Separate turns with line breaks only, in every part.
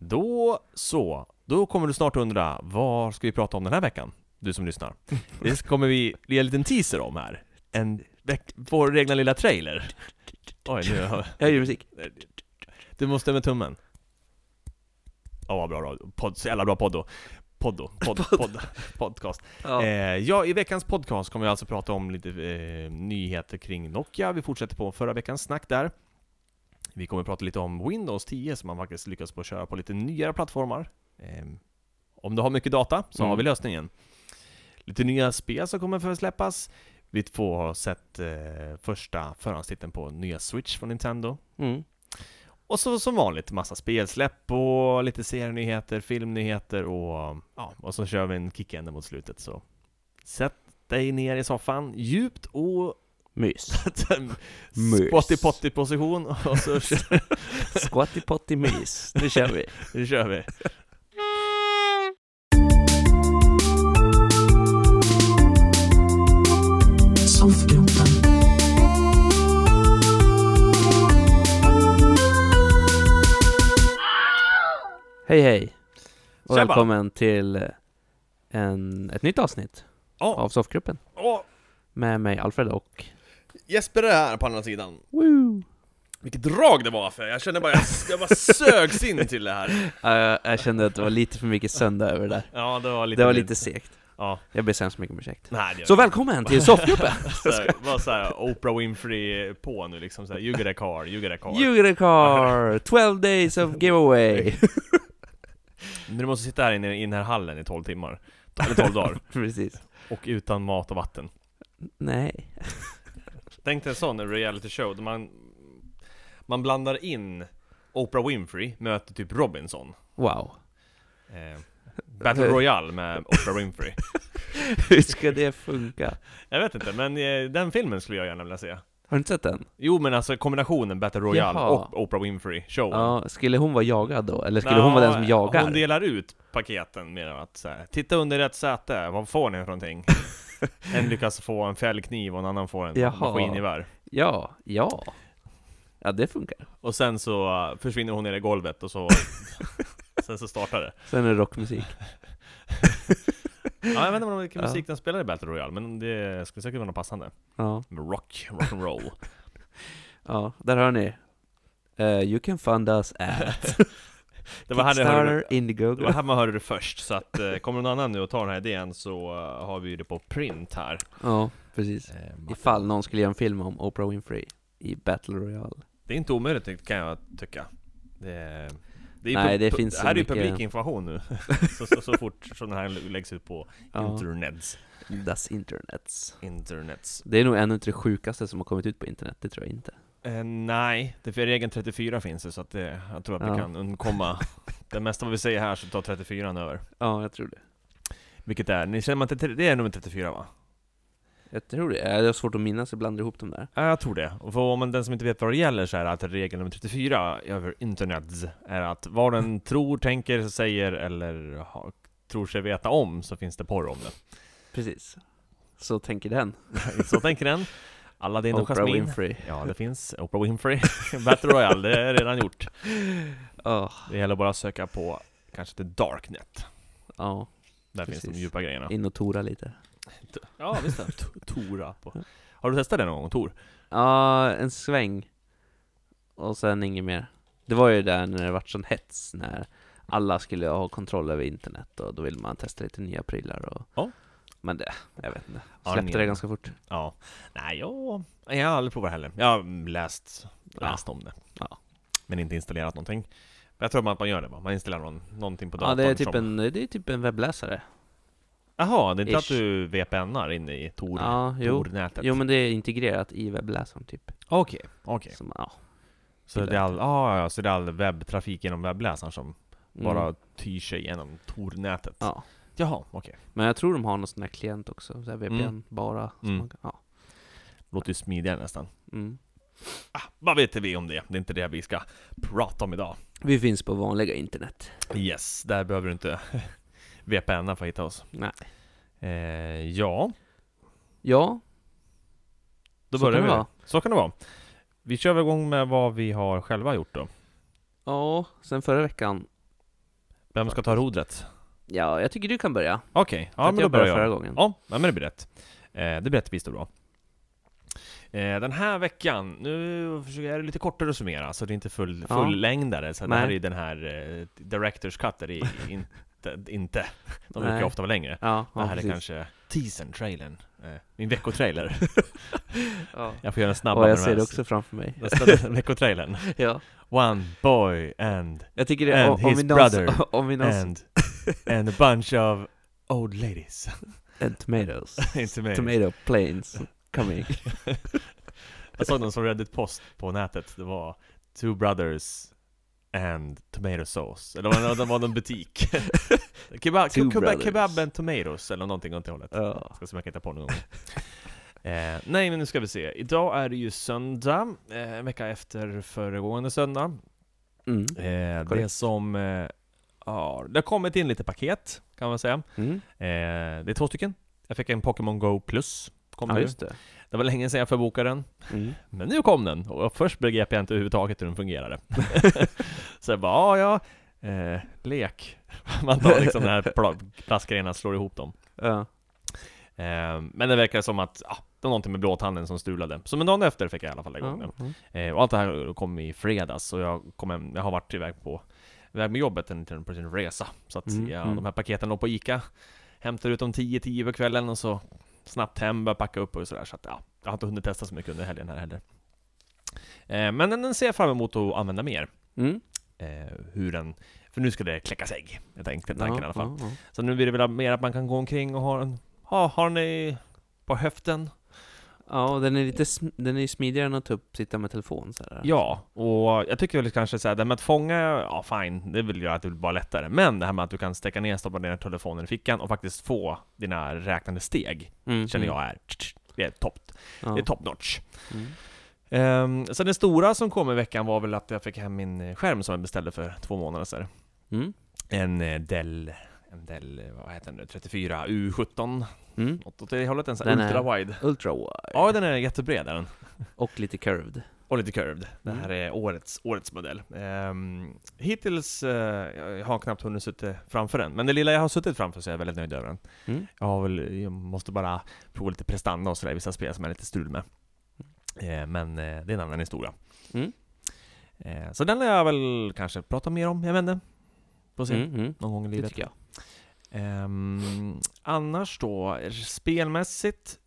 Då så, då kommer du snart undra, vad ska vi prata om den här veckan? Du som lyssnar. Det kommer vi ge en liten teaser om här. En veck, vår egna lilla trailer. Oj, nu har
Jag gör musik.
Du måste med tummen. Ja, vad bra radio. Podd, så jävla bra poddo. Poddo, podd, podd, podcast.
Ja.
Eh, ja, i veckans podcast kommer vi alltså prata om lite eh, nyheter kring Nokia. Vi fortsätter på förra veckans snack där. Vi kommer prata lite om Windows 10 som man faktiskt lyckats på att köra på lite nyare plattformar. Eh, om du har mycket data så
Mm.
har vi lösningen. Lite nya spel som kommer för att släppas. Vi får sett eh, första förhandstiteln på nya Switch från Nintendo.
Mm.
Och så som vanligt massa spelsläpp och lite serienyheter, filmnyheter och ja, och så kör vi en kickände mot slutet så Sätt dig ner i soffan, djupt och
Mys. Mös.
spotty potty position och så kör,
Squatty potty mys. Nu kör vi.
nu kör vi!
Soffgropen.
Hej hej. Och
Tjabba.
välkommen till eh, en, ett nytt avsnitt
Ja,
av Soffgruppen.
och
Med mig Alfred och...
Jesper är här på andra sidan.
Woo!
Vilket drag det var för jag kände bara, jag, jag bara sögs in till det här.
jag, jag kände att det var lite för mycket söndag över det där.
Ja, det var lite...
Det var lite segt.
Ja.
Jag ber så hemskt mycket om ursäkt.
Nej, det
Så välkommen till Soffgruppen!
var, var såhär Oprah Winfrey på nu liksom såhär, you get a car, you get a car.
You get a car! 12 days of giveaway!
Men du måste sitta här inne i den här hallen i 12 timmar. Eller 12 dagar.
Precis.
Och utan mat och vatten.
Nej.
Tänk dig en sån reality show där man, man blandar in Oprah Winfrey möter typ Robinson.
Wow.
Eh, Battle Royale med Oprah Winfrey.
Hur ska det funka?
Jag vet inte, men eh, den filmen skulle jag gärna vilja se.
Har du inte sett den?
Jo men alltså kombinationen Battle Royale
Jaha.
och Oprah Winfrey show.
Ja, skulle hon vara jagad då? Eller skulle hon vara den som jagar?
Hon delar ut paketen med att så här, titta under rätt säte, vad får ni för någonting? en lyckas få en fällkniv och en annan får en
Jaha.
maskingevär.
Ja, ja. Ja, det funkar.
Och sen så eh, försvinner hon ner i golvet och så... sen så startar det.
Sen är det rockmusik.
Ja, jag vet inte vilken
Ja.
musik den spelar i Battle Royale, men det skulle säkert vara något passande.
Ja,
Med Rock, rock'n'roll.
ja, där hör ni. Eh, you can fund us at
Det var, här det, hörde,
Kickstarter, Indiegogo.
det var här man hörde det först, så att eh, kommer någon annan nu och tar den här idén så eh, har vi ju det på print här.
Ja, precis.
Eh,
Ifall någon skulle göra en film om Oprah Winfrey i Battle Royale.
Det är inte omöjligt kan jag tycka. Det, det är ju
Nej,
pu-
det
pu-
finns så
här är ju
mycket-
publikinformation nu, så, så, så fort sådana här läggs ut på
Ja,
internets.
das internets.
internets.
Det är nog en av de sjukaste som har kommit ut på internet, det tror jag inte.
Eh, nej, det för regeln 34 finns det, så att det, jag tror att
Ja.
vi kan undkomma Det mesta vad vi säger här så tar 34 över
Ja, jag tror det.
Vilket är, ni känner man inte till, det är nummer 34 va?
Jag tror det. Eh, Det är svårt att minnas, jag blandar ihop dem där.
Ja, jag tror det. Och för om man, den som inte vet vad det gäller så är det att regel nummer 34 över internet är att vad
Mm.
den tror, tänker, säger eller ha, tror sig veta om så finns det porr om det.
Precis. Så tänker den.
Så tänker den. Aladdin och
Oprah
Jasmine.
Winfrey.
Ja, det finns. Oprah Winfrey. Battle Royale, det är redan gjort.
Ja,
Det gäller bara att söka på kanske till Darknet.
ja.
Där finns de
Precis.
djupa grejerna.
In och tora lite.
Ja, visst det. Tora på. Har du testat det någon gång, Tor?
Ja, en sväng. Och sen inget mer. Det var ju där när det vart sån hets, när alla skulle ha kontroll över internet och då ville man testa lite nya prylar och...
Ja.
Men det, jag vet inte.
Ja,
Släppte
men-
det ganska fort.
Ja. Nej, jag, jag har aldrig provat heller. Jag har mm, läst, läst om det.
Ja.
Men inte installerat någonting. Jag tror att man gör det bara. Man installerar någon, någonting på
Ja,
datorn.
det är, typ
som-
en, det är typ en webbläsare.
Jaha, det är inte
ish.
att du VPNar inne i Tor,
Ja, jo.
Tor-nätet?
Jo, men det är integrerat i webbläsaren typ.
Okej, okej.
Som, ja.
Så det är all, ah, ja, så det är all webbtrafik genom webbläsaren som
Mm.
bara tyr sig genom Tor-nätet?
Ja.
Jaha, okej.
Men jag tror de har någon sån här klient också, så här VPN
Mm.
bara. som
Mm.
Man, kan- ja.
Låter ju smidigare nästan.
Mm.
Ah, vad vet vi om det? Det är inte det vi ska prata om idag.
Vi finns på vanliga internet.
Yes, där behöver du inte VPNa för att hitta oss.
Nej.
Eh, ja,
Ja,
då
Så
börjar
kan
vi.
det vara.
Så kan det vara. Vi kör väl igång med vad vi har själva gjort då.
Ja, sen förra veckan
Vem ska ta rodret?
Ja, jag tycker du kan börja.
Okej,
För
ja
att
men då
jag
börjar
började
jag.
förra gången.
Ja, nej, men det blir rätt. Eh, det blir rättvist och bra. Eh, den här veckan, nu försöker jag lite kortare summera, så det är inte full,
Ja.
fullängdare. Så det
Nej.
här är ju den här eh, Directors Cut, där det är inte, inte. De brukar
Nej.
ju ofta vara längre.
Ja, ja,
det här
precis.
är kanske teasern, trailern. Eh, min veckotrailer.
Ja.
jag får göra en snabbare
Och jag
med
ser
den
det
här.
också framför mig.
Den ställa- Veckotrailern.
Ja.
One boy and,
Jag tycker det,
And
om, om vi
his
någonsin...
brother.
Om vi någonsin...
and, and a bunch of old ladies.
And tomatoes.
inte mig.
Tomato planes coming.
Jag såg någon som Reddit post på nätet, det var Two brothers and tomato sauce, eller var det- det var någon butik kebab,
Two
kebab,
brothers.
kebab and tomatoes eller någonting åt det hållet
Ja.
Ska se om jag kan hitta på någon gång eh, Nej men nu ska vi se, idag är det ju söndag, eh, en vecka efter föregående söndag
Mm.
eh, Det
Korrekt.
som, eh, ja, det har kommit in lite paket kan man säga
Mm.
eh, Det är två stycken, jag fick en Pokémon Go plus kom
Ja,
nu.
just det.
Det var länge sedan jag förbokade den
Mm.
men nu kom den, och först begrep jag inte överhuvudtaget hur den fungerade. så jag bara, ja, ja, eh, lek. Man tar liksom den här pla- plastgrejerna och slår ihop dem.
Ja.
Eh, men det verkar som att, ja, det var någonting med blåtanden som stulade. Så men dagen efter fick jag i alla fall igång den.
Ja. Mm.
Eh, och allt det här kom i fredags, och jag, kom hem, jag har varit iväg på, iväg med jobbet en liten, på en resa. Så att
Mm,
jag,
mm.
de här paketen låg på Ica, hämtade ut dem 10-10 på kvällen och så snabbt hem, började packa upp och sådär. Så att ja, jag har inte hunnit testa så mycket under helgen här heller. Eh, men den den ser jag fram emot att använda mer.
Mm.
Eh, hur den, för nu ska det kläckas ägg, jag tänkte tanken i alla fall.
Ja, ja.
Så nu blir det väl mer att man kan gå omkring och ha den, ha, ha den i, på höften.
Ja, och den är lite sm- den är ju smidigare än att typ sitta med telefon så här.
Ja, och jag tycker väl kanske såhär, det här med att fånga, ja fine, det vill göra att det blir bara lättare. Men det här med att du kan sträcka ner, stoppa ner telefonen i fickan och faktiskt få dina räknande steg,
Mm.
känner
Mm.
jag är, det är top,
Ja.
det är top notch.
Mm.
Ehm, sen den stora som kom i veckan var väl att jag fick hem min skärm som jag beställde för två månader sedan.
Mm.
En eh, Dell, en Dell, eh, vad heter den nu, 34 U17,
Mm.
något åt det hållet, en sån
Den är-
ultra-wide.
Ultra wide.
Ja, den är jättebred är den.
Och lite curved.
Och lite curved. Det
Mm.
här är årets, årets modell. Ehm, hittills, eh, jag har knappt hunnit sitta framför den, men det lilla jag har suttit framför så är jag väldigt nöjd över den.
Mm.
Jag, har väl, jag måste bara prova lite prestanda och sådär i vissa spel som jag är lite strul med. Eh, men eh, det är en annan historia.
Mm.
Eh, så den lär jag väl kanske prata mer om, jag vet inte. Får se,
Mm. Mm.
någon gång i
Det
livet.
tycker jag.
Ehm, annars då, spelmässigt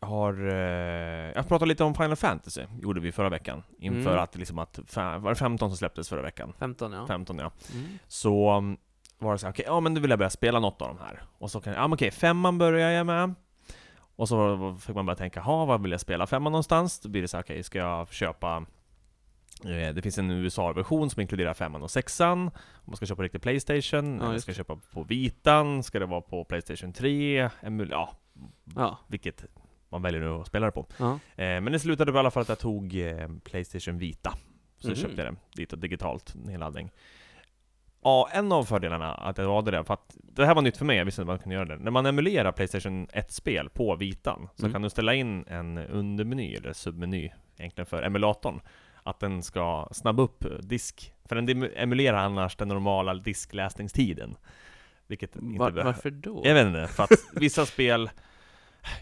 har... Eh, jag pratade lite om Final Fantasy, gjorde vi förra veckan. Inför
Mm.
att, liksom att fa- var det 15 som släpptes förra veckan?
15 ja.
15 ja.
Mm.
Så mm, var det så här, okej, ja men nu vill jag börja spela något av de här. Och så kan jag, ja men okej, femman börjar jag med. Och så var- fick man börja tänka, ha vad vill jag spela femman någonstans? Då blir det så här, okej, ska jag köpa... eh, Det finns en USA-version som inkluderar femman och sexan. Om man ska köpa riktig Playstation,
Ja,
eller
just
ska jag köpa på vitan, ska det vara på Playstation 3, emul- ja,
Ja.
vilket man väljer nu att spela det på.
Ja.
Eh, Men det slutade i alla fall att jag tog eh, Playstation Vita. Så
Mhm.
köpte jag den dit och digitalt nedladdning. Ja, en av fördelarna att jag valde det, för att det här var nytt för mig, jag visste inte att man kunde göra det. När man emulerar Playstation 1-spel på vitan, så
Mm.
kan du ställa in en undermeny, eller submeny, egentligen för emulatorn. Att den ska snabba upp eh, disk, för den dem- emulerar annars den normala diskläsningstiden. Vilket inte
Var,
behövs.
varför då?
Jag vet inte, för att vissa spel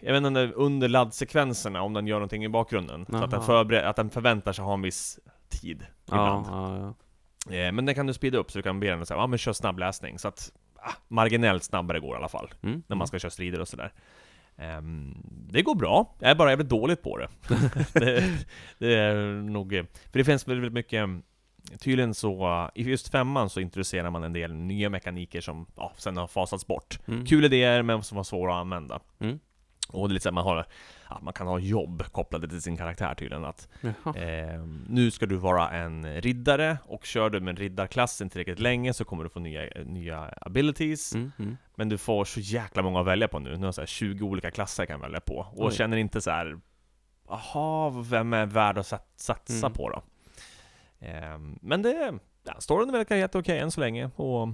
Jag vet inte, under laddsekvenserna, om den gör någonting i bakgrunden Så att den,
Jaha.
förbered, att den förväntar sig ha en viss tid
ja,
ibland
ja, ja.
eh, Men den kan du speeda upp, så du kan be den att säga, ja men kör snabbläsning Så att, ah, marginellt snabbare går i alla fall
Mm.
När man ska köra strider och sådär Ehm, Det går bra, jag är bara jävligt dåligt på det det, det är nog, eh, för det finns väldigt mycket eh, Tydligen så, eh, i just femman så introducerar man en del nya mekaniker som ja, sen har fasats bort
Mm.
Kul idéer men som var svåra att använda.
Mm.
Och det är lite så här, man, har, ja, man kan ha jobb kopplade till sin karaktär tydligen. Att,
Jaha.
eh, nu ska du vara en riddare, och kör du med riddarklassen tillräckligt länge så kommer du få nya, nya abilities.
Mm. Mm.
Men du får så jäkla många att välja på nu. Nu har jag så här 20 olika klasser jag kan välja på. Och
Oj.
känner inte så här. Jaha, vem är värd att sat- satsa
Mm.
på då? Eh, men det, ja, storyn verkar helt okej än så länge. Och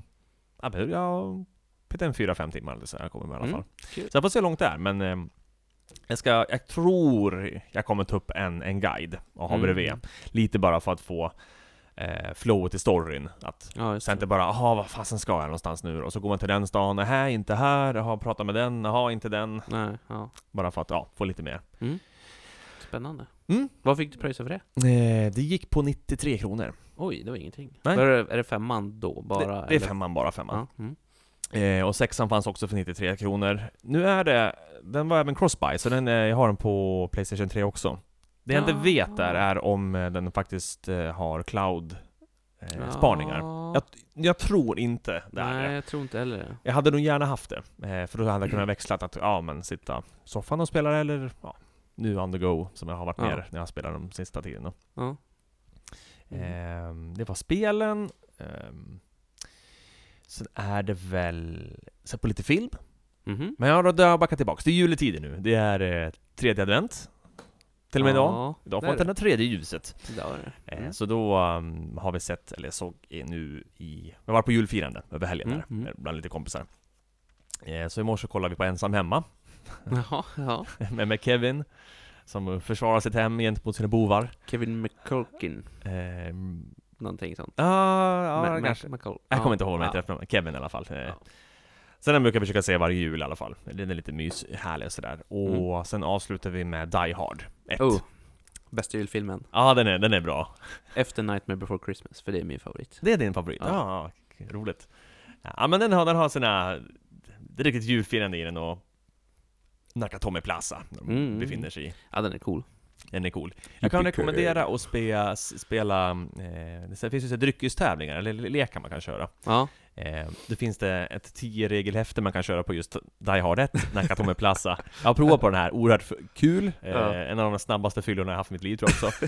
ja, men jag petar en 4-5 timmar eller så jag kommer med i alla
Mm,
fall.
kul.
Så jag får se hur långt det är, men eh, jag, ska, jag tror jag kommer ta upp en, en guide och ha
Mm.
bredvid. Lite bara för att få eh, flowet i storyn. Att
Ja, just
så inte
det.
bara ”Jaha, vad fasen ska jag någonstans nu då?” Och så går man till den stan, ”Nähä, inte här”, ”Jaha, prata med den”, ”Jaha, inte den”.
Nej, ja.
Bara för att, ja, få lite mer.
Spännande.
Mm.
Vad fick du pröjsa för det?
Eh, det gick på 93 kronor.
Oj, det var ingenting.
Nej.
Var det, är det femman då bara?
det, det är
eller?
femman, bara femman.
Ja, mm.
Eh, och sexan fanns också för 93 kronor. Nu är det, den var även crossbuy, så den, eh, jag har den på Playstation 3 också. Det jag
Ah.
inte vet där är om eh, den faktiskt eh, har
Ja.
cloud-spaningar. Eh, Jag tror inte det är
Nej,
det.
jag tror inte heller det.
Jag hade nog gärna haft det, eh, för då hade jag kunnat växla att, ja men sitta i soffan och spela det, eller ja, nu on the go, som jag har varit
Ja.
mer när jag spelar de sista tiden. då.
Ja. Mm.
Ehm, det var spelen. ehm, sen är det väl, sen på lite film.
Mhm.
Men jag har då backat tillbaks. Det är juletider nu. Det är eh, tredje advent. Till och med idag.
Ja,
Idag
det
får
är
inte
det.
det tredje ljuset.
Idag är det.
Eh,
Mm.
Så då um, har vi sett, eller såg i- nu i... Jag var på julfirande över helgen
Mm,
där,
mm.
eh, bland lite kompisar. Eh, så i morse kollade vi på Ensam Hemma,
Jaha, ja.
med, med Kevin. Som försvarar sitt hem gentemot sina bovar.
Kevin McCulkin,
Eh,
någonting sånt.
ah, ja,
Ma- Ma-
kanske.
McCul-
Jag
ja.
kommer inte ihåg vad
Ja.
han heter, Kevin i alla fall. Eh,
Ja.
Sen den brukar jag försöka se varje jul i alla fall. Den är lite mys, härlig och sådär. Och sen avslutar vi med Die Hard 1.
Mm. Oh, bästa julfilmen.
Ja, den är, den är bra.
Efter Nightmare before Christmas, för det är min favorit.
Det är din favorit?
Ja.
Ja, ja, roligt. Ja, men den har, den har sina... Det är riktigt julfirande i den och Nakatomi Plaza, när de
Mm.
befinner sig i.
Ja, den är cool.
Den är cool. Jag kan
Yippee-ki-yay.
rekommendera att spela... spela eh, det finns ju så här dryckestävlingar, eller lekar man kan köra.
Ja,
Eh, det finns det ett 10 regelhäfte man kan köra på just Die Hard 1, Nakatomi Plaza. Jag har provat på den här, oerhört f- kul. Eh,
Ja.
En av de snabbaste fyllorna jag haft i mitt liv tror jag också.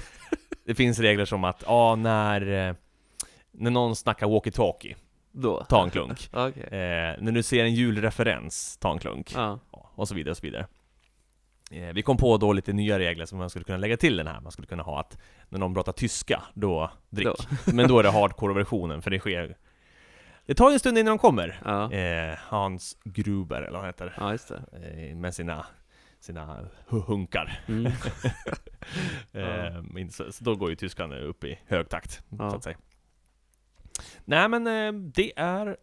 det finns regler som att, ja, när, eh, när någon snackar walkie-talkie,
då.
ta en klunk.
Okej.
Eh, när du ser en julreferens, ta en klunk.
Ja.
Ja, Och så vidare och så vidare. Eh, vi kom på då lite nya regler som man skulle kunna lägga till den här. Man skulle kunna ha att när någon pratar tyska, då drick. Men då är det hardcore-versionen, för det sker... Det tar ju en stund innan de kommer.
Ja.
Eh, Hans Gruber, eller vad han heter,
ja, just det.
eh, med sina, sina hu- hunkar.
Mm.
Eh, men så, så då går ju tyskan upp i hög takt,
Ja.
så att säga. Nej men eh, det är...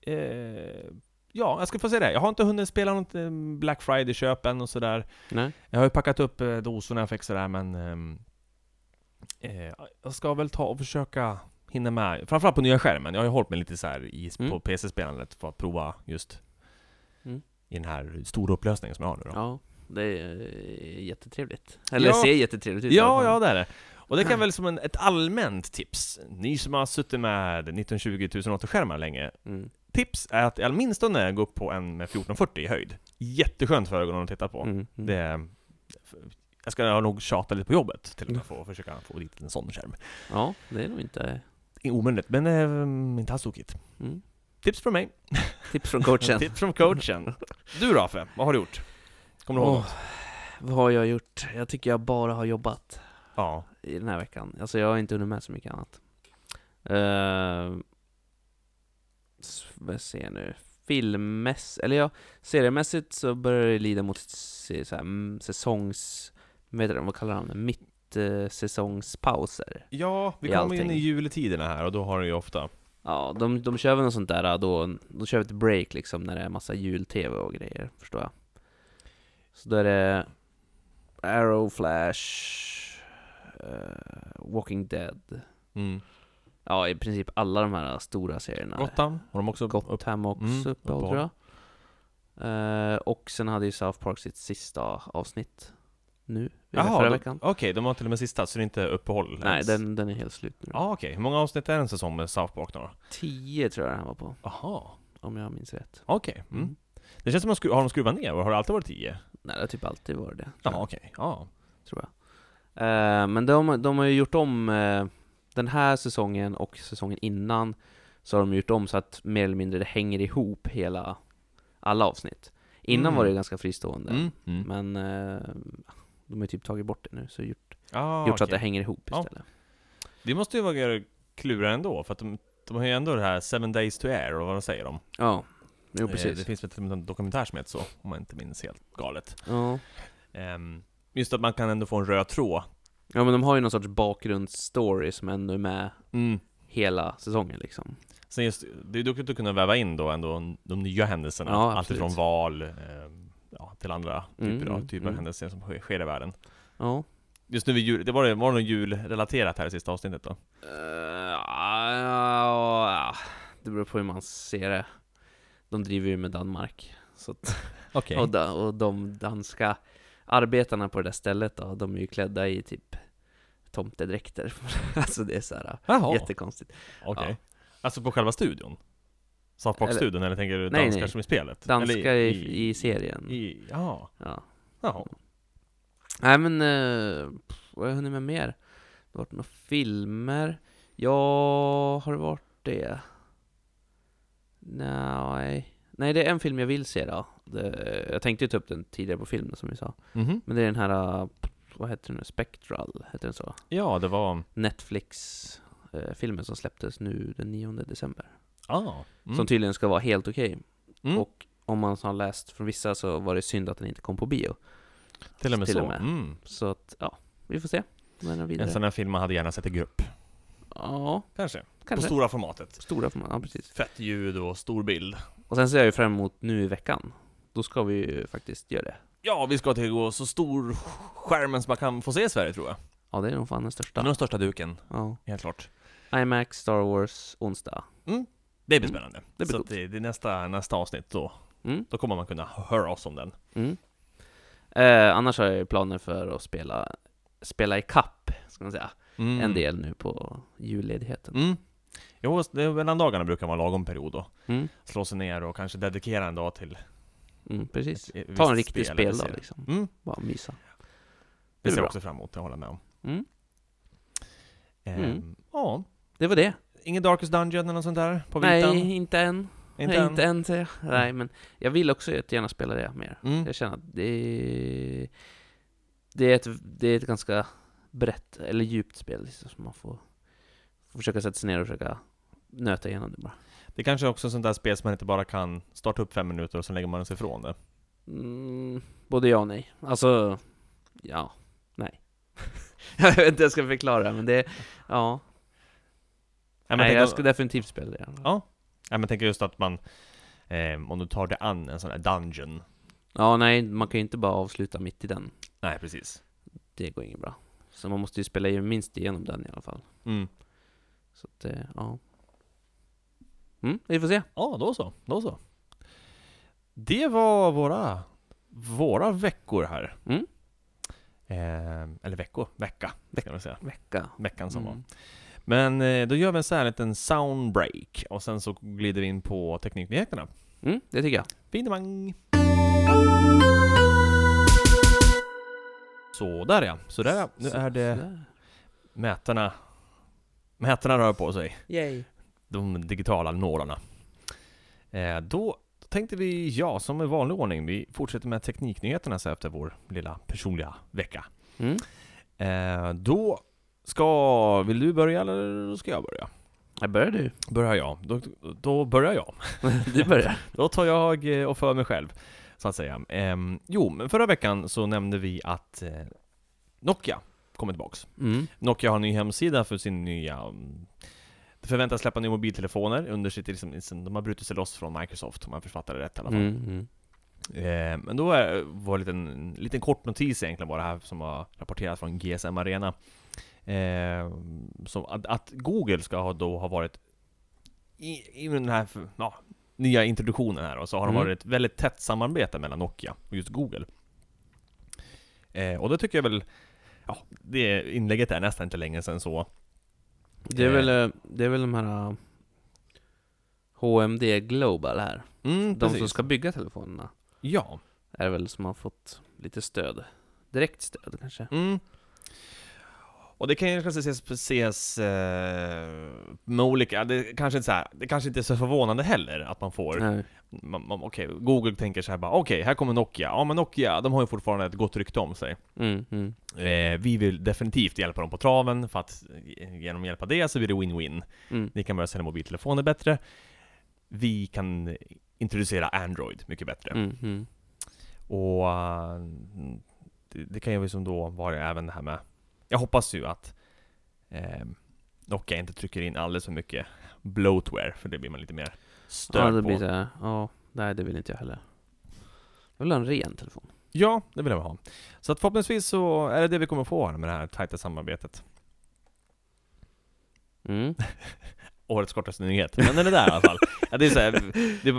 Eh, ja, jag skulle få säga det. Jag har inte hunnit spela något eh, Black Friday-köp än och sådär.
Nej.
Jag har ju packat upp eh, dosorna jag fick sådär, men... ehm, Eh, jag ska väl ta och försöka hinna med, framförallt på nya skärmen. Jag har ju hållit mig lite så här i,
Mm.
på PC-spelandet för att prova just
Mm.
i den här stora upplösningen som jag har nu då.
Ja, det är eh, jättetrevligt. Eller
Ja.
ser jättetrevligt ut i alla
Ja,
fall.
ja det är det. Och det kan väl som en, ett allmänt tips, ni som har suttit med 1920 1080-skärmar länge,
Mm.
tips är att åtminstone gå upp på en med 1440 i höjd. Jätteskönt för ögonen att titta på.
Mm. Mm.
Det är, jag ska nog tjata lite på jobbet till
Mm.
och med för att försöka få dit en sån skärm.
Ja, det är nog inte...
Det är Omöjligt, men eh, inte alls tokigt.
Mm.
Tips från mig.
Tips från coachen.
Tips från coachen. Du Rafe, vad har du gjort? Kommer du ihåg
Åh,
något?
Vad har jag gjort? Jag tycker jag bara har jobbat
Ja.
i den här veckan. Alltså jag har inte hunnit med så mycket annat. Uh, vad ser jag nu? Filmmässigt, eller ja, seriemässigt så börjar det lida mot se- så här, mm, säsongs... Vet du, vad kallar de det? eh, Mittsäsongspauser.
Ja, vi
I
kommer
allting.
in i juletiderna här och då har du ju ofta...
Ja, de, de kör väl något sånt där då, de kör ett break liksom när det är massa jul-tv och grejer, förstår jag. Så då är det Arrow, Flash, eh, Walking Dead.
Mm.
Ja, i princip alla de här stora serierna.
Gotham har de också upp.
Gotham också
Mm,
uppehåll tror
uppehåll.
jag. Eh, och sen hade ju South Park sitt sista avsnitt nu,
Jaha,
förra
de-
veckan.
Okej, de har till och med sista, så det är inte uppehåll
Nej,
ens.
den, den är helt slut nu.
Ja, okej. Hur många avsnitt är en säsong med South Park då?
Tio tror jag den här var på,
Jaha,
om jag minns rätt.
okej. Mm. Det känns som att de skru- har de skruvat ner, har det alltid varit tio?
Nej, det har typ alltid varit det. tror jag.
Ja, okej. Ja.
tror jag. Eh, men de, de har ju gjort om eh, den här säsongen och säsongen innan så har de gjort om så att mer eller mindre det hänger ihop hela, alla avsnitt. Innan
Mm.
var det ju ganska fristående,
Mm. Mm.
men eh, de har ju typ tagit bort det nu, så gjort,
Ah,
gjort så att det
okej.
hänger ihop
Ja.
istället.
det måste ju vara klurigare ändå, för att de, de har ju ändå det här 7 days to air, och vad de säger om.
Ja, jo
Eh, Det
precis.
finns väl till och med en dokumentär som heter så, om jag inte minns helt galet.
Ja,
Ehm, Just att man kan ändå få en röd tråd
Ja men de har ju någon sorts bakgrundsstory som ändå är med
Mm.
hela säsongen liksom.
Sen just, det är duktigt att kunna väva in då ändå de nya händelserna,
Ja,
allt
absolut.
ifrån val eh, ja, till andra
Mm,
typer, av,
mm,
typer av
mm.
händelser som sker- sker i världen.
Ja.
Just nu vid jul, det var, det var det något julrelaterat här i sista avsnittet då?
Eh, ja, ja, det beror på hur man ser det. De driver ju med Danmark. Så att
Okej.
Och, da, och de danska arbetarna på det där stället då, de är ju klädda i typ tomtedräkter. alltså det är så här
Jaha, okej.
jättekonstigt. ja.
Alltså på själva studion? South Park-studion, eller tänker du
Nej,
danskar
nej.
som i spelet?
Danskar
eller
i, i, serien.
i- Ja,
Ja.
jaha.
Nej men, eh, pff, vad har jag hunnit med mer? Det har varit några filmer. Ja, har det varit det? Nej. Nej, det är en film jag vill se då. Det, jag tänkte ju ta upp den tidigare på filmen som vi sa.
Mhm.
Men det är den här, eh, vad heter den nu? Spectral, heter den så?
Ja, det var...
Netflix-filmen eh, som släpptes nu den 9 december.
Ah. Mm.
Som tydligen ska vara helt okej.
mm.
Och om man har läst från vissa så var det synd att den inte kom på bio.
till och med
typ- till
så.
och med.
Mm.
Så att, ja, vi får se. När den
En
vidare.
sån här film man hade gärna sett i grupp.
Ja,
Kanske. På
kanske.
stora formatet.
Stora för ja precis.
Fett ljud och stor bild.
Och sen ser jag ju fram emot nu i veckan. Då ska vi ju faktiskt göra det.
Ja, vi ska till gå så stor skärmen som man kan få se i Sverige tror jag.
Ja, det är nog fan den
Det är
största.
den största duken,
Ja.
helt klart.
IMAX Star Wars onsdag.
Det blir
Mm.
spännande.
blir
så
coolt.
att det, det är nästa, nästa avsnitt då.
Mm.
Då kommer man kunna höra oss om den.
Mm. Eh, annars har jag ju planer för att spela, spela i kapp, ska man säga.
Mm.
en del nu på julledigheten.
Mm. Jo, det, mellan dagarna brukar vara en lagom period då.
Mm,
Slå sig ner och kanske dedikera en dag till
mm, precis.
ett visst
Ta en riktig
spel eller
speldag
serie.
liksom.
Mm.
Bara mysa.
Det
Det
ser
blir
jag
bra.
också fram emot, jag håller med om.
Mm.
Ehm,
Mm.
Ja,
Det var det.
ingen Darkest Dungeon eller något sånt där på vitan?
Nej, inte än.
inte
Nej,
än?
inte än säger jag. Nej, men jag vill också jättegärna spela det mer.
Mm.
Jag känner att det, det, är ett, det är ett ganska brett, eller djupt spel liksom, som man får, får försöka sätta sig ner och försöka nöta igenom det bara.
Det kanske är också är sånt där spel som man inte bara kan starta upp fem minuter och sen lägger man sig ifrån det.
Mm, både ja och nej. Alltså, ja, nej. jag vet inte hur jag ska förklara, men det, ja.
Nej, men
Nej,
tänk
jag
om-
ska definitivt spela det.
Ja. Nej men tänk just att man, eh, om du tar dig an en sån här dungeon.
Ja, nej, man kan ju inte bara avsluta mitt i den.
Nej precis.
Det går inget bra. Så man måste ju spela ju minst igenom den i alla fall.
Mm.
Så att, eh, ja. Mm, vi får se.
Ja, då så. Då så. Det var våra, våra veckor här.
Mm.
Eh, eller veckor, vecka ska man säga.
Vecka.
Veckan som var.
Mm.
Men eh, då gör vi en sån här liten soundbreak och sen så glider vi in på Tekniknyheterna.
Mm, det tycker jag.
Finemang! Så där ja, så där ja. Nu är det
Sådär.
mätarna. Mätarna rör på sig.
Yay.
de digitala nålarna. Eh, då tänkte vi, ja, som i vanlig ordning, vi fortsätter med tekniknyheterna så här efter vår lilla personliga vecka.
Mm.
Eh, då ska, vill du börja eller då ska jag börja?
Här börjar du.
Börjar jag, då, då börjar jag.
Du börjar.
Då tar jag eh, och för mig själv, så att säga. Ehm, jo, men förra veckan så nämnde vi att eh, Nokia kommer tillbaks.
Mm.
Nokia har en ny hemsida för sin nya... mm, Det förväntas släppa nya mobiltelefoner under sitt... Liksom, liksom, de har brutit sig loss från Microsoft, om man författar det rätt i alla fall.
Mm. Mm.
Eh, men då är, var en liten, en liten kort notis egentligen bara här som har rapporterats från GSM Arena. Eh, som att, att Google ska ha, då ha varit i, i den här ja, nya introduktionen här och så har det
Mm.
varit ett väldigt tätt samarbete mellan Nokia och just Google. Eh, och det tycker jag väl, ja, det inlägget är nästan inte längre sedan så.
Det, är väl, eh, det är väl de här eh, HMD Global här.
Mm,
De som ska bygga telefonerna.
Ja.
Är väl som har fått lite stöd. Direkt stöd kanske.
Mm. Och det kan ju kanske ses, ses eh, med olika, det kanske, inte så här, det kanske inte är så förvånande heller att man får,
Nej.
man, man, okej, Google tänker så här bara, okej, här kommer Nokia, ja men Nokia, de har ju fortfarande ett gott rykte om sig.
Mm. Mm.
Eh, vi vill definitivt hjälpa dem på traven, för att eh, genom att hjälpa det så blir det win-win.
Mm.
Ni kan börja sälja mobiltelefoner bättre, vi kan introducera Android mycket bättre.
Mm. Mm.
Och eh, det, det kan ju liksom då vara även det här med Jag hoppas ju att eh, Nokia inte trycker in alldeles för mycket bloatware, för det blir man lite mer
Ja,
störd
det
på.
blir så här. Ja, nej det vill inte jag heller. Jag vill ha en ren telefon.
Ja, det vill jag ha. Så att förhoppningsvis så är det det vi kommer få här med det här tajta samarbetet.
Mm.
Årets kortaste nyhet. Men den är där i alla fall. Ja, det är så här, det,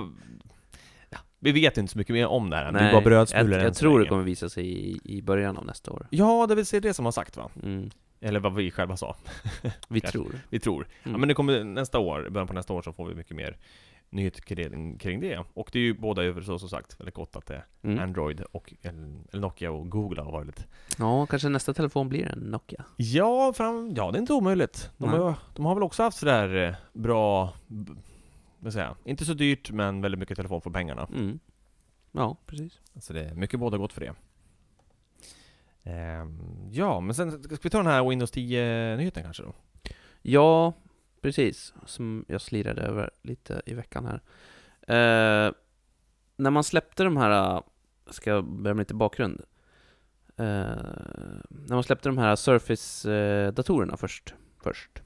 ja, vi vet inte så mycket mer om det här. det är
Nej,
bara brödsmulor
Jag,
än
jag
så
tror det
länge.
kommer visa sig i, i början av nästa år.
Ja, det vill säga det som har sagt va?
Mm.
Eller vad vi själva sa.
Vi
Kanske.
tror.
Vi tror. Ja,
Mm.
men det kommer nästa år, i början på nästa år så får vi mycket mer nyheter kring, kring det. Och det är ju båda över så som sagt väldigt gott att det är
Mm.
Android och eller Nokia och Google har varit.
Ja, kanske nästa telefon blir en Nokia.
Ja, fram, ja, det är inte omöjligt. De,
Nej.
har, de har väl också haft sådär eh, bra, b- vad säger jag, inte så dyrt men väldigt mycket telefon för pengarna.
Mm. Ja, precis.
Så det är mycket båda gott för det. Ehm, ja, men sen ska vi ta den här Windows 10-nyheten kanske då?
Ja, precis. Som jag slirade över lite i veckan här. Eh, när man släppte de här, eh, ska jag börja med lite bakgrund? Eh, när man släppte de här Surface-datorerna först, först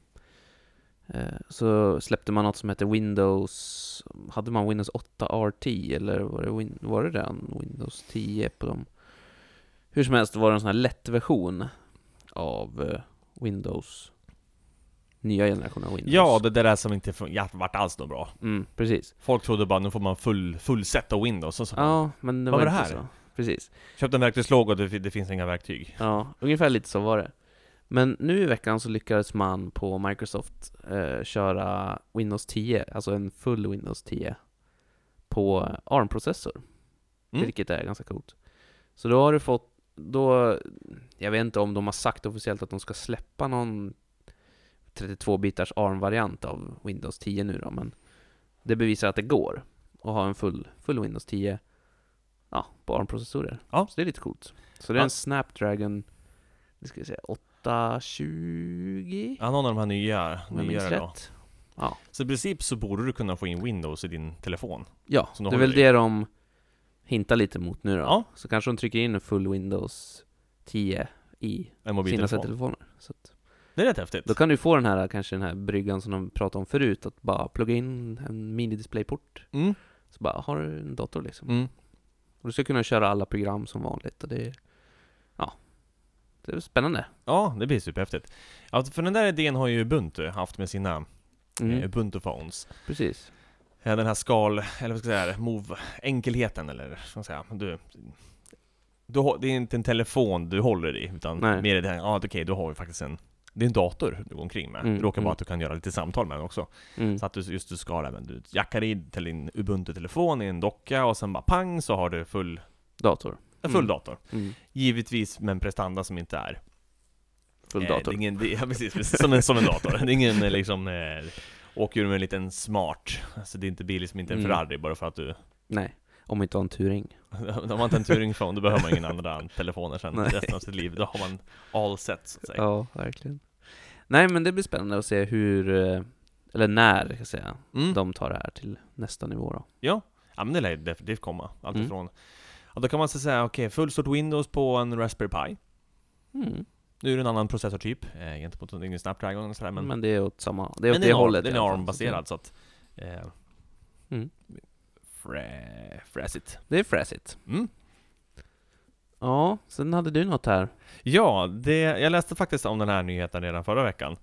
eh, så släppte man något som hette Windows, hade man Windows 8 RT eller var det, Win- var det den? Windows 10 på dem? Hur som helst var det en sån här lätt version av eh, Windows, nya generationen av Windows.
Ja, det där är som inte fun- ja, vart alls något bra.
mm, precis.
Folk trodde bara nu får man full, fullsätta Windows och så.
Ja, men det
Vad
var,
var det
inte
här?
så. Precis.
Köpte en verktygslåda och det, det finns inga verktyg.
Ja, ungefär lite så var det. Men nu i veckan så lyckades man på Microsoft eh, köra Windows 10, alltså en full Windows 10, på ARM-processor.
Mm.
Vilket är ganska coolt. Så då har du fått, då, jag vet inte om de har sagt officiellt att de ska släppa någon 32-bitars ARM-variant av Windows 10 nu då, men det bevisar att det går att ha en full, full Windows 10 ja, på ARM-processorer.
Ja.
Så det är lite coolt. Så det är
Ja.
en Snapdragon, det ska vi säga, 820?
Ja, någon av de här nya,
Om jag minns
nyare då.
rätt.
Så i princip så borde du kunna få in Windows i din telefon.
Ja,
Så då
det är
håller
väl
det
det de hintar lite mot nu då.
Ja.
Så kanske de trycker in en full Windows 10 i
En
sina
mobiltelefon.
telefoner. Så att,
Det är rätt häftigt.
då kan du få den här, kanske den här bryggan som de pratade om förut, att bara plugga in en mini displayport.
Mm.
Så bara har du en dator liksom.
Mm.
Och du ska kunna köra alla program som vanligt och det är, ja, det är spännande.
Ja, det blir superhäftigt. Ja, för den där idén har ju Ubuntu haft med sina
Mm,
eh, Ubuntu phones.
Precis.
Eh, Den här skal, eller vad ska jag säga, move, enkelheten eller vad ska jag säga. Du, du, har- det är inte en telefon du håller i, utan
Nej.
mer i det här, ja okej, du har ju faktiskt en det är en dator du går omkring med.
Mm,
det råkar vara
mm.
att du kan göra lite samtal med den också.
Mm.
Så att du just du ska även, du jackar i till din Ubuntu-telefon i en docka och sen bara pang så har du full,
Dator.
en full
Mm.
dator.
Mm.
Givetvis med en prestanda som inte är...
Full
eh,
dator.
det är ingen, det, ja, precis, precis som, en, som en dator. Det är ingen eh, liksom... Eh, åker ur med en liten smart. Alltså det är inte bil som inte en
Mm.
Ferrari bara för att du...
Nej, om inte har en Turing.
Om man inte har en Turing-phone, då behöver man ingen andra telefoner sen
Nej.
resten av sitt liv. Då har man all set, så att säga.
Ja, verkligen. Nej, men det blir spännande att se hur, eh, eller när, ska jag säga,
Mm.
de tar det här till nästa nivå då.
Ja men det lär ju definitivt komma, allt
Mm.
ifrån... Ja, då kan man så säga, okej, fullstort Windows på en Raspberry Pi.
Mm.
Nu är det en annan processortyp, eh, gentemot en ingen Snapdragon och sådär, men,
Men, det är åt samma, det är åt
men
det
den är
hållet.
ARM,
i
Den är
alla fall.
ARM-baserad så att... Eh,
Mm.
frä, fräsigt.
Det är fräsigt.
Mm.
Ja, sen hade du något här.
Ja, det, jag läste faktiskt om den här nyheten redan förra veckan.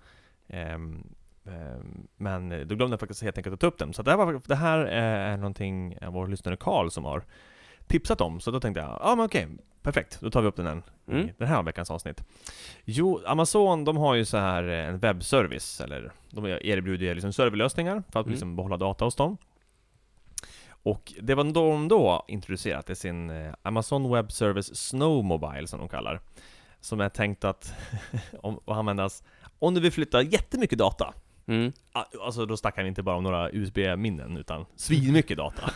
Ehm, ehm, men då glömde jag faktiskt helt enkelt att ta upp den. Så det här, var, det här eh, är någonting vår lyssnare Karl som har tipsat om. Så då tänkte jag, ja ah, men okej, perfekt. Då tar vi upp den här
Mm.
i den här veckans avsnitt. Jo, Amazon de har ju så här eh, en webbservice, eller de erbjuder ju liksom serverlösningar för att
Mm.
liksom behålla data hos dem. Och det var då de då introducerat i sin eh, Amazon Web Service Snow Mobile som de kallar. Som är tänkt att om, att användas om du vill flytta jättemycket data.
Mm.
Ah, Alltså då snackar vi inte bara om några USB-minnen utan svinmycket data.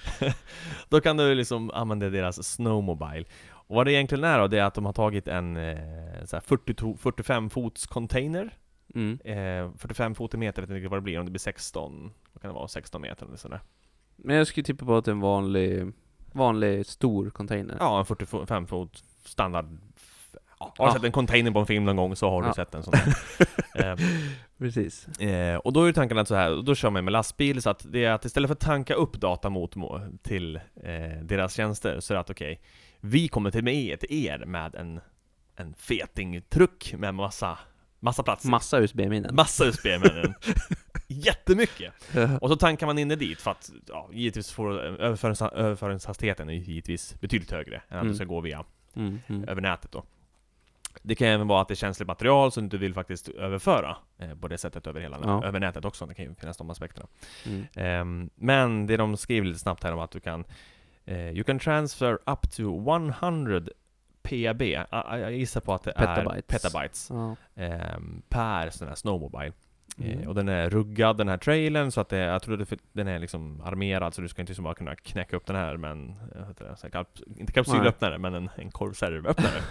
då kan du liksom använda deras Snowmobile. Och vad det egentligen är då, det är att de har tagit en eh, så här 40, 45 fots container.
Mm.
Eh, 45 fot i meter, jag vet inte riktigt vad det blir, om det blir 16, vad kan det vara, 16 meter eller sådär.
Men jag skulle tippa på att det är en vanlig, vanlig stor container.
Ja, en 45 fot standard Har du
Ja.
sett en container på en film någon gång så har du
Ja.
sett en sån där. Eh,
Precis.
Eh, och då är ju tanken att så här, och då kör man med lastbil, så att det är att istället för att tanka upp data mot må- till eh, deras tjänster, så är det att okej, vi kommer till, med, till er med en, en fetingtruck med massa, massa plats.
Massa USB-minnen.
massa usb minnen Jättemycket! Och så tankar man in det dit för att, ja, givetvis får överförings, överföringshastigheten är ju givetvis betydligt högre än att du
Mm.
ska gå via
Mm, mm.
över nätet då. Det kan även vara att det är känsligt material som du inte vill faktiskt överföra eh, på det sättet över hela
Ja.
över nätet också. Det kan ju finnas de aspekterna.
Mm.
Ehm, men det de skriver lite snabbt här om att du kan eh, You can transfer up to 100 PAB. Ah, ah, Jag gissar på att det är
Petabytes.
petabytes
Ja.
ehm, per sån här snowmobile. Eh,
Mm.
Och den är ruggad den här trailern så att det, jag tror att den är liksom armerad så du ska inte liksom bara kunna knäcka upp den här med en, eh, heter det, så här kaps, inte kapsylöppnare men en, en korvservöppnare.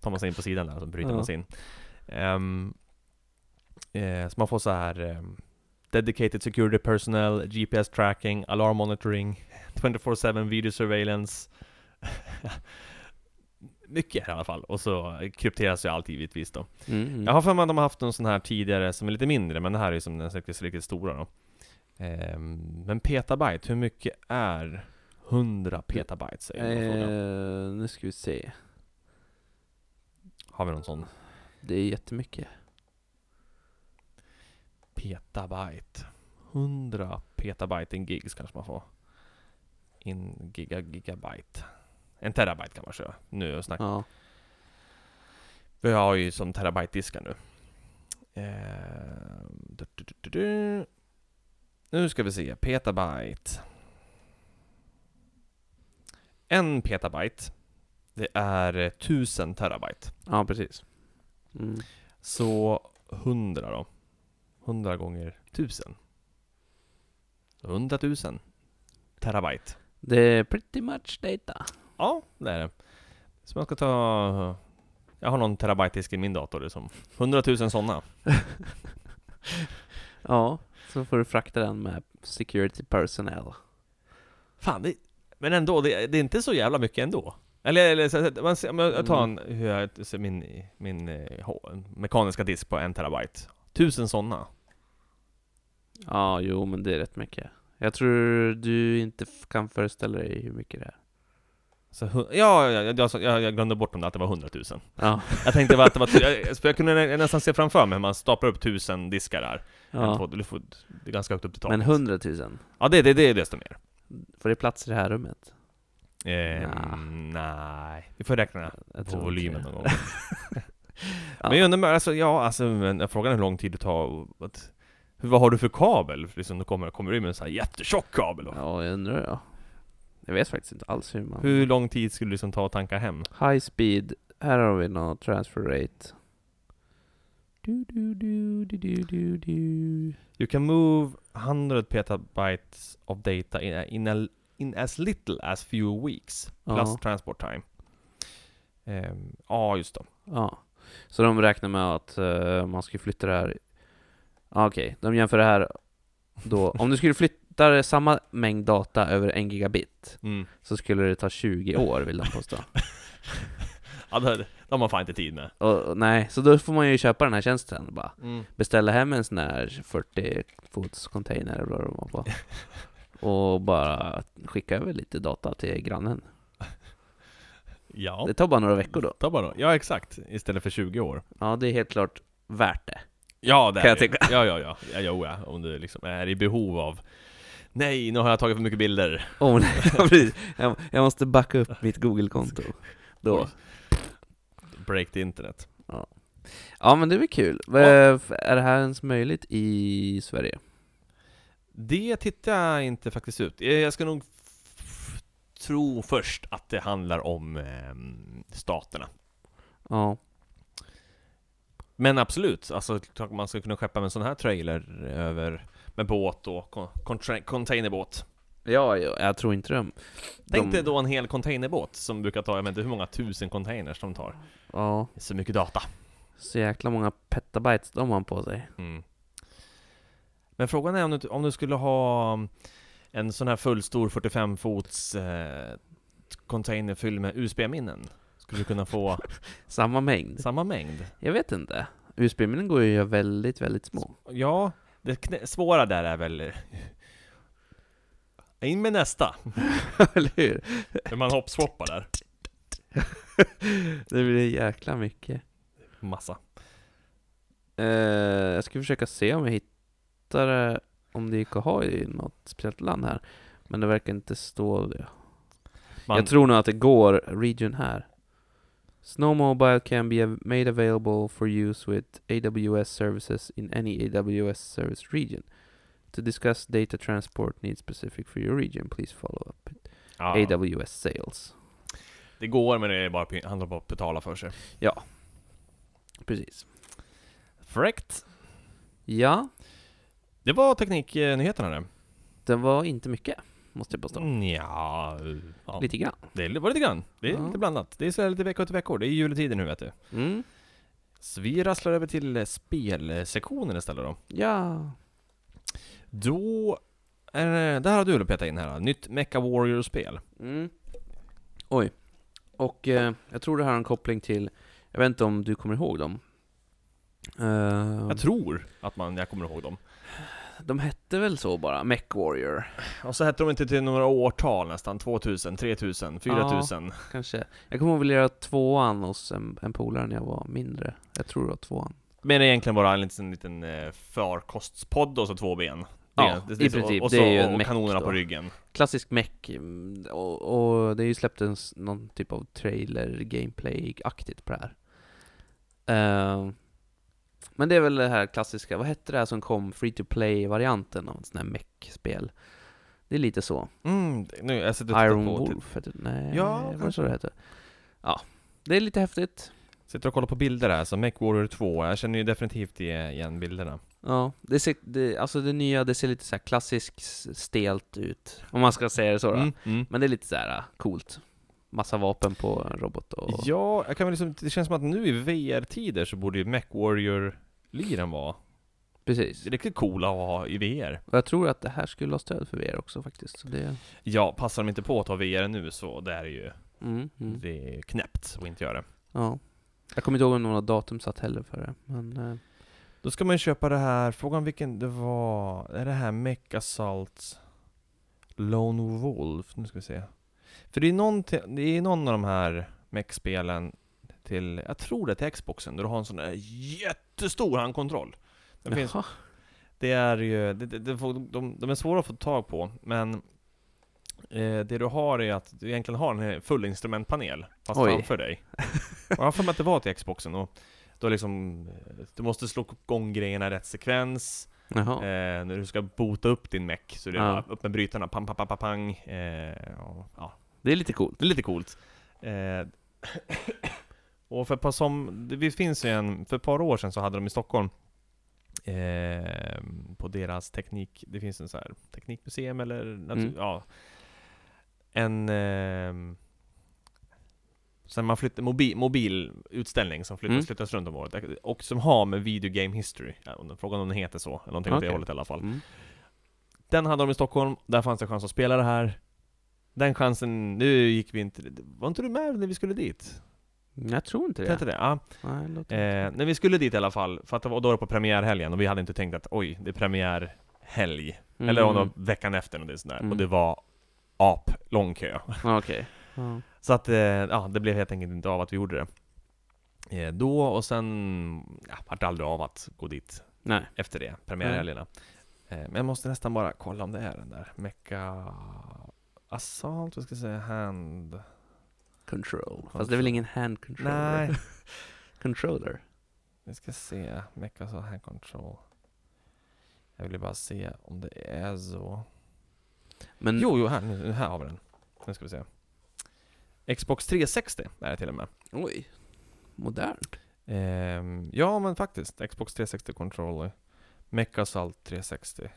Tar man sig in på sidan där så bryter
Ja.
man sig in. Ehm, eh, så man får så här ehm, Dedicated security personnel, GPS tracking, alarm monitoring, 24-7 video surveillance. Mycket här i alla fall. Och så krypteras ju allt givetvis då.
Mm, mm.
Jag har för mig att de har haft en sån här tidigare som är lite mindre, men det här är ju som den riktigt, riktigt stora då. Ehm, men petabyte, hur mycket är 100 petabyte? Säger man frågan.
Eh, nu ska vi se.
har vi någon sån?
Det är jättemycket.
Petabyte. 100 petabyte in gigs kanske man får. In giga gigabyte. En terabyte kan man köra. Nu snackar
Ja.
Vi har ju som terabyte-diskar nu. Ehm, du, du, du, du, du. Nu ska vi se, petabyte. En petabyte, det är eh, 1000 terabyte.
ja, precis. Mm.
Så 100 då. 100 gånger 1000. 100 000 terabyte.
Det är pretty much data.
Ja, det är det. Så man ska ta... Jag har någon terabyte-disk i min dator som 100 000 sådana.
Ja, så får du frakta den med security personnel.
Fan, det, men ändå, det, det är inte så jävla mycket ändå. Eller, eller så, så- man, ser- om
Mm.
jag tar en, hur jag, så min, min eh, h- mekaniska disk på en terabyte. Tusen sådana.
Ja, jo, men det är rätt mycket. Jag tror du inte f- kan föreställa dig hur mycket det är.
Så, hu- ja, ja, ja, jag, sa- jag, jag glömde bort om det, att det var 100 000.
Ja,
Jag tänkte bara att det var... tu- Jag, så jag kunde nä- nästan se framför mig hur man staplar upp tusen diskar där. En, två,
ja.
du får, det är ganska högt upp till taket.
men hundratusen.
Ja, det, det, det är desto mer.
Får det plats i det här rummet?
Ehm,
Nja.
Nej, vi får räkna
Jag
på
tror inte
volymen
det.
någon gång.
Ja.
Men jag undrar, alltså, ja, alltså, men jag frågar hur lång tid det tar och att, hur- Vad har du för kabel? För Liksom, du kommer, kommer du med en sån här jättetjock kabel? då?
Ja, jag undrar ja. Jag vet faktiskt inte alls hur man...
Hur lång tid skulle det liksom ta att tanka hem?
High speed. Här har vi någon transfer rate. Du, du, du, du, du, du, du.
You can move 100 petabytes of data in, in, a, in as little as few weeks plus
Ja.
transport time. Ehm, Ja, just det.
Ja. Så de räknar med att eh, man ska flytta det här... Ja, Okej, de jämför det här då. Om du skulle flytta det- samma mängd data över en gigabit
Mm.
så skulle det ta 20 år vill de påstå.
Ja, det, det har man fan inte tid med.
Och, och nej, så då får man ju köpa den här tjänsten bara.
Mm.
Beställa hem en sån här 40 fots container eller vad det var på. Och bara skicka över lite data till grannen.
Ja.
Det tar bara några veckor då.
Ta bara då. Ja, exakt. Istället för 20 år.
Ja, det är helt klart värt det.
Ja, det
Kan
är
jag
det. Ja, ja, ja. ja, jo, ja. Om du liksom är i behov av Nej, nu har jag tagit för mycket bilder.
Oh, nej, ja, precis. jag, jag måste backa upp mitt Google-konto. Då.
Oj. Break the internet.
Ja men det är väl kul. Eh, f- Är det här ens möjligt i Sverige?
Det tittar jag inte faktiskt ut. Eh, Jag ska nog f- tro först att det handlar om ehm, staterna.
Ja.
Men absolut, alltså klart man ska kunna skeppa med en sån här trailer över med båt och con- contra- containerbåt.
Ja, jag, jag tror inte de...
Tänk
de-
dig då en hel containerbåt som brukar ta, jag vet inte hur många tusen containers de tar.
Ja,
Så mycket data.
så jäkla många petabytes de har på sig.
Mm. Men frågan är om du, om du skulle ha mm, en sån här fullstor 45 fots eh, container fylld med USB-minnen. Skulle du kunna få
Samma mängd.
samma mängd?
Jag vet inte. USB-minnen går ju att göra väldigt, väldigt små.
Ja, det knä- svåra där är väl... eh, In med nästa!
Eller hur?
Hur man hoppswappar där.
Det blir jäkla mycket.
Massa.
Eh, jag ska försöka se om jag hittar det, om det gick att ha i något speciellt land här. Men det verkar inte stå det.
Man,
Jag tror nog att det går region här. Snow Mobile can be av- made available for use with AWS services in any AWS service region. To discuss data transport needs specific for your region, please follow up with
ja,
AWS sales.
Det går men det är bara, py- handlar bara om att betala för sig.
Precis.
Fräckt!
Ja,
Det var tekniknyheterna det.
det var inte mycket, måste jag påstå.
Mm, Ja, eh, ja.
Lite grann.
Det är- var lite grann. Det är
Ja.
lite blandat. Det är så här lite vecka till veckor. Det är juletider nu vet du.
Mm.
Så vi rasslar över till eh, spelsektionen istället då.
Ja.
Då... Är det, där har du petat in här då. Nytt Mecha Warrior-spel.
Mm. Oj. Och eh, jag tror det här har en koppling till, jag vet inte om du kommer ihåg dem? Eh,
Jag tror att man, jag kommer ihåg dem.
De hette väl så bara, Mech Warrior
Och så hette de inte till några årtal nästan. 2000, 3000, 4000.
kanske. Jag kommer ihåg att göra tvåan hos en, en polare när jag var mindre. Jag tror det var tvåan.
Men egentligen bara en liten, liten eh, förkostspodd och så två ben.
Ja, i princip.
Och, och,
Det
så,
är ju en
och
mech
kanonerna
då.
på ryggen.
Klassisk Mech, mm, och, och det är ju släppt en, s- någon typ av trailer gameplay-aktigt på det här. Eh, men det är väl det här klassiska, vad hette det här som kom, free to play-varianten av ett sånt här Mech-spel? Det är lite så.
Mm, nu, jag sitter och
Iron
tittar på, typ
Wolf hette det? Nej,
Ja,
ja, var det så
kanske.
det hette? Ja, det är lite häftigt.
Sitter och kollar på bilder här, så Mech Warrior 2, jag känner ju definitivt i- igen bilderna.
Ja, det ser, det, alltså det nya, det ser lite så här klassiskt s- stelt ut, om man ska säga det så då.
Mm, mm.
Men det är lite så här äh, coolt. Massa vapen på en robot och...
Ja, jag kan väl liksom, det känns som att nu i VR-tider så borde ju Mech Warrior-liran vara
Precis.
riktigt coola att ha i VR.
Och jag tror att det här skulle ha stöd för VR också faktiskt. Så det,
Ja, passar de inte på att ta VR nu så det är ju,
mm, mm.
det är knäppt att inte göra det.
Ja. Jag kommer inte ihåg om några datum satt heller för det, men... eh,
Då ska man ju köpa det här, frågan vilken det var, är det här Mech Assault Lone Wolf? Nu ska vi se. För det är någon, te- det är någon av de här Mech-spelen till, jag tror det är till Xboxen, där du har en sån där jättestor handkontroll. Den finns,
jaha.
det är ju, det, det, det får, de, de är svåra att få tag på, men eh, det du har är att du egentligen har en här full instrumentpanel, fast
Oj.
framför dig. Och jag har för mig att det var till Xboxen, och då liksom, eh, du måste slå igång grejerna i rätt sekvens,
Jaha.
Eh, när du ska bota upp din mech, så det är
Ja.
bara upp med brytarna, pang, pang, pang, pang, pang. Eh, och, ja,
Det är lite coolt.
det är lite coolt. Eh, och för ett par som, det vi finns ju en, för ett par år sedan så hade de i Stockholm eh, på deras teknik, det finns en så här teknikmuseum eller natur,
Mm.
ja, en eh, Sen man flyttar, mobil, mobilutställning som flyttas,
Mm.
flyttas runt om året, och som har med video game history, ja, om- frågan om den heter så, eller någonting åt det
Okej.
hållet i alla fall.
Mm.
Den hade de i Stockholm, där fanns det chans att spela det här Den chansen, nu gick vi inte... Var inte du med när vi skulle dit?
Mm. Jag tror inte
Ja. Inte
det.
det? Ja.
Nej, det låter
Eh,
inte.
när vi skulle dit i alla fall, för att det var, då var det på premiärhelgen och vi hade inte tänkt att oj, det är premiärhelg
Mm.
Eller om det var veckan efter eller sådär,
Mm.
och det var ap, lång kö
Ja, Okej. Ja.
Så att, eh, ja, det blev helt enkelt inte av att vi gjorde det eh, Då och sen, ja, vart det aldrig av att gå dit
Nej.
efter det, premiärhelgerna. Eh, men jag måste nästan bara kolla om det är den där Mecha Assault, vad ska jag säga, Hand...
Control. Fast det är väl ingen hand controller?
Nej,
Controller.
vi ska se. Mecha Assault Hand Control. Jag ville bara se om det är så.
Men
Jo, jo, här, nu, här har vi den. Nu ska vi se. Xbox 360 är det till och med.
Oj, modernt.
Ehm, ja, men faktiskt. Xbox 360 controller. Mecha Assault 360.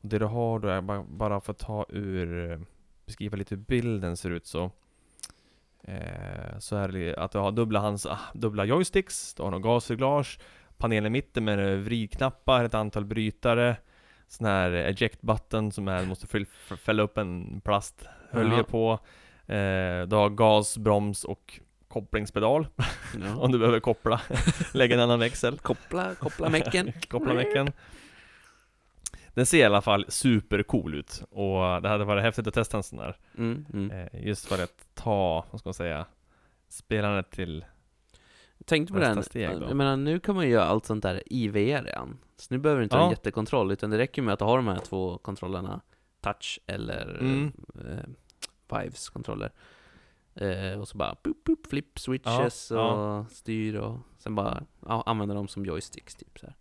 Och det du har då är bara, bara för att ta ur, eh, beskriva lite hur bilden ser ut så. Eh, så är det att du har dubbla, hands, ah, dubbla joysticks, du har någon gasreglage, panelen i mitten med eh, vridknappar, ett antal brytare, sån här eject button som är, du måste fyll- f- fälla upp en plasthölje
Ja.
på. Eh, du har gas, broms och kopplingspedal
Ja.
om du behöver koppla, lägga en annan växel,
Koppla, koppla mecken.
koppla mecken. Den ser i alla fall supercool ut och det hade varit häftigt att testa en sån här.
Mm, mm.
Eh, Just för att ta, vad ska man säga, spelandet till...
Tänkte på
Nästa
den,
steg då.
jag menar nu kan man ju göra allt sånt där i VR redan. Så nu behöver du inte ha
Ja.
en jättekontroll, utan det räcker med att ha de här två kontrollerna, touch eller
Mm.
eh, Vives kontroller. Eh, och så bara boop, boop, flip switches
Ja,
och
ja.
styr och sen bara ja, använda dem som joysticks typ så här.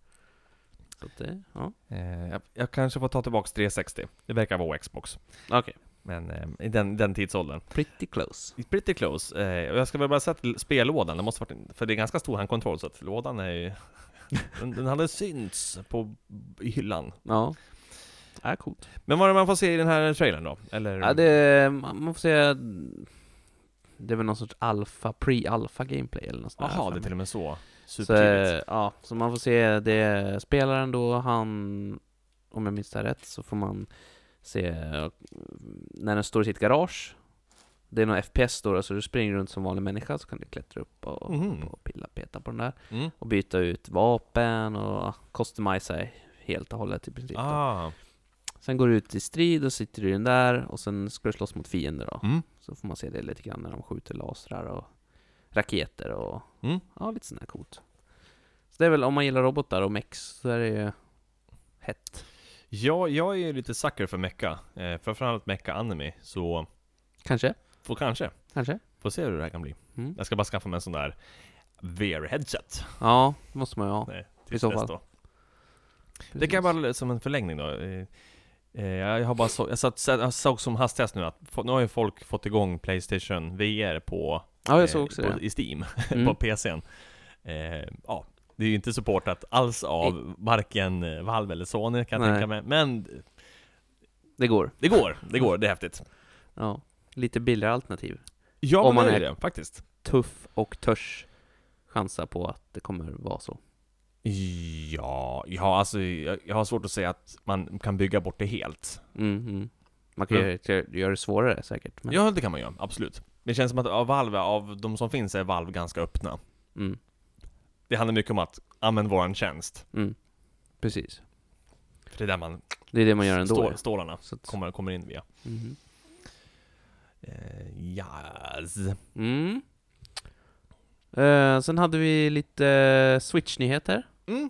Så att det, ja.
eh, Jag, jag kanske får ta tillbaks 360. Det verkar vara Xbox.
Okej,
Men eh, i den, den tidsåldern.
pretty close.
It's pretty close. Eh, och jag ska väl bara säga att spellådan, det måste varit, en- för det är ganska stor handkontroll så att lådan är ju... den, den hade synts på i hyllan.
Ja. Ja, coolt.
Men vad är det man får se i den här trailern då? Eller?
Ja, det, man man får säga, det är väl någon sorts alfa, pre-alfa gameplay eller något sånt där
Jaha,
för
det är
mig.
till och med så.
Så,
Supertidigt.
eh, ja, så man får se det spelaren då, han, om jag minns det här rätt, så får man se eh, när den står i sitt garage. Det är någon FPS då, så du springer runt som vanlig människa så kan du klättra upp och,
Mhm.
och pilla, peta på den där.
Mm.
Och byta ut vapen och customisa helt och hållet i princip. då.
Ah.
Sen går du ut i strid och sitter i den där och sen ska du slåss mot fiender då.
Mm.
Så får man se det lite grann när de skjuter lasrar och raketer och
Mm.
ja, lite sånt där coolt. Så det är väl, om man gillar robotar och mex så är det ju hett.
Ja, jag är ju lite sucker för mecha. Eh, framförallt mecha anime. Så,
Kanske?
får kanske.
Kanske?
Får se hur det här kan bli.
Mm.
Jag ska bara skaffa mig en sån där VR-headset.
Ja, det måste man ju ha.
Nej,
i så
tills
fall.
dess då. Det kan jag bara som en förlängning då. Eh, eh, Jag har bara så, jag, satt, jag såg som hastigast nu att fo- nu har ju folk fått igång Playstation VR på,
Ja, jag
eh,
såg också
på
det.
i Steam, på
Mm.
PCn. Eh, ja, det är ju inte supportat alls av varken eh, Valve eller Sony kan jag
Nej.
tänka mig, men
Det går.
det går, det går, det är häftigt.
Ja. Lite billigare alternativ.
Ja,
Om
men
man
det är
är-
det faktiskt.
Tuff och törs chansa på att det kommer vara så.
Ja, ja alltså, jag, jag har svårt att säga att man kan bygga bort det helt.
Mm, mm. Man kan ju göra- göra det svårare säkert. Men,
Ja, det kan man göra, absolut. Det känns som att av Valve, av de som finns, är Valve ganska öppna.
Mm,
Det handlar mycket om att använda våran tjänst.
mm. Precis.
För det är där man,
Det är det man gör ändå.
stå,
ja.
stålarna
Så att,
kommer, kommer in via.
mhm.
Eh, yes.
Mm. Eh, sen hade vi lite eh, Switch-nyheter
Mm.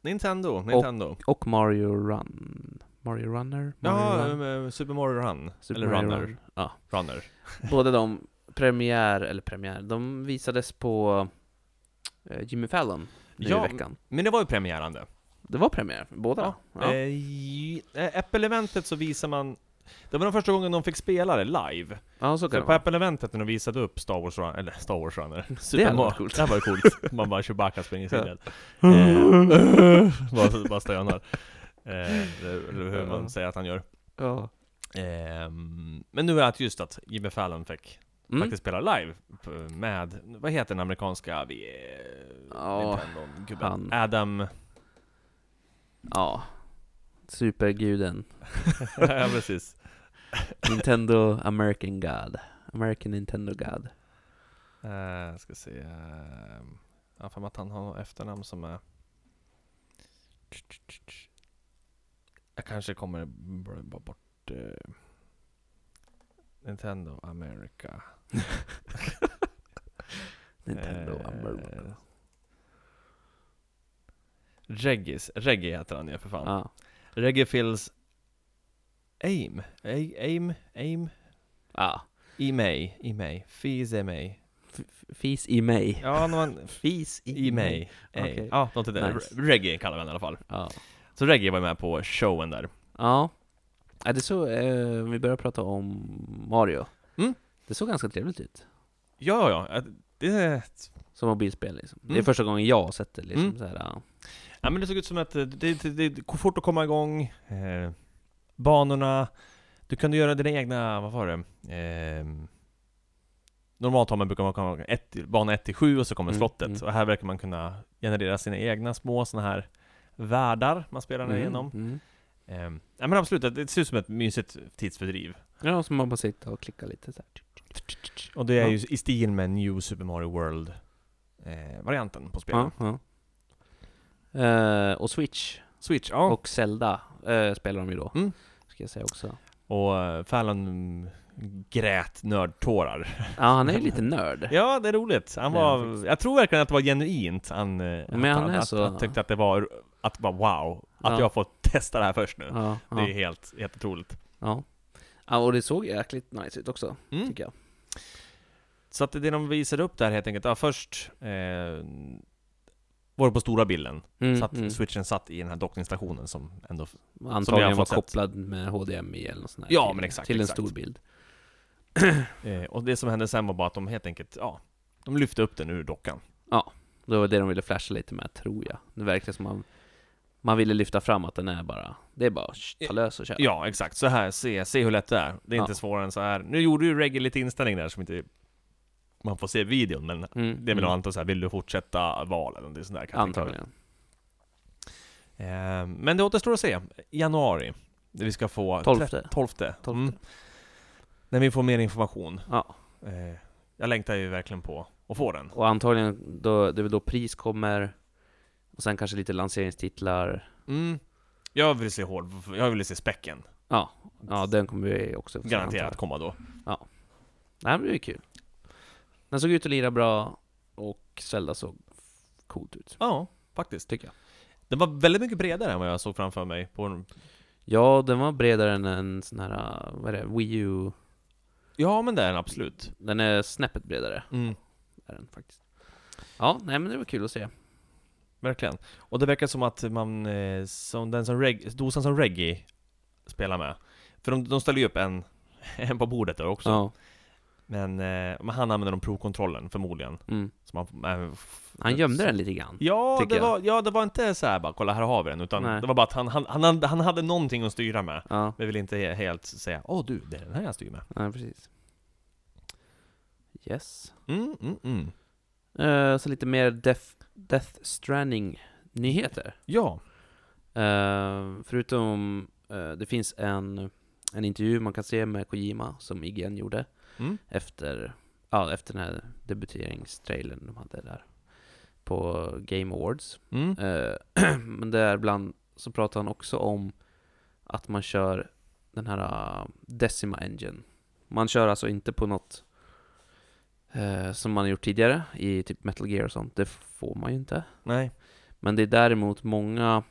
Nintendo, Nintendo.
och Mario Run. Mario Runner? Mario
ja,
Run?
eh, Super Mario Run.
Super
eller
Mario
Runner.
Run. Ja.
Runner.
Båda de, premiär, eller premiär, de visades på eh, Jimmy Fallon nu
Ja,
i veckan.
Men det var ju premiären det.
Det var premiär för båda. Ja.
Eh, i- eh, Apple-eventet så visar man... Det var den första gången de fick spela det live.
ja, så kan
För
det
på
vara.
Apple-eventet när de visade upp Star Wars Runner, eller Star Wars Runner,
hade
Mario-
varit coolt.
Det hade varit coolt. Man bara Chewbacca springer i sidan. Eh, bara, bara stönar. Eh, eller hur man säger att han gör.
Ja.
Ehm, men nu är det just att Jimmy Fallon fick
Mm.
faktiskt spela live p- med, vad heter den amerikanska vi,
Ja,
gubben?
han.
Adam...
ja. Superguden.
ja precis.
Nintendo American God. American Nintendo God.
Uh, ska se. Uh, jag har för mig att han har något efternamn som är... Jag kanske kommer bl- bara bort... eh, Nintendo America.
Nintendo
Eh,
America.
Reggis. Reggie heter han ju för fan.
Ja.
Reggie Phils Aim. A- Aim? Aim?
ja.
I mig. I mig. Fis i mig.
F- Fis i mig.
Ja, någon...
Fis
I mig. Ej.
Okej.
Ja, något i det.
Nice.
Re- Reggae kallar vi den i alla fall.
Ja.
Så Reggie var med på showen där.
Ja. Är det så, eh, vi börjar prata om Mario.
Mm.
Det såg ganska trevligt ut.
Ja, ja, ja. Det,
Som mobilspel liksom. Det är
Mm.
första gången jag har sett det liksom
Mm.
så här, ja.
ja, men det såg ut som att det, det, det, det går fort att komma igång. Eh, banorna. Du kunde göra dina egna, vad var det? Eh, normalt har man brukar man komma ihåg ett, bana 1 till 7 och så kommer
Mm,
slottet.
mm.
Och här verkar man kunna generera sina egna små sådana här världar man spelar
Mm,
igenom.
Mm.
Eh, ja men absolut, det, det ser ut som ett mysigt tidsfördriv.
Ja, så man bara sitter och klickar lite så här. typ.
Och det är
Ja.
ju i stil med New Super Mario World-varianten på spelet.
Ja, ja. Eh, och Switch
Switch, ja.
och Zelda eh, spelar de ju då.
Mm.
Ska jag säga också.
Och eh, Fallon mm, grät nördtårar.
Ja, han är ju lite nörd.
Ja, det är roligt. Han
Det är han
var, jag tror verkligen att det var genuint. Han, eh,
Men
att,
han är
att,
så-
att, tyckte att det var, att bara wow, att
Ja.
jag får testa det här först nu.
Ja,
Det är
ja,
helt, helt otroligt.
ja. ja, och det såg jäkligt nice ut också,
Mm.
tycker jag.
Så att det är det de visar upp där helt enkelt, ja först eh, var det på stora bilden,
Mm,
så att
mm.
switchen satt i den här dockningsstationen som ändå som jag
Antagligen
har
var
fått sett.
kopplad med HDMI eller något sånt där
Ja,
till,
men exakt,
Till en
exakt.
stor bild.
Eh, och det som hände sen var bara att de helt enkelt, ja, de lyfte upp den ur dockan.
Det var det de ville flasha lite med, tror jag. Det verkar som man, man ville lyfta fram att den är bara, det är bara sh, ta lös och kör.
Ja, exakt. Så här, se, se hur lätt det är. Det är inte
Ja.
svårare än så här. Nu gjorde ju Reggie lite inställning där som inte man får se i videon, men
Mm,
det är väl
mm.
anta så här, vill du fortsätta val eller någonting sånt där? kan jag tänka mig.
Antagligen.
Eh, men det återstår att se. Januari. Där vi ska få...
Tolfte.
tre- Tolfte.
Tolfte.
Mm. När vi får mer information.
Ja.
Eh, jag längtar ju verkligen på att få den.
Och antagligen, då, det är väl då pris kommer, och sen kanske lite lanseringstitlar.
Mm. Jag vill se hård, jag vill se späcken.
Ja, ja den kommer vi också få se, antar
Garanterat
jag.
komma då.
Det här blir ju kul. Den såg ut att lira bra, och Zelda såg coolt ut,
Ja, faktiskt.
tycker jag.
Den var väldigt mycket bredare än vad jag såg framför mig på en...
Ja, den var bredare än en sån här, vad är det, Wii U.
Ja men det är den absolut.
Den är snäppet bredare,
Mm,
är den faktiskt. Ja, nej men det var kul att se.
verkligen. Och det verkar som att man, eh, som den som reg- dosan som Reggie spelar med. För de, de ställer ju upp en, en på bordet där också.
Ja.
Men, eh, men han använder de provkontrollen förmodligen.
Mm.
Så man, eh, f-
Han gömde den lite grann.
Ja
tycker
det,
jag.
var, ja, det var inte så här bara 'kolla här har vi den' utan
Nej.
det var bara att han, han, han, hade- han hade någonting att styra med.
Ja,
Men vill inte he- helt säga 'Åh du, det är den här jag styr med'
ja precis. Yes.
mm, mm, mm.
Eh, så lite mer Death, death Stranding-nyheter.
Ja,
Eh, förutom, eh, det finns en, en intervju man kan se med Kojima som IGN gjorde
mm.
efter, ja, efter den här debuteringstrailern de hade där på Game Awards.
Mm.
Eh, Men där bland så pratar han också om att man kör den här eh, Decima Engine. Man kör alltså inte på något eh, som man har gjort tidigare i typ Metal Gear och sånt. Det får man ju inte.
nej,
Men det är däremot många,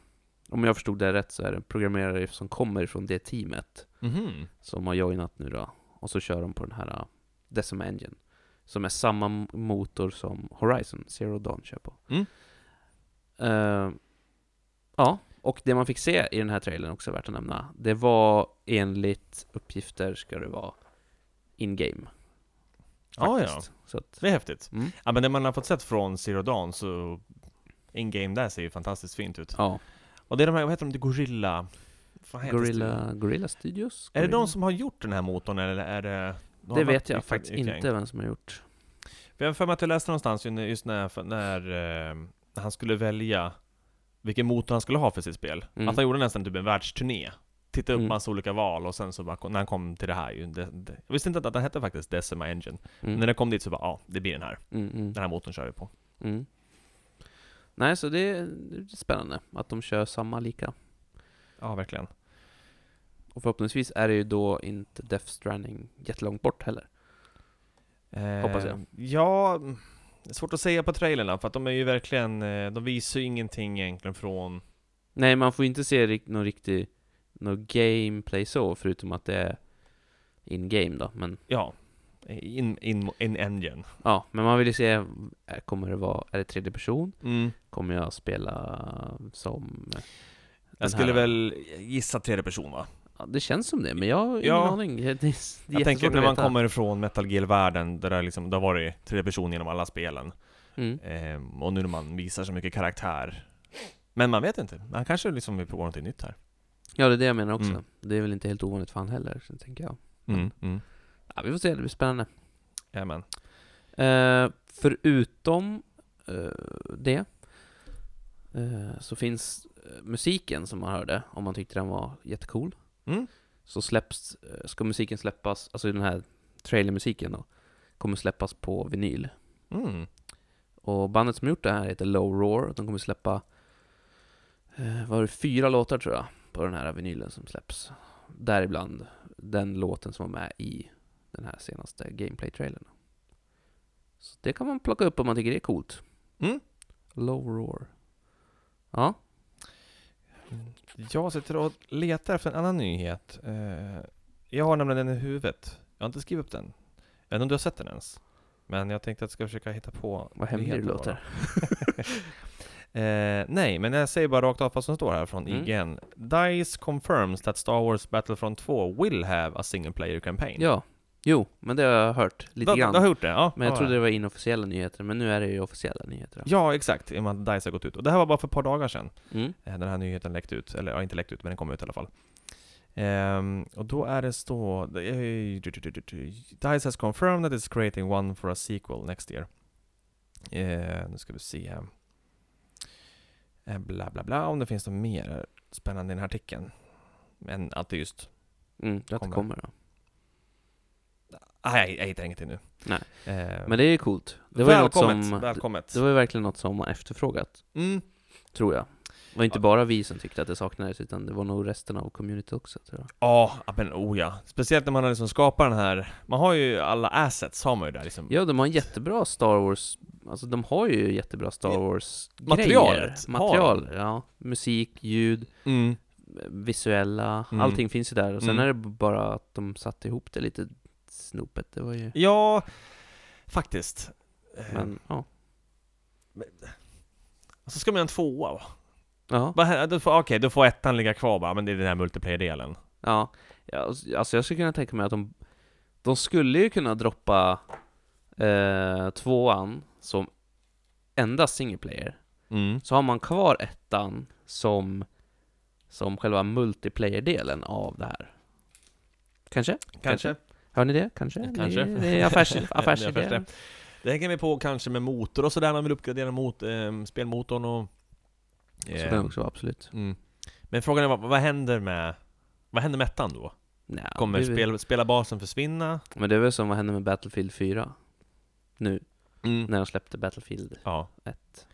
om jag förstod det rätt så är det programmerare som kommer från det teamet
mhm,
som har joinat nu då. Och så kör de på den här eh, Decima Engine. Som är samma motor som Horizon Zero Dawn kör på.
Mm.
Eh, ja, och det man fick se i den här trailern också värt att nämna. Det var enligt uppgifter ska det vara in-game.
Ah, Ja, ja.
faktiskt. Så att,
Det är häftigt.
mm.
Ja men det man har fått sett från Zero Dawn så... In-game där ser ju fantastiskt fint ut.
ja.
Och det är de här, vad heter de? The Gorilla... Vad heter studion?
Gorilla, Gorilla Studios?
Är det
Gorilla?
de som har gjort den här motorn eller är det... de har
Det
varit
vet jag
i-
faktiskt
i- i-
inte vem som har gjort.
För jag har för mig att jag läste någonstans ju när- just när, när, eh, när han skulle välja vilken motor han skulle ha för sitt spel.
Mm.
Att han gjorde nästan typ en världsturné. Tittade upp
Mm.
massa olika val och sen så bara, när han kom till det här ju, det, det, Jag visste inte att den hette faktiskt Decima Engine.
Mm.
När den kom dit så bara, ja, det blir den här.
Mm, mm.
Den här motorn kör vi på.
Mm. Nej, så det är, det är spännande att de kör samma lika.
Ja, verkligen.
Och förhoppningsvis är det ju då inte Death Stranding jättelångt bort heller. Hoppas jag.
Eh, Ja, mm, det är svårt att säga på trailerna för att de är ju verkligen, eh, de visar ju ingenting egentligen från...
Nej, man får ju inte se rikt- någon riktig någon gameplay så, förutom att det är in-game då. Men
Ja, in, in, in engine.
ja, men man vill ju se, eh, kommer det vara, är det tredje person?
Mm.
Kommer jag spela som... den
Jag skulle
här-
väl gissa tredje person va?
Ja, det känns som det, men jag har ingen
Ja.
aning. Det är, det är
Jag tänker
jättesvårt
när
att
man
veta.
kommer från Metal Gear-världen, där det, liksom, det har varit tredje person genom alla spelen.
Mm.
Ehm, och nu när man visar så mycket karaktär. Men man vet inte, man kanske liksom vill prova någonting nytt här.
Ja, det är det jag menar också.
Mm.
Det är väl inte helt ovanligt för han heller, så tänker jag.
Mm, mm.
Ja, vi får se, det blir spännande.
Jajamän.
Eh, förutom eh, det eh, så finns eh, musiken som man hörde, om man tyckte den var jättecool,
Mm.
så släpps, eh, ska musiken släppas, alltså den här trailermusiken då, kommer släppas på vinyl.
Mm.
Och bandet som gjort det här heter Low Roar. De kommer släppa eh, var det, fyra låtar tror jag på den här vinylen som släpps. Däribland den låten som var med i den här senaste Gameplay-trailern. Så det kan man plocka upp om man tycker det är coolt.
Mm.
Low Roar. Ja,
Jag sitter och letar efter en annan nyhet. Eh, Jag har nämligen den i huvudet. Jag har inte skrivit upp den. Jag vet inte om du har sett den ens. Men jag tänkte att jag ska försöka hitta på
vad hemlig du
nyheter bara.
låter.
Eh, nej, men jag säger bara rakt av vad som står här från
Mm.
IGN. DICE confirms that Star Wars Battlefront 2 will have a single player campaign.
Ja, jo, men det har jag hört lite
du,
grann.
du har gjort det? Ja.
Men jag
ja,
trodde
ja.
det var inofficiella nyheter, men nu är det ju officiella nyheter. då.
Ja, exakt. I och med att DICE har gått ut. Och det här var bara för ett par dagar sedan.
Mm.
eh, Den här nyheten läckte ut, eller ja, inte läckt ut, men den kom ut i alla fall. Ehm, och då är det så... DICE has confirmed that it's creating one for a sequel next year. Eh, nu ska vi se här. Eh, Bla bla bla, om det finns något mer spännande i den här artikeln. Men att det just...
Mm, att det
Kommer.
kommer då.
Nej, ah, jag hittar ingenting nu.
Nej.
Eh,
Men det är ju coolt. Det var ju något
välkommet,
som,
välkommet.
det var ju verkligen något som man efterfrågat,
Mm.
tror jag. Det var inte
Ja.
bara vi som tyckte att det saknades, utan det var nog resten av community också, tror jag.
Ja, men oh ja. Speciellt när man har liksom skapat den här... Man har ju alla assets, har man ju där liksom.
Ja, de har en jättebra Star Wars, alltså de har ju jättebra Star
Ja.
Wars-grejer.
Materialet har
Material, ja. Musik, ljud,
Mm.
visuella,
Mm.
allting finns ju där. Och sen
Mm.
är det bara att de satte ihop det lite snopet, det var ju...
Ja, faktiskt. Eh,
Men, ja.
Så ska man göra en tvåa va?
Ja.
Vad hä- då får- Okej, då får ettan ligga kvar bara, men det är den här multiplayer-delen.
Ja, ja, alltså jag skulle kunna tänka mig att de, de skulle ju kunna droppa eh, tvåan som endast single player.
Mm.
Så har man kvar ettan som, som själva multiplayer-delen av det här. Kanske? Kanske. Hör ni det? Kanske?
Kanske.
Det, det är affärs,
Det är affärsidé.
affärsidé.
Det hänger vi på kanske med motor och sådär, man vill uppgradera mot, eh, spelmotorn och...
Så
eh,
kan det också vara, absolut.
mm. Men frågan är vad, vad händer med... Vad händer med ettan då?
Nja,
Kommer
det är väl-
spel, spelarbasen försvinna?
Men det är väl som vad hände med Battlefield 4? Nu,
Mm.
när de släppte Battlefield
Ja.
1.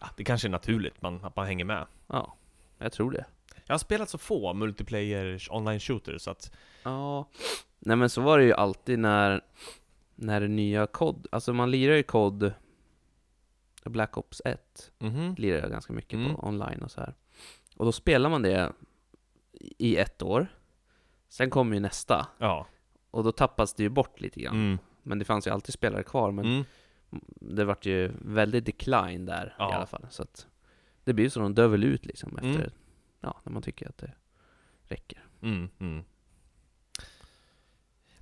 ja. Det kanske är naturligt, man, att man hänger med.
Ja, jag tror det.
Jag har spelat så få multiplayer online shooters så att...
Ja, nej men så var det ju alltid när, när det nya kod, alltså man lirar ju kod Black Ops 1
Mhm.
lirar jag ganska mycket
Mm.
på online och så här. Och då spelar man det i ett år. Sen kommer ju nästa,
Ja.
och då tappas det ju bort lite grann.
Mm.
Men det fanns ju alltid spelare kvar, men
Mm.
det vart ju väldigt decline där
Ja.
i alla fall. Så att det blir ju så de dör väl ut liksom efter,
Mm.
ja, när man tycker att det räcker.
Mm, mm.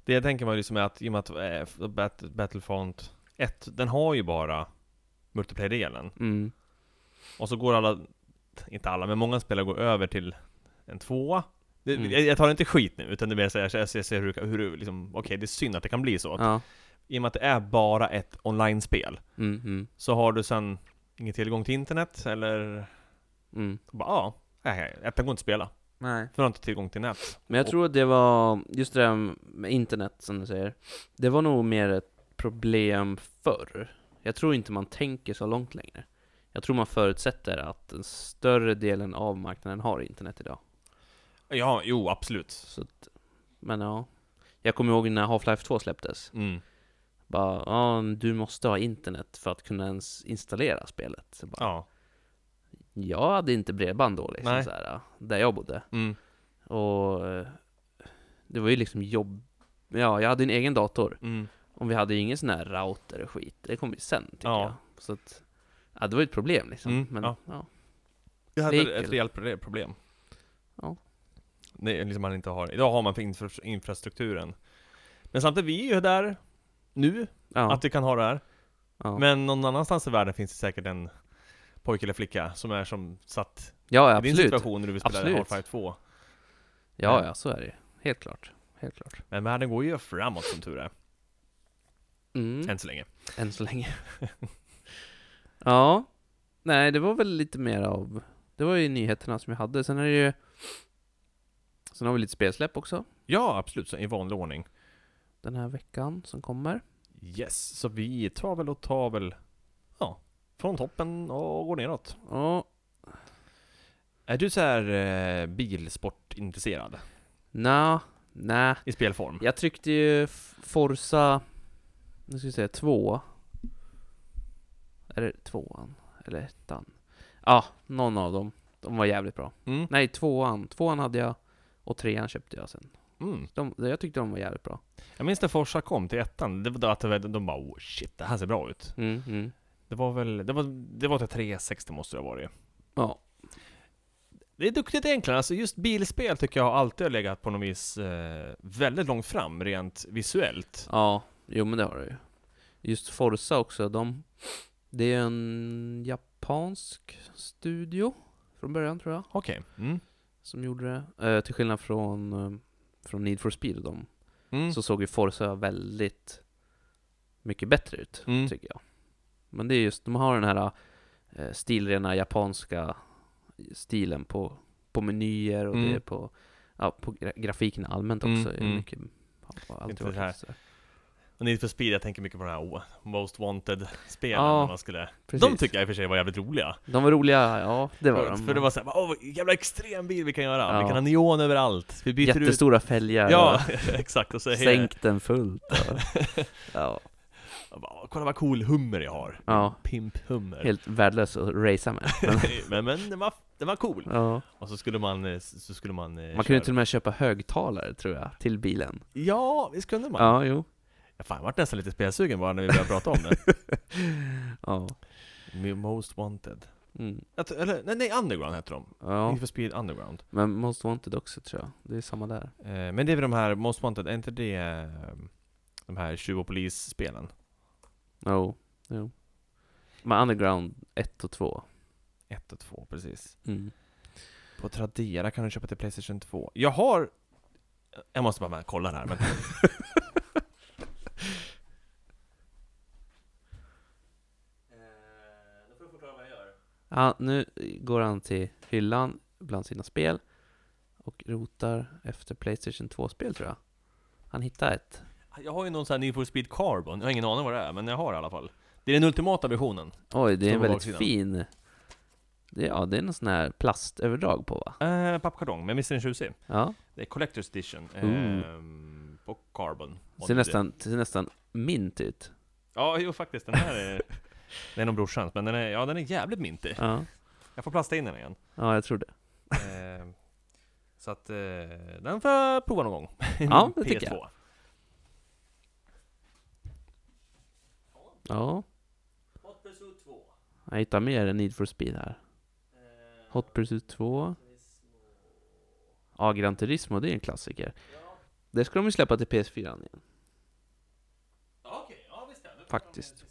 Det jag tänker var liksom är att i och med att eh, Bat- Battlefront 1, den har ju bara multiplayer-delen.
Mm.
Och så går alla, inte alla, men många spelare går över till en tvåa. Det,
Mm.
jag, jag tar inte skit nu, utan det är mer såhär, jag ser, jag ser hur, hur det liksom, okej det är synd att det kan bli så.
Ja.
I och med att det är bara ett online-spel,
Mm, mm,
så har du sen ingen tillgång till internet, eller
mm.
bara ja, nej, nej, ettan går inte att spela.
Nej.
För du har inte tillgång till nät.
Men jag tror att det var, just det där med internet som du säger, det var nog mer ett problem förr. Jag tror inte man tänker så långt längre. Jag tror man förutsätter att den större delen av marknaden har internet idag.
Ja, jo absolut.
Så att, men ja. Jag kommer ihåg när Half-Life 2 släpptes.
Mm.
Bara, ja, du måste ha internet för att kunna ens installera spelet. Så bara,
Ja.
Jag hade inte bredband då liksom,
Nej.
så här, där jag bodde.
Mm.
Och eh, det var ju liksom jobb... Ja, jag hade en egen dator.
Mm.
Om vi hade ju ingen sån här router och skit, det kom ju sen tycker
Ja.
jag. Så att, ja det var ju ett problem liksom.
Mm,
men,
ja.
ja.
Det här
Det gick
är ett
väl.
rejält pro- problem.
Ja.
Det är liksom man inte har. Idag har man för infra- infrastrukturen. Men samtidigt, vi är ju där nu,
Ja,
att vi kan ha det här.
ja.
Men någon annanstans i världen finns det säkert en pojke eller flicka som är som satt
ja
i din
absolut. Ja,
situation när du vill spela
Absolut.
Half-Life 2.
ja, så är det ju. Helt klart. Helt klart.
Men världen går ju framåt som tur är,
Mm,
än så länge.
än så länge. ja, nej det var väl lite mer av, det var ju nyheterna som jag hade. Sen är det ju, sen har vi lite spelsläpp också
Ja, absolut, så i vanlig ordning.
den här veckan som kommer.
Yes, så vi tar väl och tar väl ja, från toppen och går neråt.
Ja,
Är du så här eh, bilsportintresserad
nja, nä.
i spelform?
Jag tryckte ju F- Forza, nu ska vi säga två. Är det tvåan? Eller ettan? Ja, någon av dem. De var jävligt bra.
Mm.
Nej, tvåan. Tvåan hade jag och trean köpte jag sen.
Mm.
De, jag tyckte de var jävligt bra.
Jag minns när Forsa kom till ettan, det var då att det var- de bara oh shit, det här ser bra ut.
Mm, mm.
Det var väl, det var, det var till 360 måste det ha varit.
Ja.
Det är duktigt egentligen, alltså just bilspel tycker jag har alltid har legat på något vis eh, väldigt långt fram rent visuellt.
ja, jo men det har du ju. Just Forza också, de... Det är en japansk studio från början tror jag.
Okej. Mm.
som gjorde det. Eh, till skillnad från, eh, från Need for Speed och dem,
Mm.
så såg ju Forza väldigt mycket bättre ut,
Mm.
tycker jag. Men det är just, de har den här eh, stilrena japanska stilen på, på menyer och
Mm.
det är på, ja, på gra- grafiken allmänt också.
Mm,
är
mm.
Mycket, har alltid
Inte
varit
det här.
lite så här.
Och Need för speed, jag tänker mycket på den här oh, Most Wanted-spelen.
Ja,
när man skulle...
Precis.
De tycker jag i och för sig var jävligt roliga.
De var roliga, ja det var
för,
de.
för det var såhär, åh vad jävla extrem bil vi kan göra.
Ja.
Vi kan ha neon överallt. Vi byter ut...
Jättestora fälgar,
Ja, exakt. Och så
och
hej,
sänk den fullt. och- ja.
jag bara, Kolla vad cool hummer jag har.
ja,
Pimp-hummer.
helt värdelös att racea med.
men,
Men,
men den var, den var cool.
ja.
Och så skulle man, eh, så skulle man eh,
Man
köra.
kunde till och med köpa högtalare tror jag, till bilen.
Ja, visst kunde man.
Ja, jo.
Fan, jag vart nästan lite spelsugen bara när vi började prata om det.
Ja.
Me- Most Wanted.
Mm.
Jag tror- Eller, nej, nej, Underground heter de.
ja.
Need for Speed Underground.
Men Most Wanted också tror jag. Det är samma där.
Eh, men det är väl de här Most Wanted, är inte det eh, de här tjuv och polis-spelen?
Jo. jo. Men Underground 1 och 2.
1 och 2, precis.
Mm.
På Tradera kan du köpa till Playstation 2. Jag har... Jag måste bara kolla här, men...
Ja, nu går han till hyllan bland sina spel och rotar efter Playstation 2-spel tror jag. Han hittar ett.
Jag har ju någon sån här Need for Speed Carbon, jag har ingen aning vad det är, men jag har det i alla fall. Det är den ultimata versionen.
Oj, det är en
på
väldigt
baksidan.
fin... Det, ja, det är någon sån här plastöverdrag på va?
Eh, pappkartong, men visst är den tjusig?
Ja.
Det är Collector's Edition.
Ooh.
ehm, på Carbon.
Ser nästan, ser nästan mint ut.
Ja, jo faktiskt, den här är... Det är någon brorsans, men den är, ja, den är jävligt mintig.
Ja.
Jag får plasta in den igen.
ja, jag tror det.
Ehm, så att eh, den får jag prova någon gång.
Ja, det tycker jag. Ja.
Hot Pursuit 2.
Jag hittar mer än Need for Speed här.
Eh,
Hot Pursuit 2. Ja, Gran Turismo, det är en klassiker. Det ska de ju släppa till PS4 igen,
Ja, Okej, ja visst är det.
faktiskt.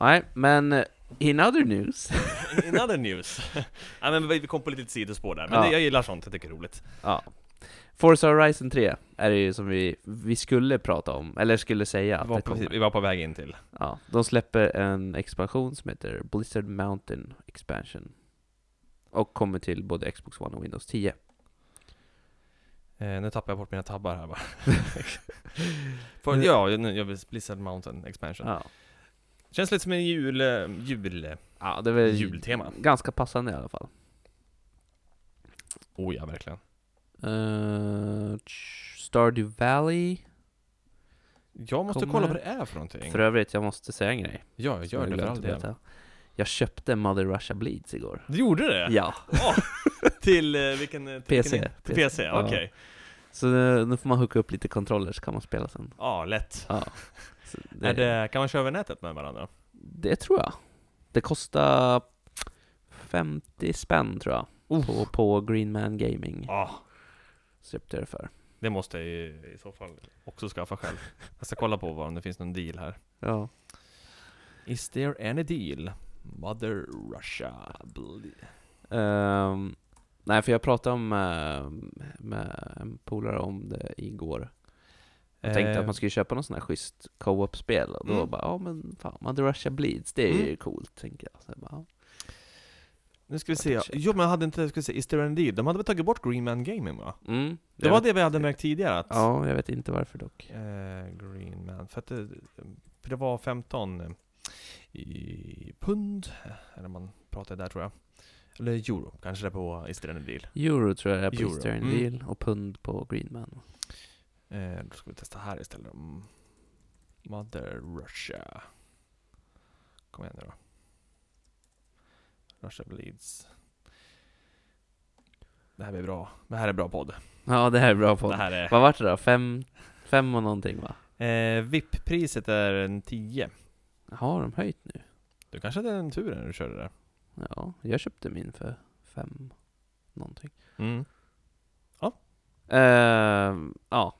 Nej, men eh, in other news.
In other news. Nej men vi vi kom på lite sidospår där, men
Ja.
det, jag gillar sånt, jag tycker det är roligt.
ja. Forza Horizon 3 är det ju som vi, vi skulle prata om, eller skulle säga
Vi
att
var,
det
på, vi
kommer.
var på väg in till.
Ja, de släpper en expansion som heter Blizzard Mountain Expansion. Och kommer till både Xbox One och Windows 10.
Eh, nu tappar jag bort mina tabbar här bara. För, ja, nu gör vi Blizzard Mountain Expansion.
Ja,
Känns lite som en jul... eh, jul...
ja det är väl
Jultema.
ganska passande i alla fall.
Oh ja, verkligen.
Eh, tsch, Stardew Valley.
Jag måste
Kommer-
kolla vad det är för någonting.
För övrigt, jag måste säga en grej.
ja, jag
som
gör det för
glömde
all
att
del.
berätta. Jag köpte Mother Russia Bleeds igår.
Du gjorde det?
Ja,
Åh, till eh, vilken... eh, Till
PC.
Vilken, till PC,
Ja.
okej.
så nu, nu får man hooka upp lite kontroller så kan man spela sen.
Ja, lätt.
Ja. Så det,
Är det, kan man köra över nätet med varandra?
det tror jag. Det kostar 50 spänn tror jag. På, på Greenman Gaming.
Ja,
Så köpte jag det för.
det måste jag ju i så fall också skaffa själv. Jag ska kolla på vad- om det finns någon deal här.
Ja.
Is there any deal? Mother Russia ble-
Ehm, nej, för jag pratade om, eh, med en polare om det igår. Jag tänkte att man skulle köpa någon sån här schysst co-op-spel och då
Eh. Mm.
bara, ja men fan, Mother Russia Bleeds, det är ju
Mm.
coolt, tänker jag. Så jag bara, ja.
Nu ska vi se.
Check.
Jo men hade inte, ska vi se, Easter ND, de hade väl tagit bort Green Man Gaming va?
Mm,
Det
jag
var
vet,
det vi hade märkt tidigare att...
Ja, jag vet inte varför dock.
Eh, Green Man, för att det, för det var 15 eh, i pund, eller man pratade där tror jag. Eller euro, kanske det på Easter ND Deal.
Euro tror jag är på
Euro,
Eastern
mm.
Deal och pund på Greenman.
Eh, då ska vi testa här istället. Mm. Mother Russia. Kom igen nu då. Russia Bleeds. Det här blir bra. Det här är bra podd.
Ja, det här är bra
Det
podd.
här är...
Vad vart det då? Fem, fem och någonting va?
Eh, VIP-priset är en 10.
Har de höjt nu?
Du kanske hade en tur när du körde det.
Ja, jag köpte min för fem någonting.
Mm.
Ehm, ja.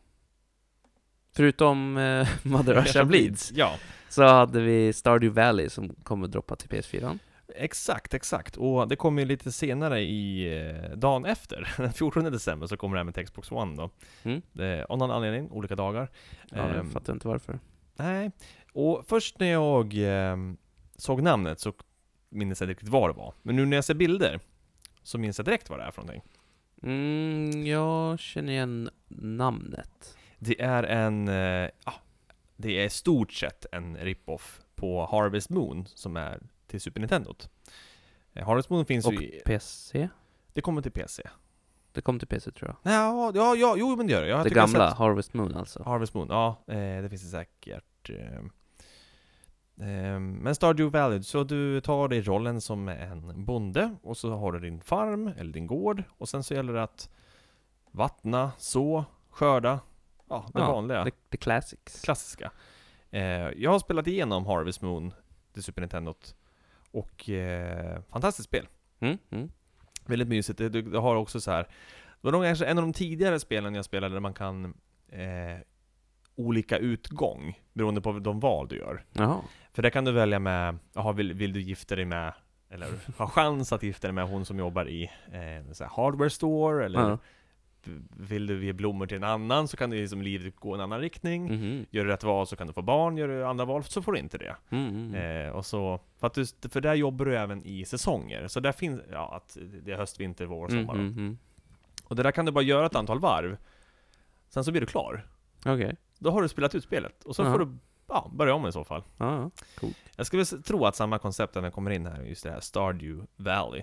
Förutom eh, Mother Russia Bleeds
Ja,
så hade vi Stardew Valley som kommer droppa till PS4.
exakt, exakt. Och det kommer ju lite senare i eh, dagen efter, den 14 december, så kommer det här med till Xbox One då.
Mm.
Eh, av någon anledning, olika dagar.
Ja, jag
Ehm,
fattar inte varför.
Nej, och först när jag ehm, såg namnet så minns jag inte riktigt vad det var. Men nu när jag ser bilder så minns jag direkt vad det är för någonting.
Mm, jag känner igen namnet.
Det är en, eh, ja, det är i stort sett en rip-off på Harvest Moon som är till Super Nintendo. Eh, Harvest Moon finns
Och
ju i,
PC?
det kommer till PC.
Det kom till PC tror jag.
Nej, ja, ja, ja, jo men det gör det. Jag
det
tycker jag
gamla,
sett
Harvest Moon alltså.
Harvest Moon, ja, eh, det finns det säkert. ehm. Ehm, Men Stardew Valley, så du tar dig rollen som en bonde och så har du din farm, eller din gård, och sen så gäller det att vattna, så, skörda, ja, det
Ja,
vanliga,
The, the Classics.
klassiska. Eh, Jag har spelat igenom Harvest Moon, det Super Nintendo, och eh, fantastiskt spel.
mm, mm.
Väldigt mysigt. Det, det, det har också så här. Det var nog kanske en av de tidigare spelen jag spelade där man kan eh, olika utgång beroende på de val du gör.
Jaha.
För där kan du välja med, jaha, vill, vill du gifta dig med, eller ha chans att gifta dig med hon som jobbar i eh, så här hardware store, eller
Ja.
vill du ge blommor till en annan så kan du liksom livet gå i en annan riktning.
Mhm.
Gör du rätt val så kan du få barn, gör du andra val så får du inte det.
Mm, mm, mm.
Eh, och så, för, att du, för där jobbar du även i säsonger, så där finns, ja, att det är höst, vinter, vår, sommar.
Mm, mm, mm.
Och det där kan du bara göra ett antal varv Sen så blir du klar
Okej.
Då har du spelat ut spelet och så
Ja.
får du ja, börja om i så fall
Ja, ja.
Jag skulle s- tro att samma koncept även kommer in här just det här Stardew Valley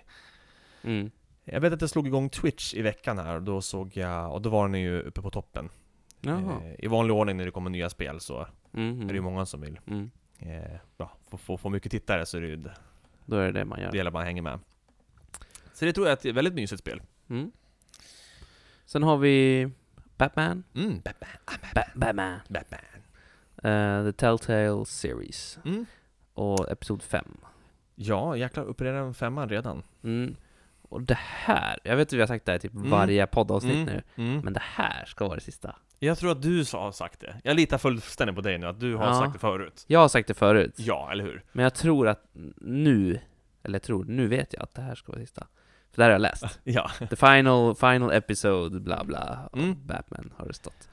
Mm.
Jag vet att jag slog igång Twitch i veckan här och då såg jag, och då var den ju uppe på toppen
Jaha.
eh, I vanlig ordning när det kommer nya spel så
Mm,
är det ju
mm.
många som vill
Mm.
eh, ja, få, få, få mycket tittare så är det ju det
Då är det det man
det
gör.
gäller att man hänger med Så det tror jag är ett väldigt mysigt spel
Mm. Sen har vi Batman.
mm.
Ba- Batman.
Batman
Eh, The Telltale Series.
mm.
Och Episod 5.
Ja, jäklar, uppe i den femman redan
Mm. Och det här, jag vet att vi har sagt det här typ
Mm.
varje poddavsnitt nu.
Mm.
Men det här ska vara det sista.
Jag tror att du sa- har sagt det. Jag litar fullständigt på dig nu, att du har
Ja.
sagt det förut.
Jag har sagt det förut.
Ja, eller hur?
Men jag tror att nu, eller jag tror, nu vet jag att det här ska vara det sista. För det här har jag läst.
Ja.
The final, final episode, bla bla. av
Mm.
Batman har det stått.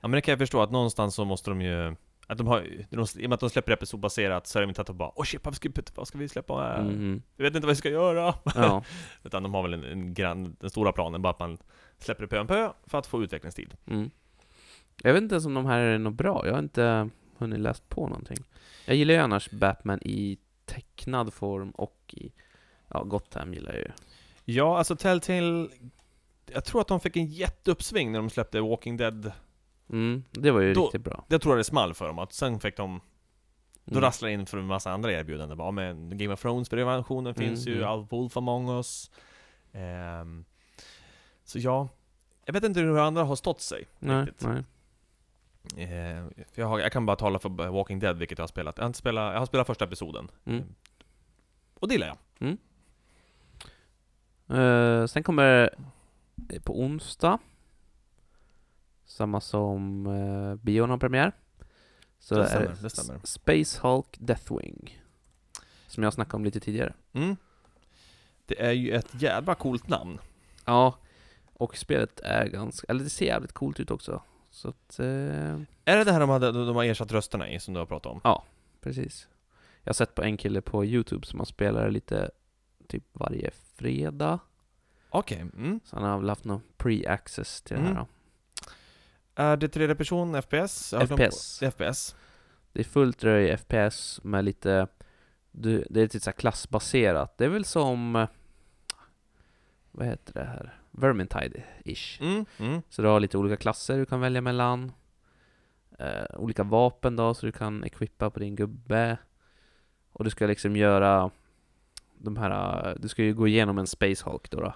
ja, men det kan jag förstå att någonstans så måste de ju... Att de har, de, I och med att de släpper episodbaserat så är de inte att de bara Åh shit, vad ska, vi- vad ska vi släppa? här?
Mhm.
Jag vet inte vad vi ska göra!
Ja.
Utan de har väl en, en gran, den stora planen, bara att man släpper det pö om pö för att få utvecklingstid.
Mm. Jag vet inte ens om de här är något bra. Jag har inte hunnit läst på någonting. Jag gillar ju annars Batman i tecknad form och i... Ja, Gotham gillar jag ju.
Ja, alltså Telltale... Jag tror att de fick en jätteuppsving när de släppte Walking Dead.
Mm, det var ju
Då-
riktigt bra.
Jag tror det small för dem, att sen fick de Då
Mm.
rasslar det in för en massa andra erbjudanden. Bara, "Ja, men Game of Thrones-prenumeration finns
Mm,
ju,
mm.
Alf Wolf Among Us. Ehm, så ja, jag vet inte hur andra har stått sig.
nej,
riktigt.
nej.
Ehm, för jag, har, jag kan bara tala för Walking Dead, vilket jag har spelat. Jag har, inte spelat, jag har spelat första episoden,
Mm.
och det gillar jag.
Eh, sen kommer eh, på onsdag. Samma som uh, bion har premiär. Så
Det
är
stämmer, det stämmer.
S- Space Hulk Deathwing. Som jag snackade om lite tidigare.
Mm. Det är ju ett jävla coolt namn.
Ja, och spelet är ganska, eller det ser jävligt coolt ut också. Så att, eh,
Är det det här de, hade, de har ersatt rösterna i, som du har pratat om?
precis. Jag har sett på en kille på Youtube som har spelat lite typ varje fredag.
Okej. Mm.
Så han har väl haft någon pre-access till det
Mm.
här. då.
Är det tredje person FPS? Jag har glömt
FPS.
på- FPS.
Det är fullt röj FPS med lite... Du, det är lite så här klassbaserat. Det är väl som... eh, Vad heter det här? Vermintide-ish.
Mm. Mm.
Så du har lite olika klasser du kan välja mellan. Eh, olika vapen då, så du kan equippa på din gubbe. Och du ska liksom göra de här... eh, Du ska ju gå igenom en Space Hulk då, då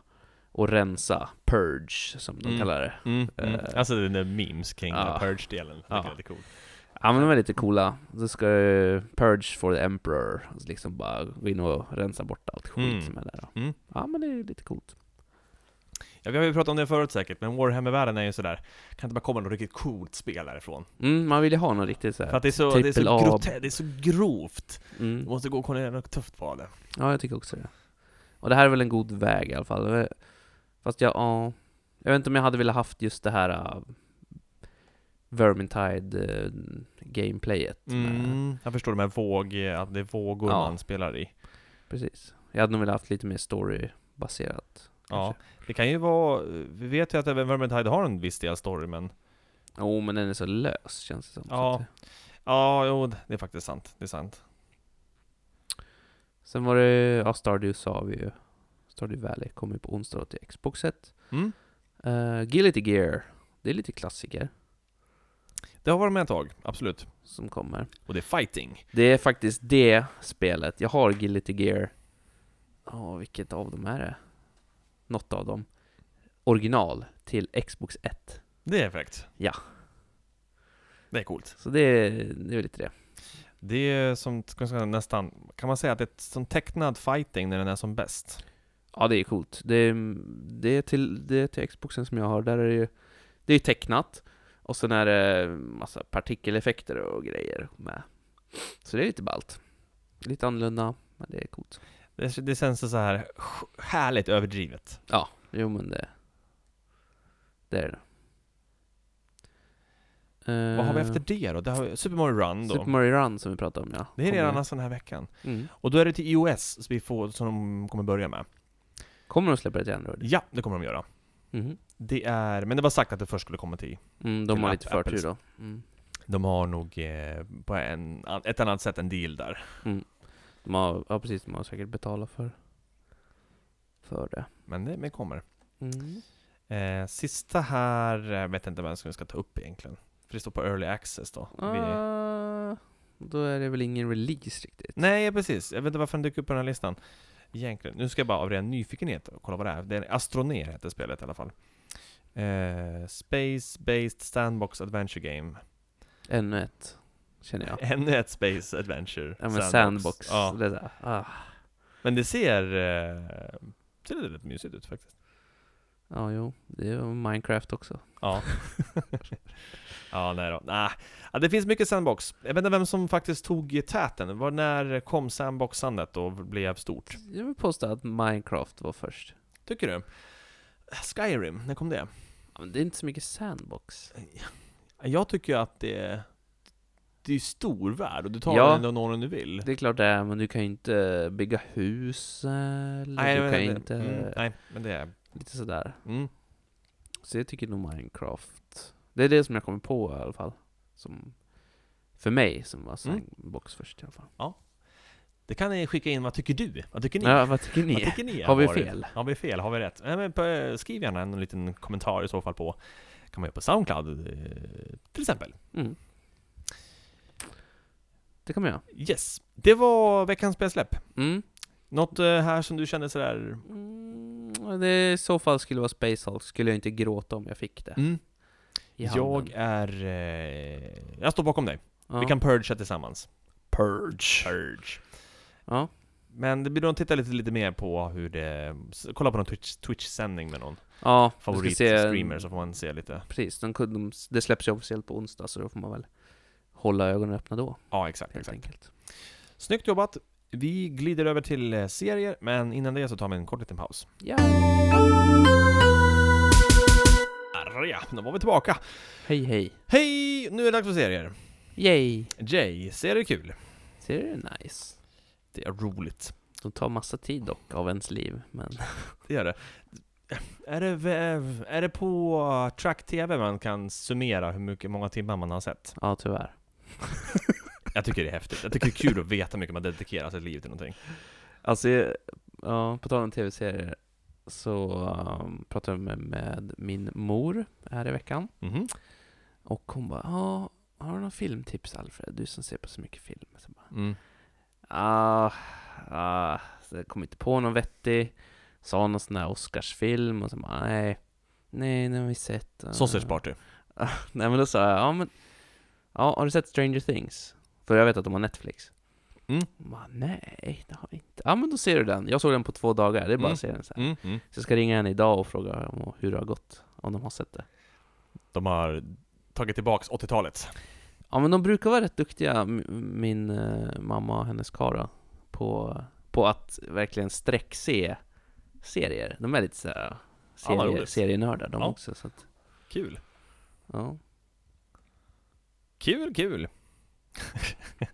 och rensa, purge som de
Mm.
kallar det.
Mm. Mm.
Eh.
Alltså den där memes kring
Ja.
ja. Purge-delen.
Ja.
Ja. Det är lite cool.
Ja men de är lite coola. Då ska du purge for the emperor. Alltså liksom bara gå in och rensa bort allt skit
Mm.
som är där. då.
Mm.
Ja men det är lite coolt.
Ja, vi har ju pratat om det förut säkert, men Warhammer-världen är ju sådär, kan inte bara komma något riktigt coolt spel därifrån?
Mm, man vill ju ha något riktigt
För
såhär.
att det är så, det är så,
AAA.
grote- det är så grovt. Du
Mm.
måste gå och kolla igenom något tufft på det.
Ja jag tycker också det. Och det här är väl en god väg i alla fall. Eh, Fast jag, ja. Jag vet inte om jag hade velat haft just det här äh, Vermintide äh, gameplayet. med-
Mm. Jag förstår de här våg, att det är vågor
Ja.
man spelar i.
Precis. Jag hade nog velat haft lite mer storybaserat.
Ja,
kanske.
det kan ju vara, vi vet ju att även Vermintide har en viss del story, men
Jo men den är så lös känns det som. så
Ja.
att- eh.
ja, jo, det är faktiskt sant. Det är sant.
Sen var det, ja Stardew sa vi ju. Stardew Valley kommer ju på onsdag till Xboxet.
Mm.
Uh, Guilty Gear. Det är lite klassiker
Det har varit med ett tag, absolut.
som kommer.
Och det är fighting.
Det är faktiskt det spelet. Jag har Guilty Gear. Ja, vilket av dem är det? Något av dem. Original till Xbox 1.
Det är fräckt.
Ja.
Det är coolt.
Så det är, det är lite det.
Det är som, ska man säga, nästan, kan man säga att det är som tecknad fighting när den är som bäst?
Ja, det är coolt. Det är, det är, till, det är till Xboxen som jag har. Där är det ju, det är ju tecknat. Och sen är det massa partikeleffekter och grejer med. Så det är lite ballt. Lite annorlunda, men det är coolt.
Det, det känns så här härligt överdrivet.
Ja, jo men det... Det är det.
Vad har vi
Eh,
efter det då? Det har vi Super Mario Run då.
Super Mario Run som vi pratade om ja.
det är
Kommer-
redan nästan den här veckan.
Mm.
Och då är det till iOS som, vi får, som de kommer börja med.
Kommer de släppa det till Android?
Ja, det kommer de göra.
Mhm.
Det är, men det var sagt att det först skulle komma till
Mm, de
Till
har
App-
lite förtur
Apples.
då. Mm.
De har nog eh, på en, an- ett annat sätt en deal där.
De har, ja precis, de har säkert betalat för, för det.
Men det men kommer.
Mm.
Eh, sista här, eh, vet inte vem som vi ska ta upp egentligen. För det står på Early Access då. Vi,
Ah, då är det väl ingen release riktigt?
nej, precis. Jag vet inte varför den dyker upp på den här listan. Egentligen. Nu ska jag bara av ren nyfikenhet kolla vad det är. Det är Astroner heter spelet i alla fall. Eh, Space-based Sandbox Adventure Game.
Ännu ett, känner jag.
Ännu ett Space Adventure.
Ja men Sandbox.
Ja.
Det är så här, ah,
Men det ser... Eh, ser lite mysigt ut faktiskt.
ja, jo. Det är ju Minecraft också.
Ja. ja, nej då. Nah. Ja, det finns mycket Sandbox. Jag vet inte vem som faktiskt tog täten. Var, när kom Sandboxandet och blev stort?
Jag vill påstå att Minecraft var först.
Tycker du? Skyrim, när kom det?
Ja, men det är inte så mycket Sandbox.
Jag tycker att det... Det är ju stor värld och du tar
Ja.
den och når den du vill.
Det är klart det är, men du kan ju inte bygga hus eller
jag
du
vet
kan ju inte...
Mm, nej, men det är...
Lite sådär.
Mm.
Så jag tycker nog Minecraft. Det är det som jag kommer på i alla fall. Som, för mig, som var
Mm.
Sandbox först i alla fall.
Det kan ni skicka in, vad tycker du? Vad tycker ni?
Ja, vad tycker ni?
Vad tycker ni?
Har vi
varit?
fel?
Har vi fel? Har vi rätt? Nej, men på- eh, skriv gärna en liten kommentar i så fall på kan man göra på Soundcloud eh, till exempel.
Mm. Det kan man göra.
Yes, det var veckans spelsläpp.
Mm.
Något eh, här som du kände sådär...
Mm, det i så fall skulle vara Space Hulk, skulle jag inte gråta om jag fick det.
Mm,
I
jag
handen.
är... Eh, jag står bakom dig.
ja.
Vi kan purgea tillsammans.
purge.
Purge.
Ja.
Men det blir nog att titta lite, lite mer på hur det... s- Kolla på någon Twitch- Twitch-sändning med någon
ja, vi ska se-
favorit-streamer så får man se lite.
Precis, de, kunde- de, det släpps ju officiellt på onsdag så då får man väl hålla ögonen öppna då,
Ja, exakt.
helt
exakt.
enkelt.
Snyggt jobbat! Vi glider över till eh, serier, men innan det så tar vi en kort liten paus.
Ja.
Arja, då var vi tillbaka!
Hej hej.
Hej! Nu är det dags för serier.
Yay!
Jay, serier är kul.
Ser du det nice?
Det är roligt.
De tar massa tid dock av ens liv, men
Det gör det. Är det, vä- är det på Track-TV man kan summera hur mycket, många timmar man har sett?
ja, tyvärr.
Jag tycker det är häftigt. Jag tycker det är kul att veta hur mycket man dedikerar sitt liv till någonting.
Alltså, jag- ja, på tal om tv-serier så um, pratade jag med, med min mor här i veckan
Mhm.
och hon bara ja, har du några filmtips Alfred? Du som ser på så mycket film. Så jag bara,
Mm.
ah, ah, så jag kom inte på någon vettig. Sa någon sån där Oscarsfilm och så bara nej, nej, den har vi sett. Ah.
Sausage Party.
Nej men då sa jag, ja men, ja har du sett Stranger Things? För jag vet att de har Netflix.
Mm.
Hon Bara, nej, det har jag inte. Ja men då ser du den. Jag såg den på två dagar, det är bara
Mm.
att se den så här.
Mm. Mm.
Så jag ska ringa henne idag och fråga om hur det har gått, om de har sett det.
De har tagit tillbaks 80-talet.
Ja men de brukar vara rätt duktiga, m- min eh, mamma och hennes kara på, på att verkligen sträckse serier. De är lite såhär
Ja, vad
serier,
roligt.
serienördar de
Ja.
också. Så att,
Kul.
ja.
Kul, kul.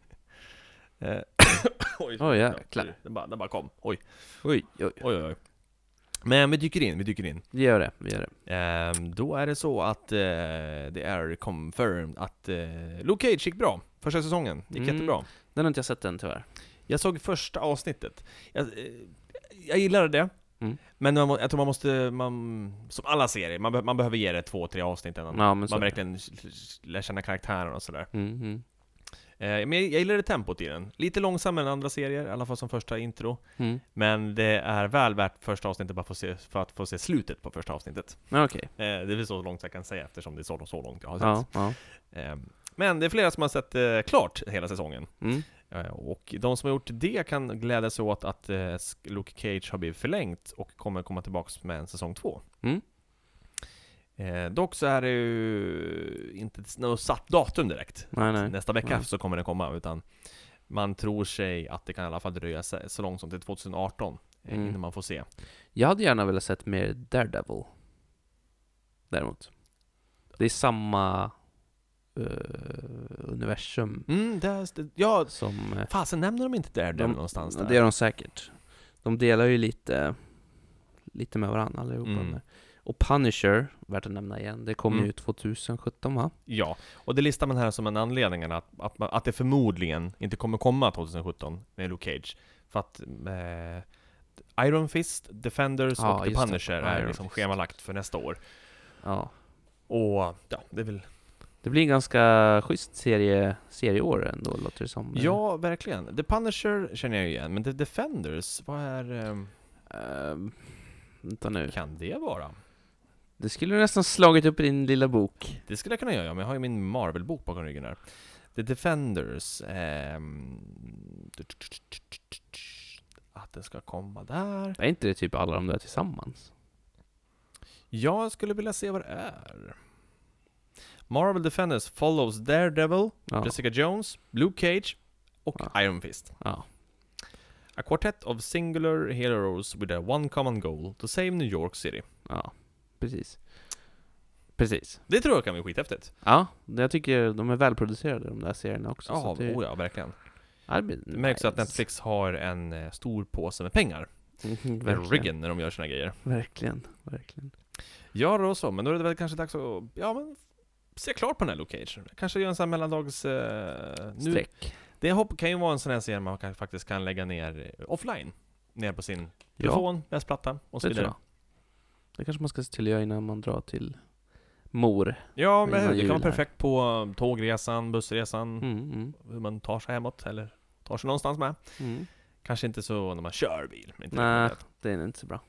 Eh, oj,
Oj, jäklar.
Den bara, den bara kom. Oj,
Oj, oj.
oj, oj. oj. Men vi dyker in, vi dyker in.
Vi gör det, vi gör det.
Ehm, då är det så att eh, det är confirmed att eh, Luke Cage gick bra. Första säsongen gick
Mm.
jättebra.
Den har inte jag sett än tyvärr.
Jag såg första avsnittet. Jag, eh, jag gillade det.
Mm.
Men man, må- jag tror man måste, man, som alla serier, man, be, man behöver ge det två, tre avsnitt innan
Ja, men så
man
är det.
verkligen lär känna karaktären och sådär.
Mm, mm,
Eh, men jag, jag gillade tempot i den. Lite långsammare än andra serier, i alla fall som första intro.
mm.
Men det är väl värt första avsnittet bara för att se, för att få se slutet på första avsnittet.
Men okej.
Eh, det är väl så långt jag kan säga eftersom det är så, så långt jag har sett.
Ja, ja.
Eh, Men det är flera som har sett eh, klart hela säsongen.
Mm.
Eh, Och de som har gjort det kan glädja sig åt att eh, sk- Luke Cage har blivit förlängt och kommer komma tillbaks med en säsong två.
Mm.
Eh, Dock så är det ju inte s- något satt datum direkt.
Nej, nej.
Nästa vecka
Nej.
så kommer den komma, utan man tror sig att det kan i alla fall dröja sig så långt som till 2018 eh,
Mm.
innan man får se.
Jag hade gärna velat sett mer Daredevil. Däremot. Det är samma eh, universum
Mm, det är, det- ja,
som... eh,
fasen nämner de inte där,
de-
någonstans?
ja,
Där?
Det gör de säkert. De delar ju lite, lite med varandra allihopa.
Mm.
där. Och Punisher, värt att nämna igen, det kom
Mm.
ju 2017 va?
Ja, och det listar man här som en anledning att, att, man- att det förmodligen inte kommer komma 2017 med Luke Cage. För att eh, Iron Fist, Defenders
Ja,
och The
just det.
Punisher är
Iron
liksom
Fist.
schemalagt för nästa år.
Ja.
Och ja, det är väl...
Det blir en ganska schysst serie, serieår ändå, låter det som.
Ja, verkligen. The Punisher känner jag igen, men The Defenders, vad är... ehm,
Eh, vänta nu.
kan det vara?
Det skulle du nästan slagit upp i din lilla bok.
Det skulle jag kunna göra, men jag har ju min Marvel-bok bakom ryggen här. The Defenders, ehm, Att den ska komma där.
Är inte det typ alla de där tillsammans?
Jag skulle vilja se vad det är. Marvel Defenders follows Daredevil,
Ja.
Jessica Jones, Luke Cage och
Ja.
Iron Fist.
ja.
A quartet of singular heroes with a one common goal, to save New York City.
Ja, precis. Precis.
Det tror jag kan bli skithäftigt.
Ja, jag tycker de är välproducerade de där serierna också.
Ja,
så det,
oh ja, verkligen.
ja, det blir
Det märks
nice.
att Netflix har en eh, stor påse med pengar.
Mhm,
Med
verkligen,
ryggen när de gör sina grejer.
verkligen, verkligen.
Ja, då så. Men då är det väl kanske dags att, ja men, se klart på den här Luke Cage. Kanske göra en sån här mellandags... Eh, nu,
Streck.
Det hopp- kan ju vara en sån här serie man kan, faktiskt kan lägga ner eh, offline. Ner på sin
Ja,
telefon, läsplatta och så
det tror
vidare.
jag. Det kanske man ska se till att göra innan man drar till mor.
Ja,
Innan
men det kan
jul
vara
här.
perfekt på eh, tågresan, bussresan,
Mm, mm,
hur man tar sig hemåt eller tar sig någonstans med.
mm.
Kanske inte så när man kör bil. men Inte
Nej,
riktigt.
det är inte så bra.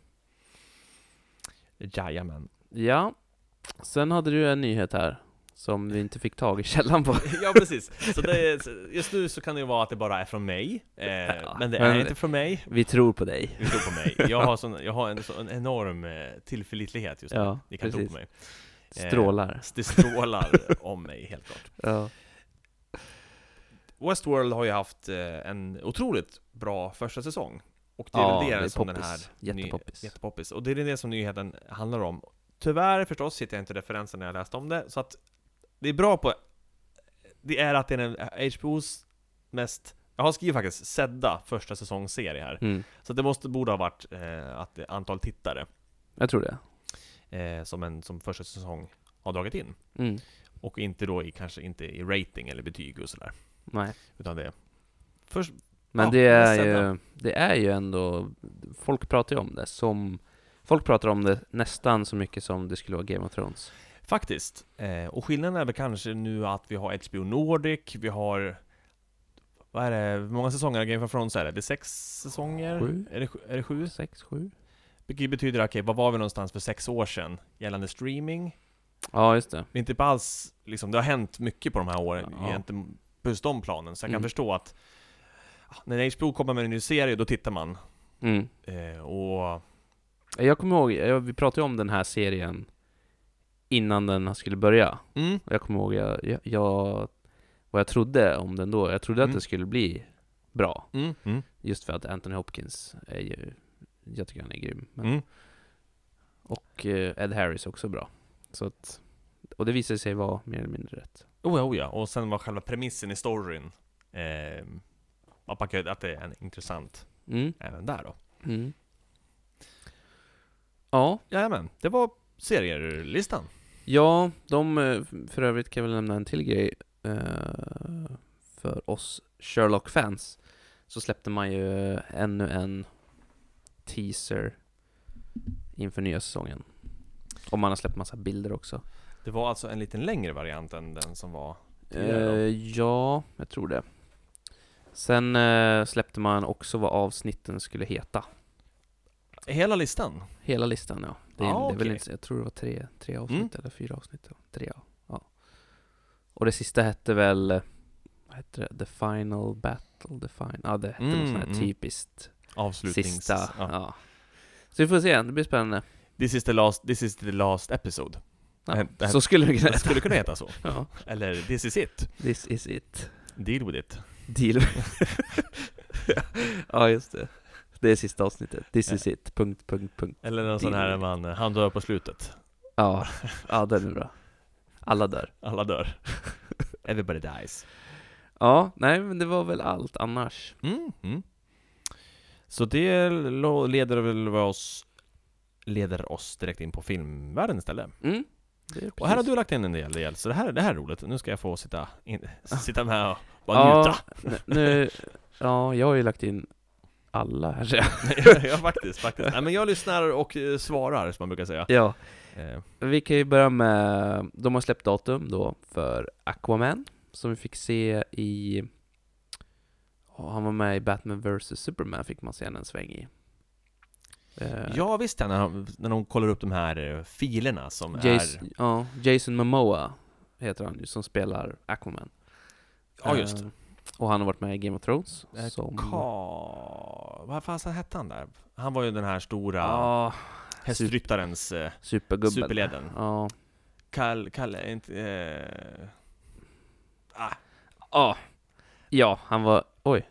Jajamän.
Ja, sen hade du en nyhet här som vi inte fick tag i källan på.
ja, precis. Så det är, så just nu så kan det ju vara att det bara är från mig. Eh,
Ja,
men det
men-
är inte från mig.
Vi tror på dig.
Ni tror på mig. Jag har, sån, jag har en sån enorm eh, tillförlitlighet just nu.
Ja,
Ni kan
precis.
tro på mig. Eh,
Strålar.
Det strålar om mig, helt klart.
Ja.
Westworld har ju haft eh, en otroligt bra första säsong. Och det är
Ja,
väl det,
det är
som den här...
poppis. Jättepoppis.
Ny, jättepoppis. Och det är det som nyheten handlar om. Tyvärr förstås hittar jag inte referensen när jag läste om det, så att det är bra på... Det är att det är en HBO's eh, mest Jag har skrivit faktiskt Sedda, första säsongsserie här.
Mm.
Så det måste, borde ha varit eh, att det- antal tittare
Jag tror det.
eh, som, en, som första säsong har dragit in.
Mm.
Och inte då i, kanske inte i rating eller betyg och sådär.
Nej.
Utan det... Först,
Men
Ja,
det, är
nästa
ju, det är ju ändå, folk pratar ju om det som, folk pratar om det nästan så mycket som det skulle vara Game of Thrones.
faktiskt. Eh, och skillnaden är väl kanske nu att vi har HBO Nordic, vi har... Vad är det? Hur många säsonger av Game of Thrones är det? Det är sex säsonger?
Sju.
Är det, sju- är det sju?
sex sju
Vilket betyder, okej, vad var vi någonstans för sex år sedan gällande streaming?
Ja, just det.
Det är inte på alls, liksom, det har hänt mycket på de här åren
Ja.
egentligen på just de planen, så jag kan
Mm.
förstå att ah, när HBO kommer med en ny serie, då tittar man.
Mm.
Eh, och
Jag kommer ihåg, jag, vi pratade ju om den här serien innan den skulle börja.
mm,
Och jag kommer ihåg jag, jag, jag, vad jag trodde om den då. Jag trodde att
Mm.
det skulle bli bra.
mm, mm,
Just för att Anthony Hopkins är ju, jag tycker han är grym. Men,
mm.
Och eh, Ed Harris är också bra. Så att, och det visade sig vara mer eller mindre rätt.
Oh, ja, oh, ja. Och sen var själva premissen i storyn, eh, att, man kan, att det är en- intressant
Mm.
även där då.
Mm. Ja,
Jajamän, det var serielistan.
ja, de, eh, för övrigt kan jag väl nämna en till grej. eh, För oss Sherlock-fans så släppte man ju eh, ännu en teaser inför nya säsongen. Och man har släppt massa bilder också.
Det var alltså en lite längre variant än den som var tidigare då.
Eh, ja, jag tror det. Sen eh, släppte man också vad avsnitten skulle heta.
Hela listan?
Hela listan ja. Det är,
Ah,
det är väl
okej.
inte, så- jag tror det var tre, tre avsnitt
Mm.
eller fyra avsnitt. ja. Tre, ja. ja. Och det sista hette väl, eh, vad hette det? The Final Battle, The Final, ja det hette något
Mm,
sånt här
mm.
typiskt
Avslutnings...
sista. Ja.
Ja.
Så vi får se, det blir spännande.
This is the last, this is the last episode. Det
Ja,
här- det här-
så skulle vi kunna
Det skulle kunna heta så.
ja.
Eller this is it.
This is it.
Deal with it.
Deal. ja just det. Det är sista avsnittet. This is it. Punkt, punkt, punkt.
Eller någon sån
Deal
här
with
där
it.
man, han dör på slutet.
Ja, ja den är bra. Alla dör.
Alla dör. Everybody dies.
Ja, nej men det var väl allt annars.
Mm. Mm. Så det lo- leder väl oss leder oss direkt in på filmvärlden istället.
Mm. Det är
Och här har
precis.
du lagt in en del, del så det här, det här är roligt. Nu ska jag få sitta, in, sitta med och bara
Ah. ja,
njuta.
n- nu, ja, jag har ju lagt in alla här så jag-
ja, faktiskt, faktiskt. Nej, men jag lyssnar och eh, svarar, som man brukar säga.
Ja,
Eh,
vi kan ju börja med, de har släppt datum då för Aquaman, som vi fick se i, ja, han var med i Batman vs Superman fick man se en sväng i. Eh,
ja, visst ja, när, de- när de kollar upp de här eh, filerna som är...
Jason, ja, Jason Momoa heter han ju, som spelar Aquaman.
Ja, just.
Eh, och han har varit med i Game of Thrones.
Eh,
som...
Ka... Vad fasen hette han där? Han var ju den här stora
Ja,
hästryttarens... Eh,
supergubben.
Superleden.
Ja.
Kall... Kall... Inte... Eh,
Ja. Ja, han var, oj.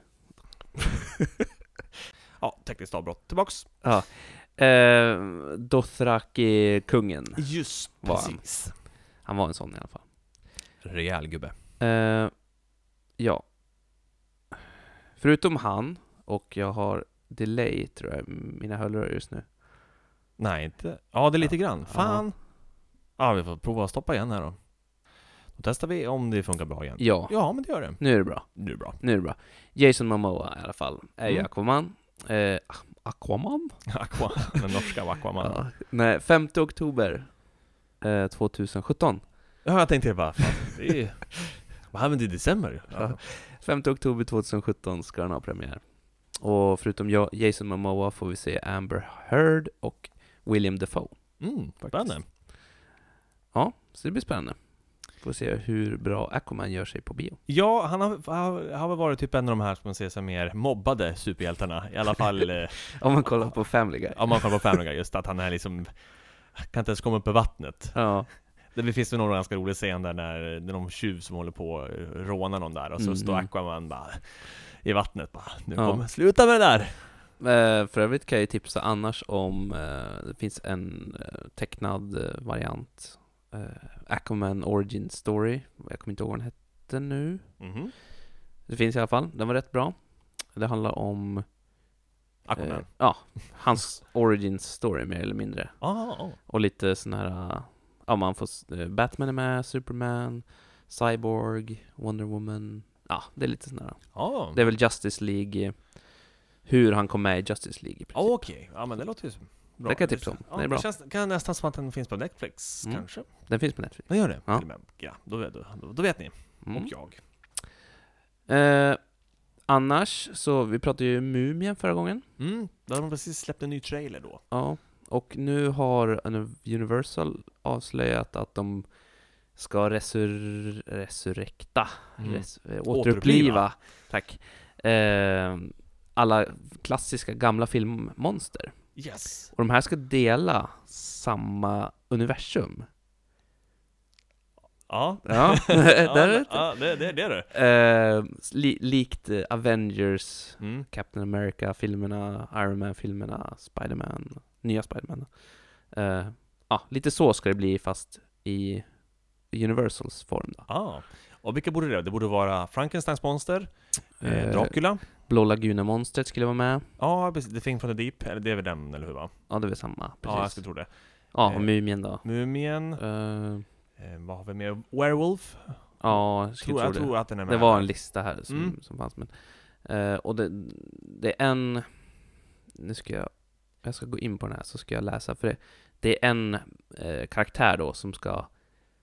ja, tekniskt avbrott. Tillbaks.
Eh, Dothraki-kungen.
Just
Var
precis.
Han var en sån i alla fall.
Rejäl gubbe.
Eh, ja. Förutom han, och jag har delay tror jag, i mina hörlurar just nu.
Nej, inte... Ja, det är lite grann. Fan! Ja, vi får prova att stoppa igen här då. Då testar vi om det funkar bra igen.
Ja,
Ja, men det gör det.
nu är det bra.
Nu är det bra.
Nu är det bra. Jason Momoa i alla fall, är ju
Mm.
Aquaman. Eh, Aquaman?
Aqua, den norska Aquaman. Ja.
Ja. Nej, 5 oktober eh, 2017.
jag tänkte bara, fan, det är ju... Vad hände i december? Ja.
5 oktober 2017 ska den ha premiär. Och förutom jag, Jason Momoa får vi se Amber Heard och William Defoe.
Mm, spännande.
Ja, så det blir spännande. Får se hur bra Aquaman gör sig på bio.
Ja, han har, har, har väl varit typ en av de här som man ser som mer mobbade superhjältarna I alla fall eh,
Om man kollar på Family Guy.
om man kollar på Family Guy, just att han är liksom Kan inte ens komma upp ur vattnet
Ja,
Det finns ju någon ganska rolig scen där när, när de tjuv som håller på och rånar någon där Och så
Mm,
står
mm.
Aquaman bara I vattnet bara Nu
Ja.
kommer, sluta med det där!
Eh, för övrigt kan jag ju tipsa annars om, eh, det finns en eh, tecknad eh, variant, eh, Aquaman Origin Story, jag kommer inte ihåg vad den hette nu.
Mhm.
Det finns i alla fall, den var rätt bra. Det handlar om...
Aquaman.
eh, ja, hans origin story mer eller mindre.
Ah, ah, ah.
Och lite sån här, ja man får, s- eh, Batman är med, Superman, Cyborg, Wonder Woman. Ja, det är lite sån här.
Ah.
Det är väl Justice League, eh, hur han kom med i Justice League i princip.
Ja, Okej, ja men det låter ju som- bra.
Det kan jag tipsa om.
Ja,
Det är bra.
Känns, kan nästan som att den finns på Netflix
Mm.
kanske?
Den finns på Netflix.
Den gör det?
Ja.
Till och med. Ja, då, vet- då, då vet ni.
Mm.
Och jag.
Eh, annars, så vi pratade ju Mumien förra gången.
Mm, då hade de precis släppt en ny trailer då.
Ja, och nu har Universal avslöjat att de ska resur... resurrekta, res, eh, återuppliva,
Återuppliva.
tack, eh, alla klassiska gamla filmmonster.
Yes!
Och de här ska dela samma universum.
Ja.
Ja, där är det.
ja, det, det, det är det.
Eh, li, likt eh, Avengers,
Mm.
Captain America-filmerna, Iron Man-filmerna, Spider-Man, nya Spider-Man. Eh, ja, lite så ska det bli fast i Universals form då.
Ah. Och vilka borde det vara? Det borde vara Frankensteins monster, eh,
Eh,
Dracula.
Blå Laguna-monstret skulle vara med.
Ja, precis. The Thing from the Deep. Eller det är väl den, eller hur va?
Ja, det är väl samma.
Ja, jag skulle
Precis.
tro det.
Ja,
eh,
och Mumien då.
Mumien.
Eh,
Eh, vad har vi mer? Werewolf.
ja, jag skulle
Tror, jag
tro det.
tror att den är med.
Det var en lista här som,
Mm.
som fanns. Men, eh, och det, det är en... Nu ska jag... Jag ska gå in på den här så ska jag läsa för det. Det är en eh, karaktär då som ska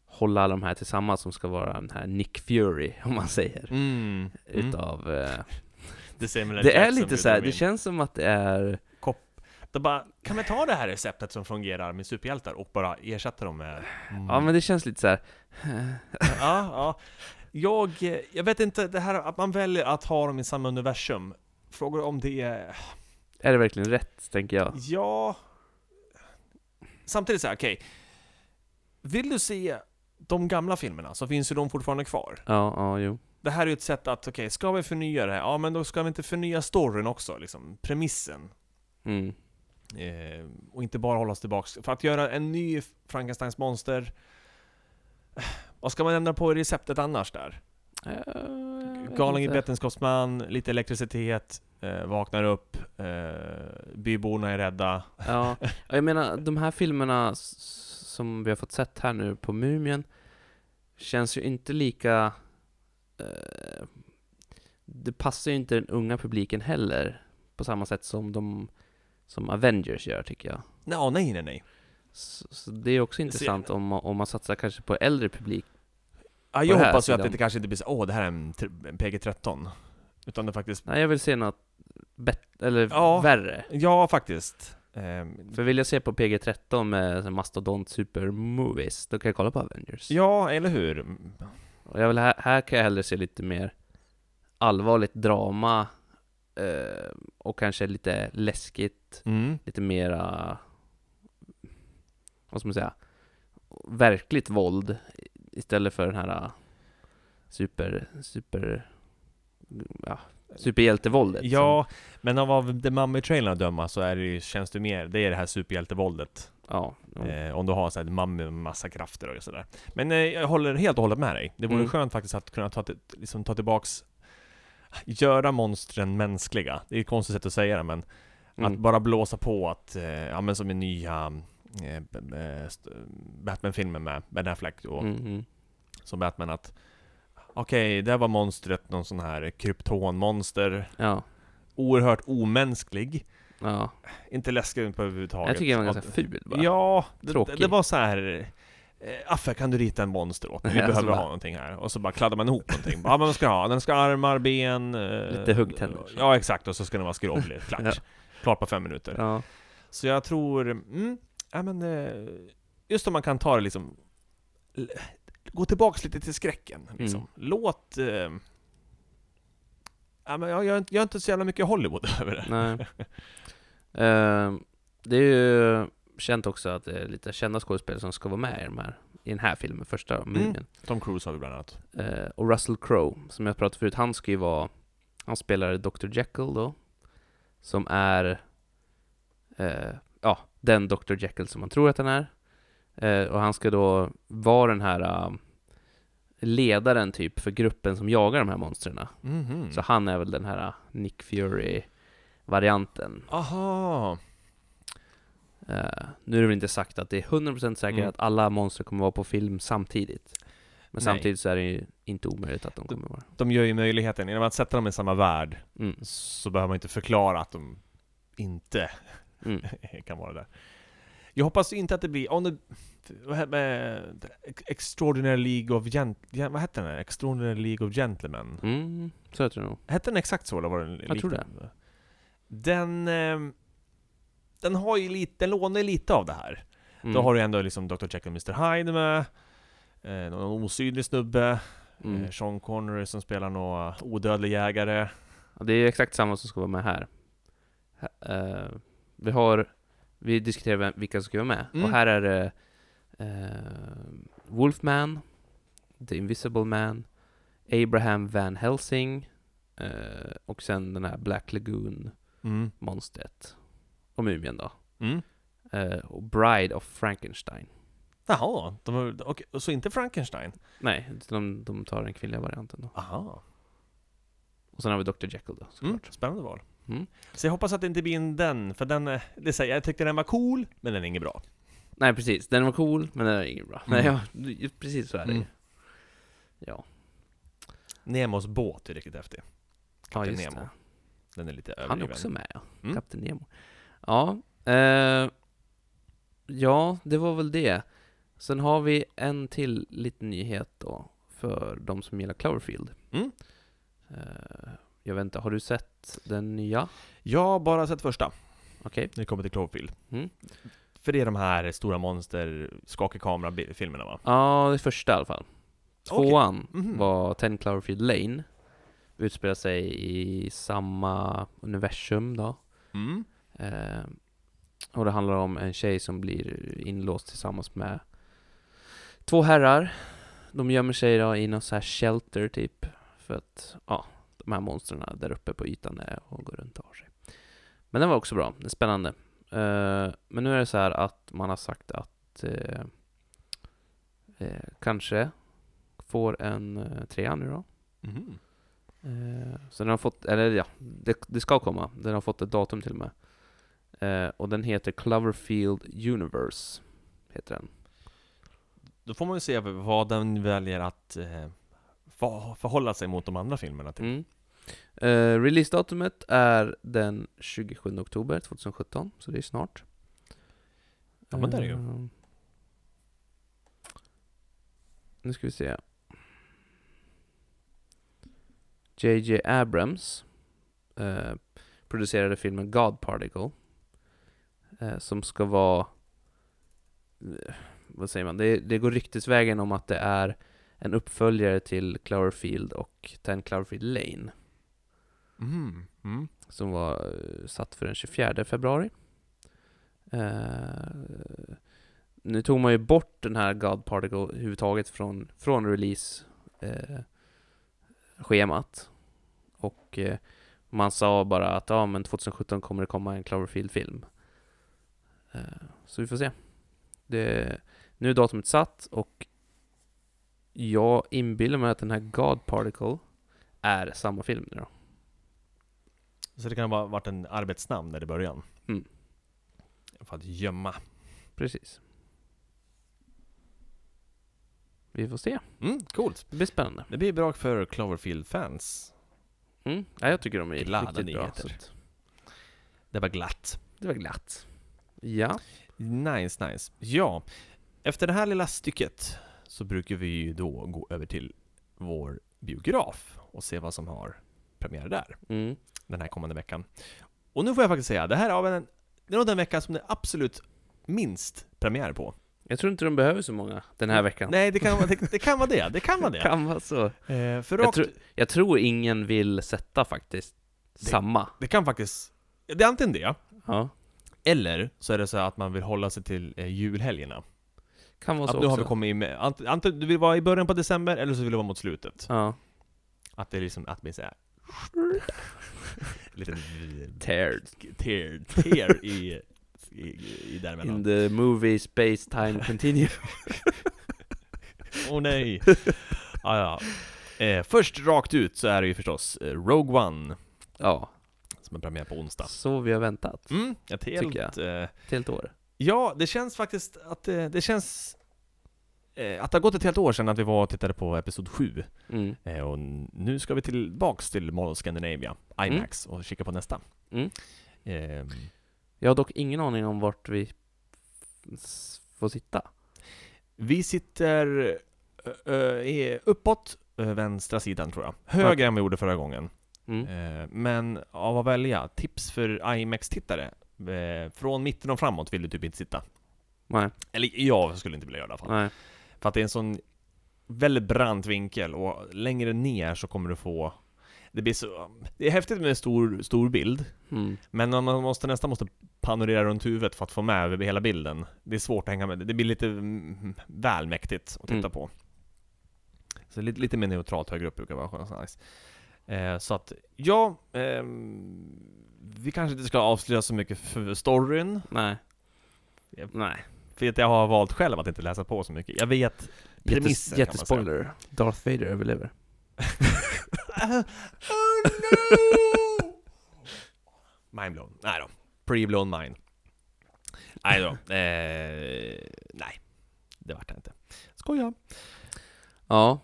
hålla alla de här tillsammans som ska vara den här Nick Fury, om man säger.
Mm. Mm.
Utav... Eh,
Det, Samuel L.
det är
Jackson
lite
gjorde
så här,
de
det
in.
känns som att det är...
De bara, kan vi ta det här receptet som fungerar med superhjältar och bara ersätta dem med... Mm.
Ja men det känns lite så här. eh,
ja, ja. Jag, eh, jag vet inte, det här att man väljer att ha dem i samma universum. Frågar om det är...
Är det verkligen rätt, tänker jag?
Mm. Ja... Samtidigt så här, okej. Vill du se de gamla filmerna så finns ju de fortfarande kvar.
Ja, ja, jo.
Det här är ju ett sätt att, okej, ska vi förnya det här? Ja, men då ska vi inte förnya storyn också, liksom. Premissen.
Mm.
Eh, och inte bara hålla oss tillbaks. För att göra en ny Frankensteins monster... eh, Vad ska man ändra på i receptet annars där?
Eh, jag vet
Galning i
inte.
vetenskapsman, lite elektricitet, eh, vaknar upp, eh, byborna är rädda.
Ja, och jag menar de här filmerna s- som vi har fått sett här nu på Mumien känns ju inte lika... Eh, det passar ju inte den unga publiken heller på samma sätt som de som Avengers gör tycker jag.
Nej, ah, nej, nej, nej.
Så, så det är också intressant om, ma- om man satsar kanske på äldre publik.
Ja,
På
jag
den här
hoppas ju att det
sidan.
inte- kanske inte blir så, åh, det här är en, tr- en PG-13. Utan det faktiskt...
Nej, jag vill se något bättre, eller
Ja.
värre.
Ja, faktiskt. Ehm,
För vill jag se på PG-13 med sån mastodont super movies, då kan jag kolla på Avengers.
ja, eller hur? Mm.
Och jag vill, här, här kan jag hellre se lite mer allvarligt drama eh, och kanske lite läskigt,
Mm.
lite mera, vad ska man säga, verkligt våld istället för den här eh, super, super, ja, superhjältevåldet.
Ja, men av- av The Mummy-trailern att döma så är det ju, känns det mer, det är det här superhjältevåldet.
Som, ja, mm. ja.
Eh, om du har såhär mamma med massa krafter och sådär. Men eh, jag håller helt och hållet med dig. Det vore
Mm.
skönt faktiskt att kunna ta, till- liksom, ta tillbaks, göra monstren mänskliga. Det är ett konstigt sätt att säga det, men att
mm.
bara blåsa på att, eh, ja men som i nya eh, b- b- st- Batman-filmen med Ben Affleck och
Mm, mm.
som Batman att Okej, där var monstret någon sån här kryptonmonster.
ja,
Oerhört omänsklig.
ja.
Inte läskig på överhuvudtaget.
Jag tycker den var
Att-
ganska ful bara.
Ja, det,
Tråkig.
det var så här. eh, Affe, kan du rita en monster åt mig? Vi
Ja, så
behöver
bara-
ha någonting här. Och så bara kladdar man ihop någonting. Ja, men vad ska jag ha? Den ska ha armar, ben... eh,
Lite huggtänder.
Ja, exakt. Och så ska den vara skrovlig. Klart.
Ja.
Klart på fem minuter.
Ja.
Så jag tror... Mm, ja, men, eh, just om man kan ta det liksom... l- Gå tillbaks lite till skräcken. Liksom.
Mm.
Låt... eh, ja, men jag, jag, är inte- jag är inte så jävla mycket Hollywood över det.
Nej. Ehm, det är ju känt också att det är lite kända skådespelare som ska vara med i, de här, i den här filmen, första Mumien.
Tom Cruise har vi bland annat.
Ehm, och Russell Crowe, som jag pratade förut, han ska ju vara, han spelar Dr. Jekyll då, som är, eh, ja, den Dr. Ehm, Jekyll som man tror att han är. Eh, och han ska då vara den här um, ledaren typ för gruppen som jagar de här monstren.
Mhm.
Så han är väl den här uh, Nick Fury-varianten.
Aha!
Eh, nu är det väl inte sagt att det är 100% säkert
Mm.
att alla monster kommer vara på film samtidigt.
Nej.
Men samtidigt så är det ju inte omöjligt att de kommer vara.
De gör ju möjligheten, genom att sätta dem i samma värld
Mm.
så behöver man inte förklara att de inte
Mm.
kan vara där. Jag hoppas inte att det blir... Om det, vad heter med, Extraordinary League of Gent... Gen- Vad hette den? här? Extraordinary League of Gentlemen?
Mm, så jag tror nog.
Hette den exakt så eller var den
Jag tror
det. Den... ehm, Den har ju lite... Den lånar ju lite av det här.
Mm.
Då har du ändå liksom Dr. Jekyll och Mr. Hyde med. Eh, någon osynlig snubbe.
Mm.
Eh, Sean Connery som spelar någon odödlig jägare.
Ja, Det är exakt samma som ska vara med här. Hä- eh, vi har, vi diskuterar vem- vilka som ska vara med.
Mm.
Och här är det eh, Wolfman, The Invisible Man, Abraham Van Helsing eh, och sen den här Black Lagoon-monstret.
Mm.
Och mumien då.
Mm.
Eh, och Bride of Frankenstein.
Jaha, de, har- okej, så inte Frankenstein?
Nej, de, de tar den kvinnliga varianten då.
Aha.
Och sen har vi Dr. Jekyll då
Mm.
såklart.
Spännande val.
Mm.
Så jag hoppas att det inte blir en den, för den, eh, det säger, jag tyckte den var cool, men den är inget bra.
Nej precis, den var cool men den är ingen bra.
Mm.
Nej, ja, precis så är det ju.
Mm.
Ja,
Nemos båt är riktigt häftig.
ja
Kapten
just
Nemo.
det.
Den är lite
Han
överdriven.
är också med ja.
Mm.
Kapten Nemo. Ja, eh, ja, det var väl det. Sen har vi en till liten nyhet då för de som gillar Cloverfield.
Mm.
Eh, jag vet inte, har du sett den nya?
Jag har bara sett första,
Okej.
när det kommer till Cloverfield.
Mm.
För det är de här stora monster, skakig kamera-filmerna va?
Ja, det första i alla fall.
Okej.
Tvåan
Mhm.
var 10 Cloverfield Lane. Utspelar sig i samma universum då.
Mm.
Eh, och det handlar om en tjej som blir inlåst tillsammans med två herrar. De gömmer sig då i någon så här shelter typ. För att, ja, de här monstren där uppe på ytan är och går runt och har sig. Men den var också bra, den är spännande. Eh, men nu är det så här att man har sagt att eh, eh, kanske får en eh, trea nu då.
Mhm.
Eh, Så den har fått, eller ja, det, det ska komma. Den har fått ett datum till och med. Eh, och den heter Cloverfield Universe. Heter den.
Då får man ju se vad den väljer att eh, fa- förhålla sig mot de andra filmerna typ. till.
Mm. Eh, Releasedatumet är den 27 oktober 2017, så det är snart.
Ja, men det är det ju.
Eh, Nu ska vi se. JJ Abrams eh, producerade filmen God Particle. Eh, som ska vara... eh, Vad säger man? Det, det går ryktesvägen om att det är en uppföljare till Cloverfield och 10 Cloverfield Lane.
Mhm. Mm.
Som var eh, satt för den 24 februari. Eh, nu tog man ju bort den här God Particle överhuvudtaget från, från release eh, schemat. Och eh, man sa bara att ja, men 2017 kommer det komma en Cloverfield-film. Eh, så vi får se. Det, nu är datumet satt och jag inbillar mig att den här God Particle är samma film nu då.
Så det kan ha varit en arbetsnamn där i början.
Mm.
För att gömma.
Precis. Vi får se.
Mm, coolt.
Det blir spännande.
Det blir bra för Cloverfield-fans.
Mm. Ja, jag tycker de är
Glada
riktigt bra.
nyheter.
så att-
Det var glatt.
Det var glatt. Ja.
Nice, nice. Ja, efter det här lilla stycket så brukar vi ju då gå över till vår biograf och se vad som har premiär där
Mm.
den här kommande veckan. Och nu får jag faktiskt säga, det här är, av en, det är nog den vecka som det är absolut minst premiär på.
Jag tror inte de behöver så många den här veckan.
Nej, det kan, vara- det, det kan vara det. Det kan vara det.
Kan vara så.
Eh, för
Jag
rakt,
tror, jag tror ingen vill sätta faktiskt samma.
det kan faktiskt... Det är antingen det,
Ja.
eller så är det så här att man vill hålla sig till eh, julhelgerna.
Kan vara så
Att nu har vi
också.
kommit in med, ant- antingen du vill vara i början på december, eller så vill du vara mot slutet.
Ja.
Att det är liksom, att bli såhär... Lite...
Teared.
Tear, tear i, i, i däremellan.
In the movie space time continuum.
Åh nej! ja, ja. Eh, först rakt ut så är det ju förstås eh, Rogue One
Ja,
som är premiär på onsdag.
så vi har väntat.
Mm, ett helt...
Tycker
Eh,
Ett helt år.
ja, det känns faktiskt att eh, det känns... Eh, att det har gått ett helt år sedan att vi var och tittade på Episod 7.
Mm.
Eh, och nu ska vi tillbaks till Mall of Scandinavia, IMAX, och kika på nästa.
Mm.
Ehm,
Jag har dock ingen aning om vart vi s- får sitta.
vi sitter ö, ö, i- uppåt, ö, vänstra sidan tror jag. Högre än vi gjorde förra gången.
Mm.
Eh, men av att välja, tips för IMAX-tittare. Eh, från mitten och framåt vill du typ inte sitta.
Nej,
Eller jag skulle inte vilja göra det i alla fall.
nej.
För att det är en sån väldigt brant vinkel och längre ner så kommer du få det, blir så, det är häftigt med en stor, stor bild,
Mm.
men man måste, nästan måste panorera runt huvudet för att få med över hela bilden. Det är svårt att hänga med, det blir lite mm, väl mäktigt att titta
Mm.
på. Så lite, lite mer neutralt högre upp brukar vara skönt och nice. Eh, så att, ja, ehm, vi kanske inte ska avslöja så mycket för storyn,
Nej.
Japp.
Nej.
för att jag har valt själv att inte läsa på så mycket. Jag vet Premisser,
Jättes,
kan man säga.
jättespoiler. Darth Vader överlever.
Mind blown. Nej då. Pre-blown mind. Nej då. Eh, nej. Det vart det inte. Skoja.
Ja.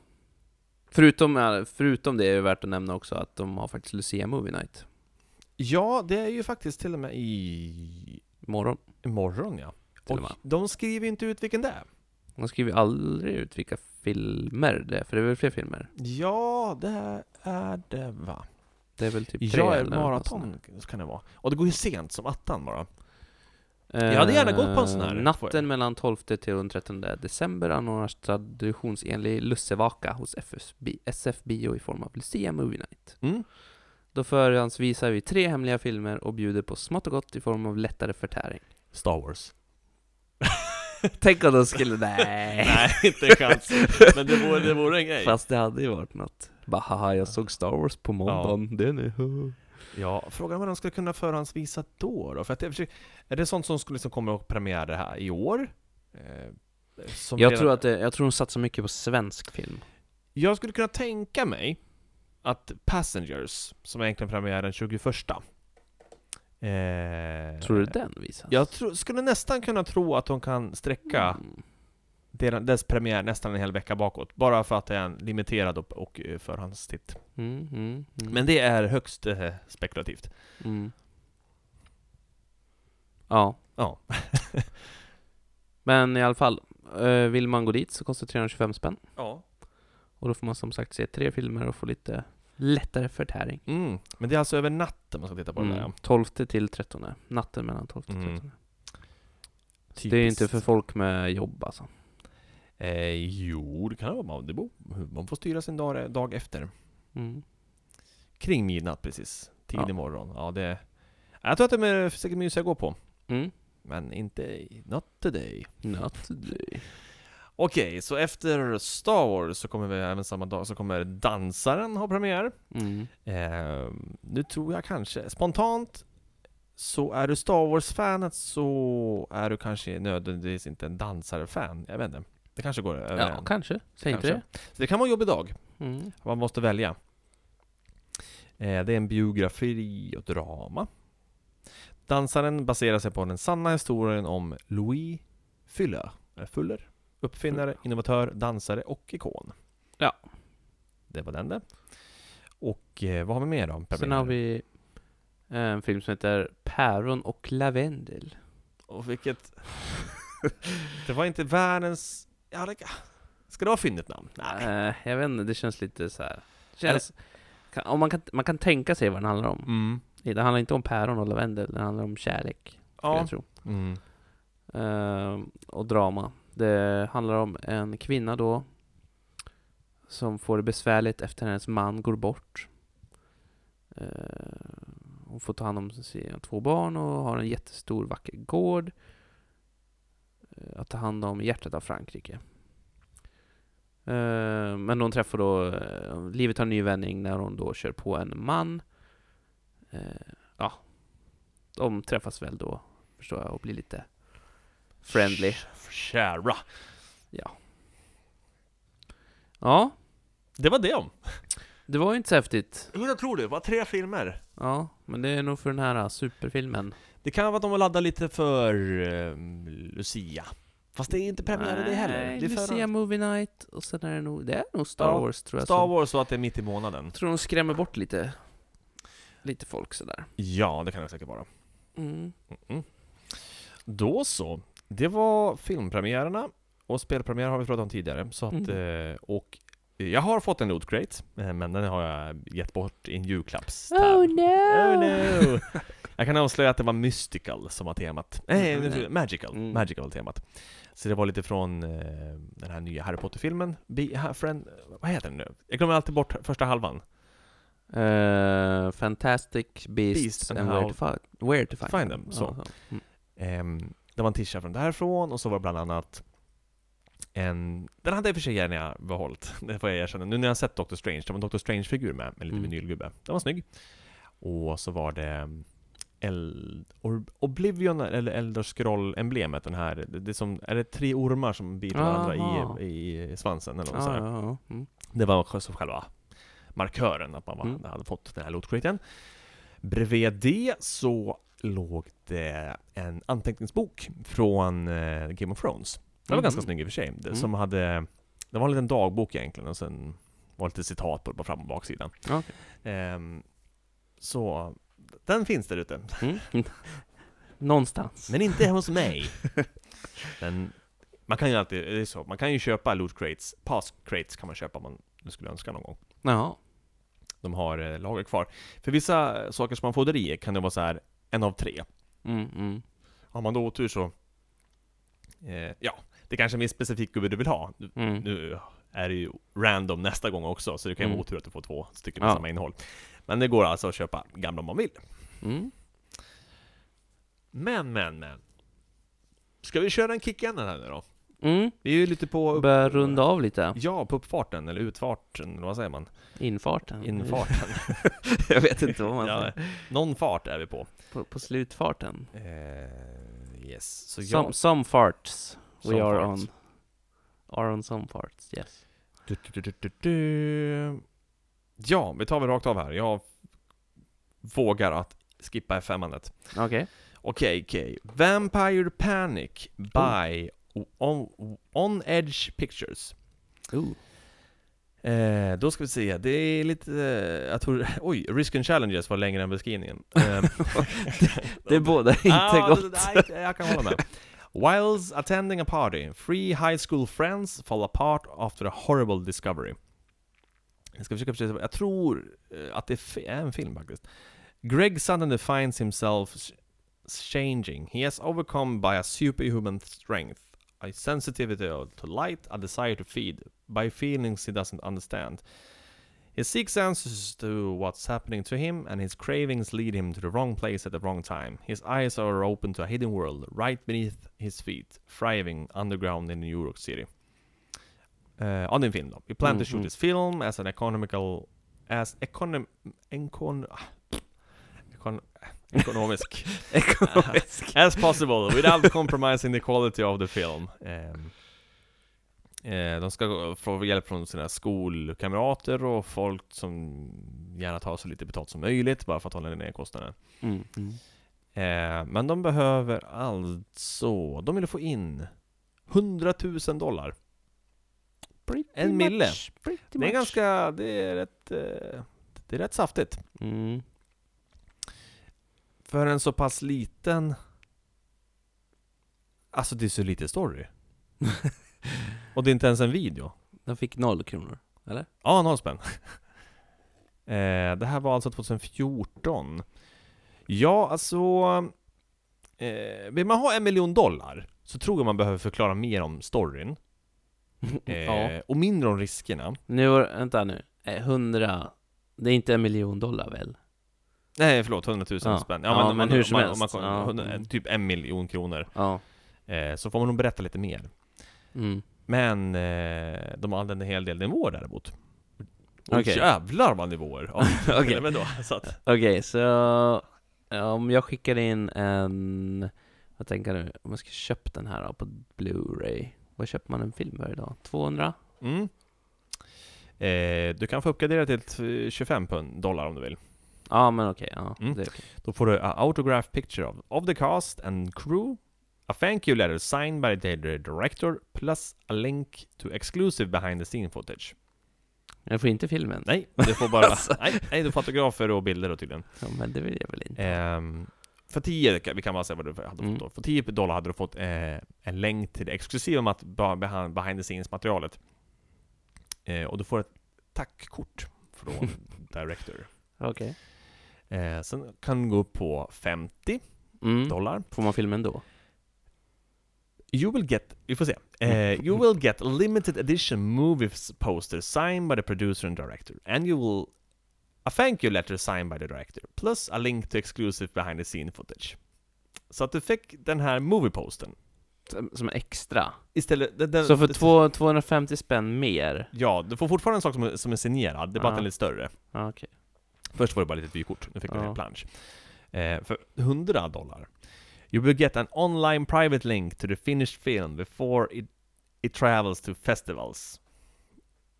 Förutom, förutom det är det värt att nämna också att de har faktiskt Lucia Movie Night
Ja, det är ju faktiskt till och med i...
imorgon.
Imorgon ja.
Till och
Och
med.
de skriver ju inte ut vilken det är.
De skriver aldrig ut vilka filmer det är, för det är väl fler filmer?
Ja, det är det va?
Det är väl typ tre
Ja,
eller något sånt
maraton kan det vara. Och det går ju sent som attan bara.
där.
Jag hade gärna gått på en sån här,
Eh,
får jag.
Natten mellan 12 till den 13 december anordnas traditionsenlig lussevaka hos FSB, SF Bio i form av Lucia Movie Night.
Mm.
Då förhandsvisar vi tre hemliga filmer och bjuder på smått och gott i form av lättare förtäring.
Star Wars.
Tänk om de skulle... Nej.
Nej, inte en chans. Men det vore, det vore en grej.
Fast det hade ju varit något. Bara haha, jag såg Star Wars på måndagen, det är nu.
Ja, frågan är vad de skulle kunna förhandsvisa då? då? För att jag försöker, är det sånt som skulle liksom komma och premiär det här i år? Eh, som
Jag
redan-
tror att det, jag tror de satsar mycket på svensk film.
jag skulle kunna tänka mig att Passengers, som egentligen premiär den 21 eh,
Tror du den visas?
Jag tro, skulle nästan kunna tro att de kan sträcka
Mm.
deras- dess premiär nästan en hel vecka bakåt, bara för att det är en limiterad och, och eh, förhandstitt.
Mm, mm, mm,
Men det är högst eh, spekulativt.
Mm. Ja.
Ja.
Men i alla fall, eh, vill man gå dit så kostar det 325 spänn.
ja.
Och då får man som sagt se tre filmer och få lite lättare förtäring.
Mm. Men det är alltså över natten man ska titta på det där. ja.
Mm. 12 till 13, natten mellan 12 till 13.
Mm.
Det är ju inte
Typiskt.
för folk med jobb alltså.
Eh, jo, det kan det vara. Man, det beror- man får styra sin dag, dag efter.
Mm.
Kring midnatt precis. Tidig
Ja.
morgon. Ja, det... Jag tror att de är säkert mysiga att gå på.
Mm.
Men inte... Not today.
Not today.
Okej, så efter Star Wars så kommer vi även samma dag så kommer Dansaren ha premiär.
Mm.
Eh, nu tror jag kanske... Spontant så är du Star Wars-fanet så är du kanske nödvändigtvis inte en dansare-fan. Jag vet inte. Det kanske går över
Ja,
en.
kanske. Säg inte
Kanske.
det.
Så det kan vara en jobbig dag.
Mm.
Man måste välja. Eh, Det är en biografi och drama. Dansaren baserar sig på den sanna historien om Louis Fuller. Eh, Fuller uppfinnare, innovatör, dansare och ikon.
Ja.
Det var den det. Och eh, vad har vi mer då?
Sen har vi eh, en film som heter Päron och lavendel.
Och vilket... det var inte världens... Ja, det... Ska det vara fyndigt namn? Nej.
Eh, jag vet inte, det känns lite så här. Känns, kan, om man, kan, man kan tänka sig vad den handlar om.
Mm.
Det handlar inte om päron och lavendel, det handlar om kärlek. skulle
Ja.
Jag tro.
Mm.
Eh, och drama. Det handlar om en kvinna då som får det besvärligt efter hennes man går bort. Eh, hon får ta hand om sina två barn och har en jättestor vacker gård eh, att ta hand om i hjärtat av Frankrike. Eh, men hon träffar då, eh, livet tar en ny vändning när hon då kör på en man. Eh, ja, de träffas väl då förstår jag och blir lite friendly.
Kära.
Ja,
Det var det om.
Det var ju inte så häftigt.
Jo, jag tror det. Det var tre filmer.
Ja, men det är nog för den här äh, superfilmen.
Det kan vara att de laddar lite för ehm, Lucia. Fast det är inte premiär i det heller.
Nej,
Det är för
Lucia Movie Night, och sen är det nog, det är nog Star
Ja,
Wars tror jag.
Star
som-
Wars så att det är mitt i månaden.
tror de skrämmer bort lite, lite folk sådär.
Ja, det kan det säkert vara.
Mm.
Mm. Då så. Det var filmpremiärerna. Och spelpremiär har vi pratat om tidigare. Så att, eh, och jag har fått en loot crate, eh, men den har jag gett bort i en julklappstab. Oh no! Jag kan avslöja att det var mystical som var temat. Nej,
Mm,
det-
nej.
magical.
Mm.
Magical var temat. Så det var lite från eh, den här nya Harry Potter-filmen. Be- ha- friend, vad heter den nu? Jag glömmer alltid bort första halvan.
Eh, Fantastic Beasts
Beasts and
and where
how-
to, fi- where to find,
Find them, så.
Ja, Mm.
Ehm, det var en tisha från därifrån och så var det bland annat en... Den hade jag i och för sig gärna behållit, det får jag erkänna. Nu när jag har sett Doctor Strange, det var en Doctor Strange-figur med, en liten
Mm.
vinylgubbe. Den var snygg. Och så var det El, Or- Oblivion, eller Elder Scroll-emblemet, den här, det det som, är det tre ormar som biter varandra
Aha.
i, i svansen eller
Ja,
något sånt
ja, ja. Mm.
det var också som själva markören, att man var,
Mm.
hade fått den här lootcraten. Bredvid det så låg det en anteckningsbok från eh, Game of Thrones. Den var
Mhm.
ganska snygg i och för sig. Det,
Mm.
som hade, det var en liten dagbok egentligen, och sen var lite citat på, på fram och baksidan.
Ja, okej.
Ehm, så den finns där ute,
Mm. Någonstans.
men inte hos mig. Den, man kan ju alltid, det är så, man kan ju köpa loot crates, pass crates kan man köpa om man skulle önska någon gång.
Ja.
de har eh, lager kvar. För vissa eh, saker som man får i kan det vara så här en av tre.
Mm, mm.
Har man då otur så... Eh, ja, det kanske är en viss specifik gubbe du vill ha. Nu-
Mm.
Nu är det ju random nästa gång också, så det kan ju vara
Mm.
otur att du får två stycken med
Ja.
samma innehåll. Men det går alltså att köpa gamla om man vill.
Mm.
Men, men, men. Ska vi köra en kick igen här nu då?
Mm.
Vi är ju lite på... upp-
Börja runda av lite.
Ja, på uppfarten, eller utfarten, eller vad säger man?
Infarten.
Infarten.
Jag vet inte Mm. vad man
ja,
säger.
någon fart är vi på.
På, på slutfarten.
Eh, yes. Så jag...
Some, some farts. We
Some
are
farts.
on. Are on some farts, yes.
Du, du, du, du, du, du. Ja, vi tar väl rakt av här. Jag vågar att skippa F5-andet.
Okej.
Okej, okej. Vampire Panic by on, on Edge Pictures.
Ooh.
Eh, då ska vi se, det är lite... Eh, jag tror, oj, Risk and Challenges var längre än beskrivningen. Eh,
Det är båda inte
Ah,
gott.
nej, jag kan hålla med. Whilst attending a party, three high school friends fall apart after a horrible discovery. Jag ska försöka förstå, jag tror eh, att det är fi- är en film faktiskt. Greg suddenly finds himself sh- changing. He has overcome by a superhuman strength, a sensitivity to light, a desire to feed, by feelings he doesn't understand. He seeks answers to what's happening to him, and his cravings lead him to the wrong place at the wrong time. His eyes are open to a hidden world right beneath his feet, thriving underground in New York City. Uh, ja, det är en film då. We plan to shoot
Mhm.
this film as an economical... As econom... Encon... Econ, ekonomisk.
Ekonomisk.
as possible, without compromising the quality of the film. Ehm, eh, de ska gå- få hjälp från sina skolkamrater och folk som gärna tar så lite betalt som möjligt bara för att hålla ner kostnaden.
Mm. Mm.
Eh, men de behöver alltså, de vill få in 100 000 dollar. En mille. Det är ganska, det är rätt, eh, det är rätt saftigt.
Mm.
För en så pass liten... Alltså det är så lite story. och det är inte ens en video.
De fick noll kronor.
Ja, noll spänn. eh, det här var alltså 2014. Ja, alltså... Eh, vill man ha en miljon dollar så tror jag man behöver förklara mer om storyn. Eh,
Ja.
Och mindre om riskerna.
Nu, var- vänta nu. Eh, 100. Det är inte en miljon dollar väl?
Nej, förlåt, 100 000
Ja.
spänn.
Ja,
om
men
man-
hur som
om man,
helst.
Om man kommer,
Ja.
100 typ en miljon kronor.
Ja.
Eh, så får man nog berätta lite mer.
Mm.
Men eh, de använde en hel del nivåer däremot. Och
Okej.
jävlar vad nivåer! Ja,
Okej.
men då, så att,
Okej, så ja, om jag skickar in en, vad tänker du, om jag ska köpa den här då, på Blu-ray, vad köper man en film för idag? 200?
mm. Eh, du kan få uppgradera till ett, eh, 25 pund dollar om du vill.
Ja men okej, ja.
Mm.
Det är okej.
Då får du a autograph picture of, of the cast and crew, a thank you letter signed by the director, plus a link to exclusive behind the scene footage.
Jag får inte filmen.
Nej, du får bara... nej, nej, du får fotografer och bilder och tydligen.
Ja, men det vill jag väl inte.
Ehm, för 10, vi kan bara säga vad du hade
Mm.
fått då. För 10 dollar hade du fått eh, en länk till det exklusiva mat- behind, behind the scenes materialet. Eh, och du får ett tackkort från director.
Okej.
Eh, sen kan du gå upp på 50
Mm.
dollar.
Får man filmen då?
You will get, vi får se. Eh,
Mm.
you will get limited edition movies poster signed by the producer and director. And you will a thank you letter signed by the director. Plus a link to exclusive behind the scene footage. Så att du fick den här movie posten.
Som- Som extra?
Istället, den, den,
Så för två, 250 spänn mer?
Ja, du får fortfarande en sak som, är- som är signerad, det är bara att den är
Ja.
lite större.
Ja, Okej.
Först var det bara lite vykort, nu fick du
Ja.
en hel plansch. Eh, för 100 dollar. You will get an online private link to the finished film before it, it travels to festivals.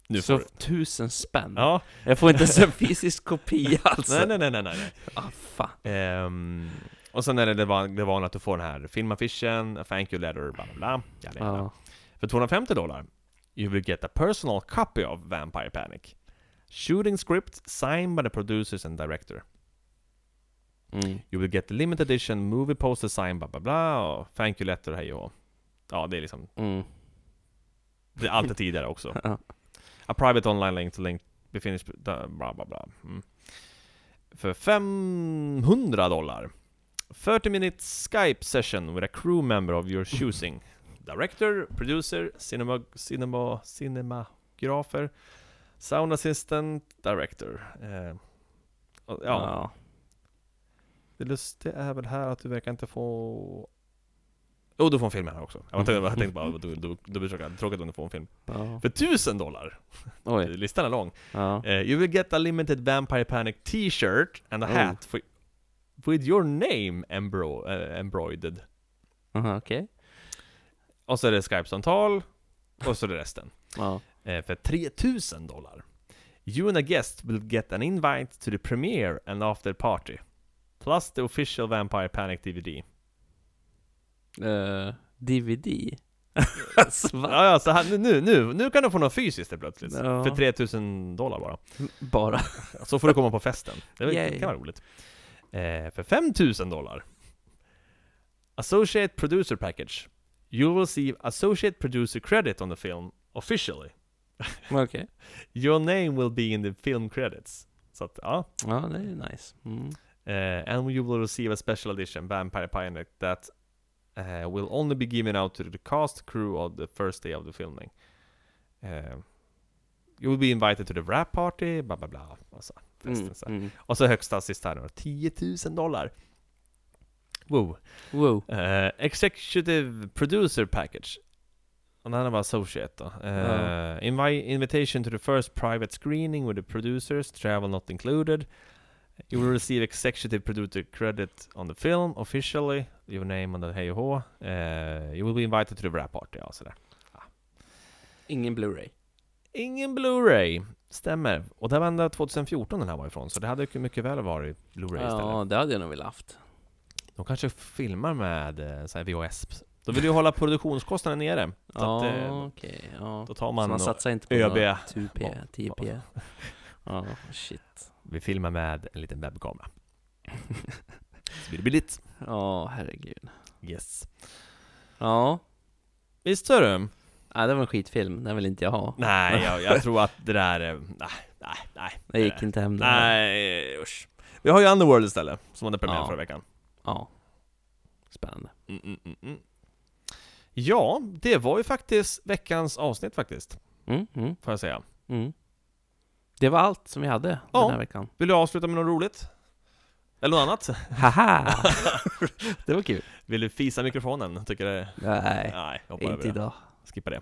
Nu
Så
får du.
tusen spänn?
Ja,
Jag får inte ens en fysisk kopia alltså?
nej nej nej nej nej.
Ah, fan.
Ehm, och sen är det det, van, det vanliga att du får den här filmaffischen, a thank you letter, bla bla bla. Jada, jada.
Ja.
För 250 dollar, you will get a personal copy of Vampire Panic. Shooting script signed by the producers and director.
Mm.
You will get limited edition movie poster signed bla bla bla och thank you letter hej och hå. Ja, det är liksom,
Mm.
det är allt det tidigare också.
Ja.
A private online link to link befinner sig bla bla bla. Mm. För 500 dollar. 30 minutes Skype session with a crew member of your choosing. Director, producer, cinema, cinema, cinemagrafer, sound assistant, director. Eh, och, ja,
Ja.
det lustiga är väl här att du verkar inte få... Jo, du får en film här också. Jag tänkte, jag tänkte bara, du, du, du blir tråkigt tråkigt om du får en film.
Ja.
För 1000 dollar!
Oj.
Listan är lång.
Ja.
Eh, you will get a limited Vampire Panic t-shirt and a
Oh.
hat for, with your name embro, eh, embroidered.
Aha, Okej.
Och så är det Skype-samtal, och så är det resten.
Ja.
Eh, för 3000 dollar. You and a guest will get an invite to the premiere and after party. Plus the official Vampire Panic DVD.
Eh, DVD? alltså, va?
Ja, ja, så här, nu- nu, nu, nu kan du få något fysiskt helt plötsligt.
Ja.
För 3000 dollar bara.
Bara?
Så får du komma på festen. Det var-
Yay.
kan vara roligt. Eh, för 5000 dollar. Associate producer package. You will receive associate producer credit on the film officially.
Okej.
Your name will be in the film credits. Så att, ja.
Ja, det är ju nice. Mm.
Eh, and you will receive a special edition Vampire Pioneer that eh, will only be given out to the cast crew of the first day of the filming. Eh, you will be invited to the wrap party, bla bla bla. Alltså, festen,
Mm.
så här.
Mm.
Och så högsta sist här nu, 10 000 dollar. Wow.
Wow.
Eh, executive producer package. Och den här var associate då. Eh,
Ja.
invi- invitation to the first private screening with the producers, travel not included. You will receive executive producer credit on the film officially. Your name on the hej och hå. Eh, You will be invited to the wrap party. Ja, sådär.
Ingen Blu-ray.
Ingen Blu-ray. Stämmer. Och det var ända 2014 den här var ifrån, så det hade ju mycket väl varit Blu-ray istället.
Ja, det hade jag nog velat haft.
De kanske filmar med eh, så här VHS. De vill ju hålla produktionskostnaden nere. Så att,
Ja,
eh,
okej. Ja.
då tar
Så
man,
man
och,
satsar inte på
ÖB.
några 2P,
Ja.
10P. Ja, shit.
vi filmar med en liten webbkamera. så blir det billigt.
Ja, herregud.
Yes.
Ja.
Visst hörru? du?
Nej, det var en skitfilm. Den vill inte jag ha.
Nej, jag, jag tror att det där... eh, Nej, nej, nej.
Det gick inte hem den här.
Nej, usch. Vi har ju Underworld istället, som hade premiär
Ja.
förra veckan.
Ja. Spännande.
Mm, mm, mm, mm. Ja, det var ju faktiskt veckans avsnitt faktiskt,
Mm, mm,
får jag säga.
mm. Det var allt som vi hade
Ja.
den här veckan.
Vill du avsluta med något roligt? Eller något annat?
Haha! det var kul.
Vill du fisa mikrofonen? Tycker det...
Nej,
Nej, jag hoppar över
inte
det.
idag.
Skippa det.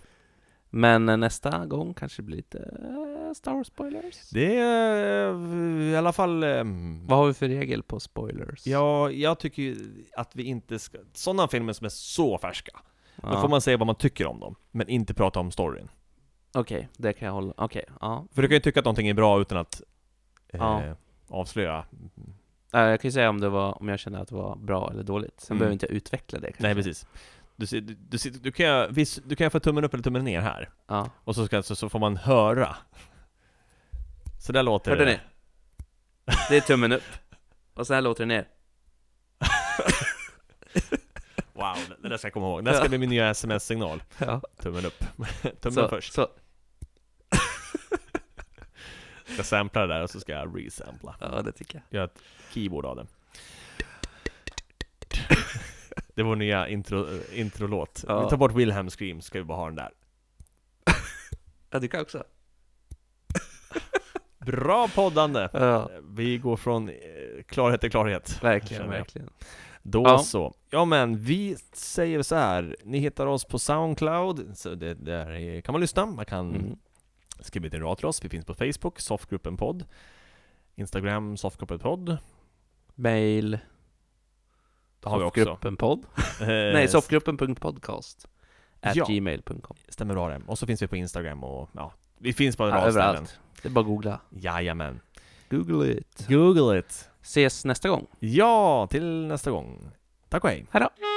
Men eh, nästa gång kanske det blir lite eh, Star Wars-spoilers.
Det är eh, i alla fall... eh,
Vad har vi för regel på spoilers?
Ja, jag tycker ju att vi inte ska... Sådana filmer som är så färska,
Ja.
då får man säga vad man tycker om dem, men inte prata om storyn.
Okej, det kan jag hålla. Okej, ja.
För du kan ju tycka att någonting är bra utan att eh,
Ja.
avslöja.
Eh, Jag kan ju säga om, det var, om jag kände att det var bra eller dåligt. Sen
Mm.
behöver inte jag utveckla det kanske.
Nej precis. Du, ser- du, du, ser- du, kan, göra- visst, du kan få tummen upp eller tummen ner här.
Ja.
Och så, ska, så, så får man höra. Så där låter
Hörde
det.
ni? Det är tummen upp. Och så här låter det ner.
Wow, det- det där ska jag komma ihåg. Det här ska
Ja.
bli min nya sms-signal.
Ja.
Tummen upp. Tummen
så,
först.
Så,
Jag ska sampla det där och så ska jag resampla.
ja, det tycker jag.
Göra ett keyboard av det. Det är vår nya intro, introlåt.
Ja.
Vi tar bort Wilhelm Scream, ska vi bara ha den där.
Ja, du kan också.
Bra poddande!
Ja,
Vi går från eh, klarhet till klarhet.
verkligen,
Känner jag.
verkligen.
Då
Ja.
så. Ja men vi säger så här. ni hittar oss på Soundcloud, så det, där är- kan man lyssna, man kan
Mm.
skriva till en rad till oss, vi finns på Facebook, Softgruppen podd, Instagram, Softgruppen podd,
Mail.
det har vi också.
Soffgruppen-podd.
Eh,
Nej, soffgruppen.podcast. At
Ja.
gmail.com.
Stämmer bra det. Och så finns vi på Instagram och ja, vi finns på en
Ja,
rad ställen.
överallt. Det är bara att googla.
Jajamän.
Google it.
Google it.
Ses nästa gång.
Ja, till nästa gång. Tack och hej.
Hej då.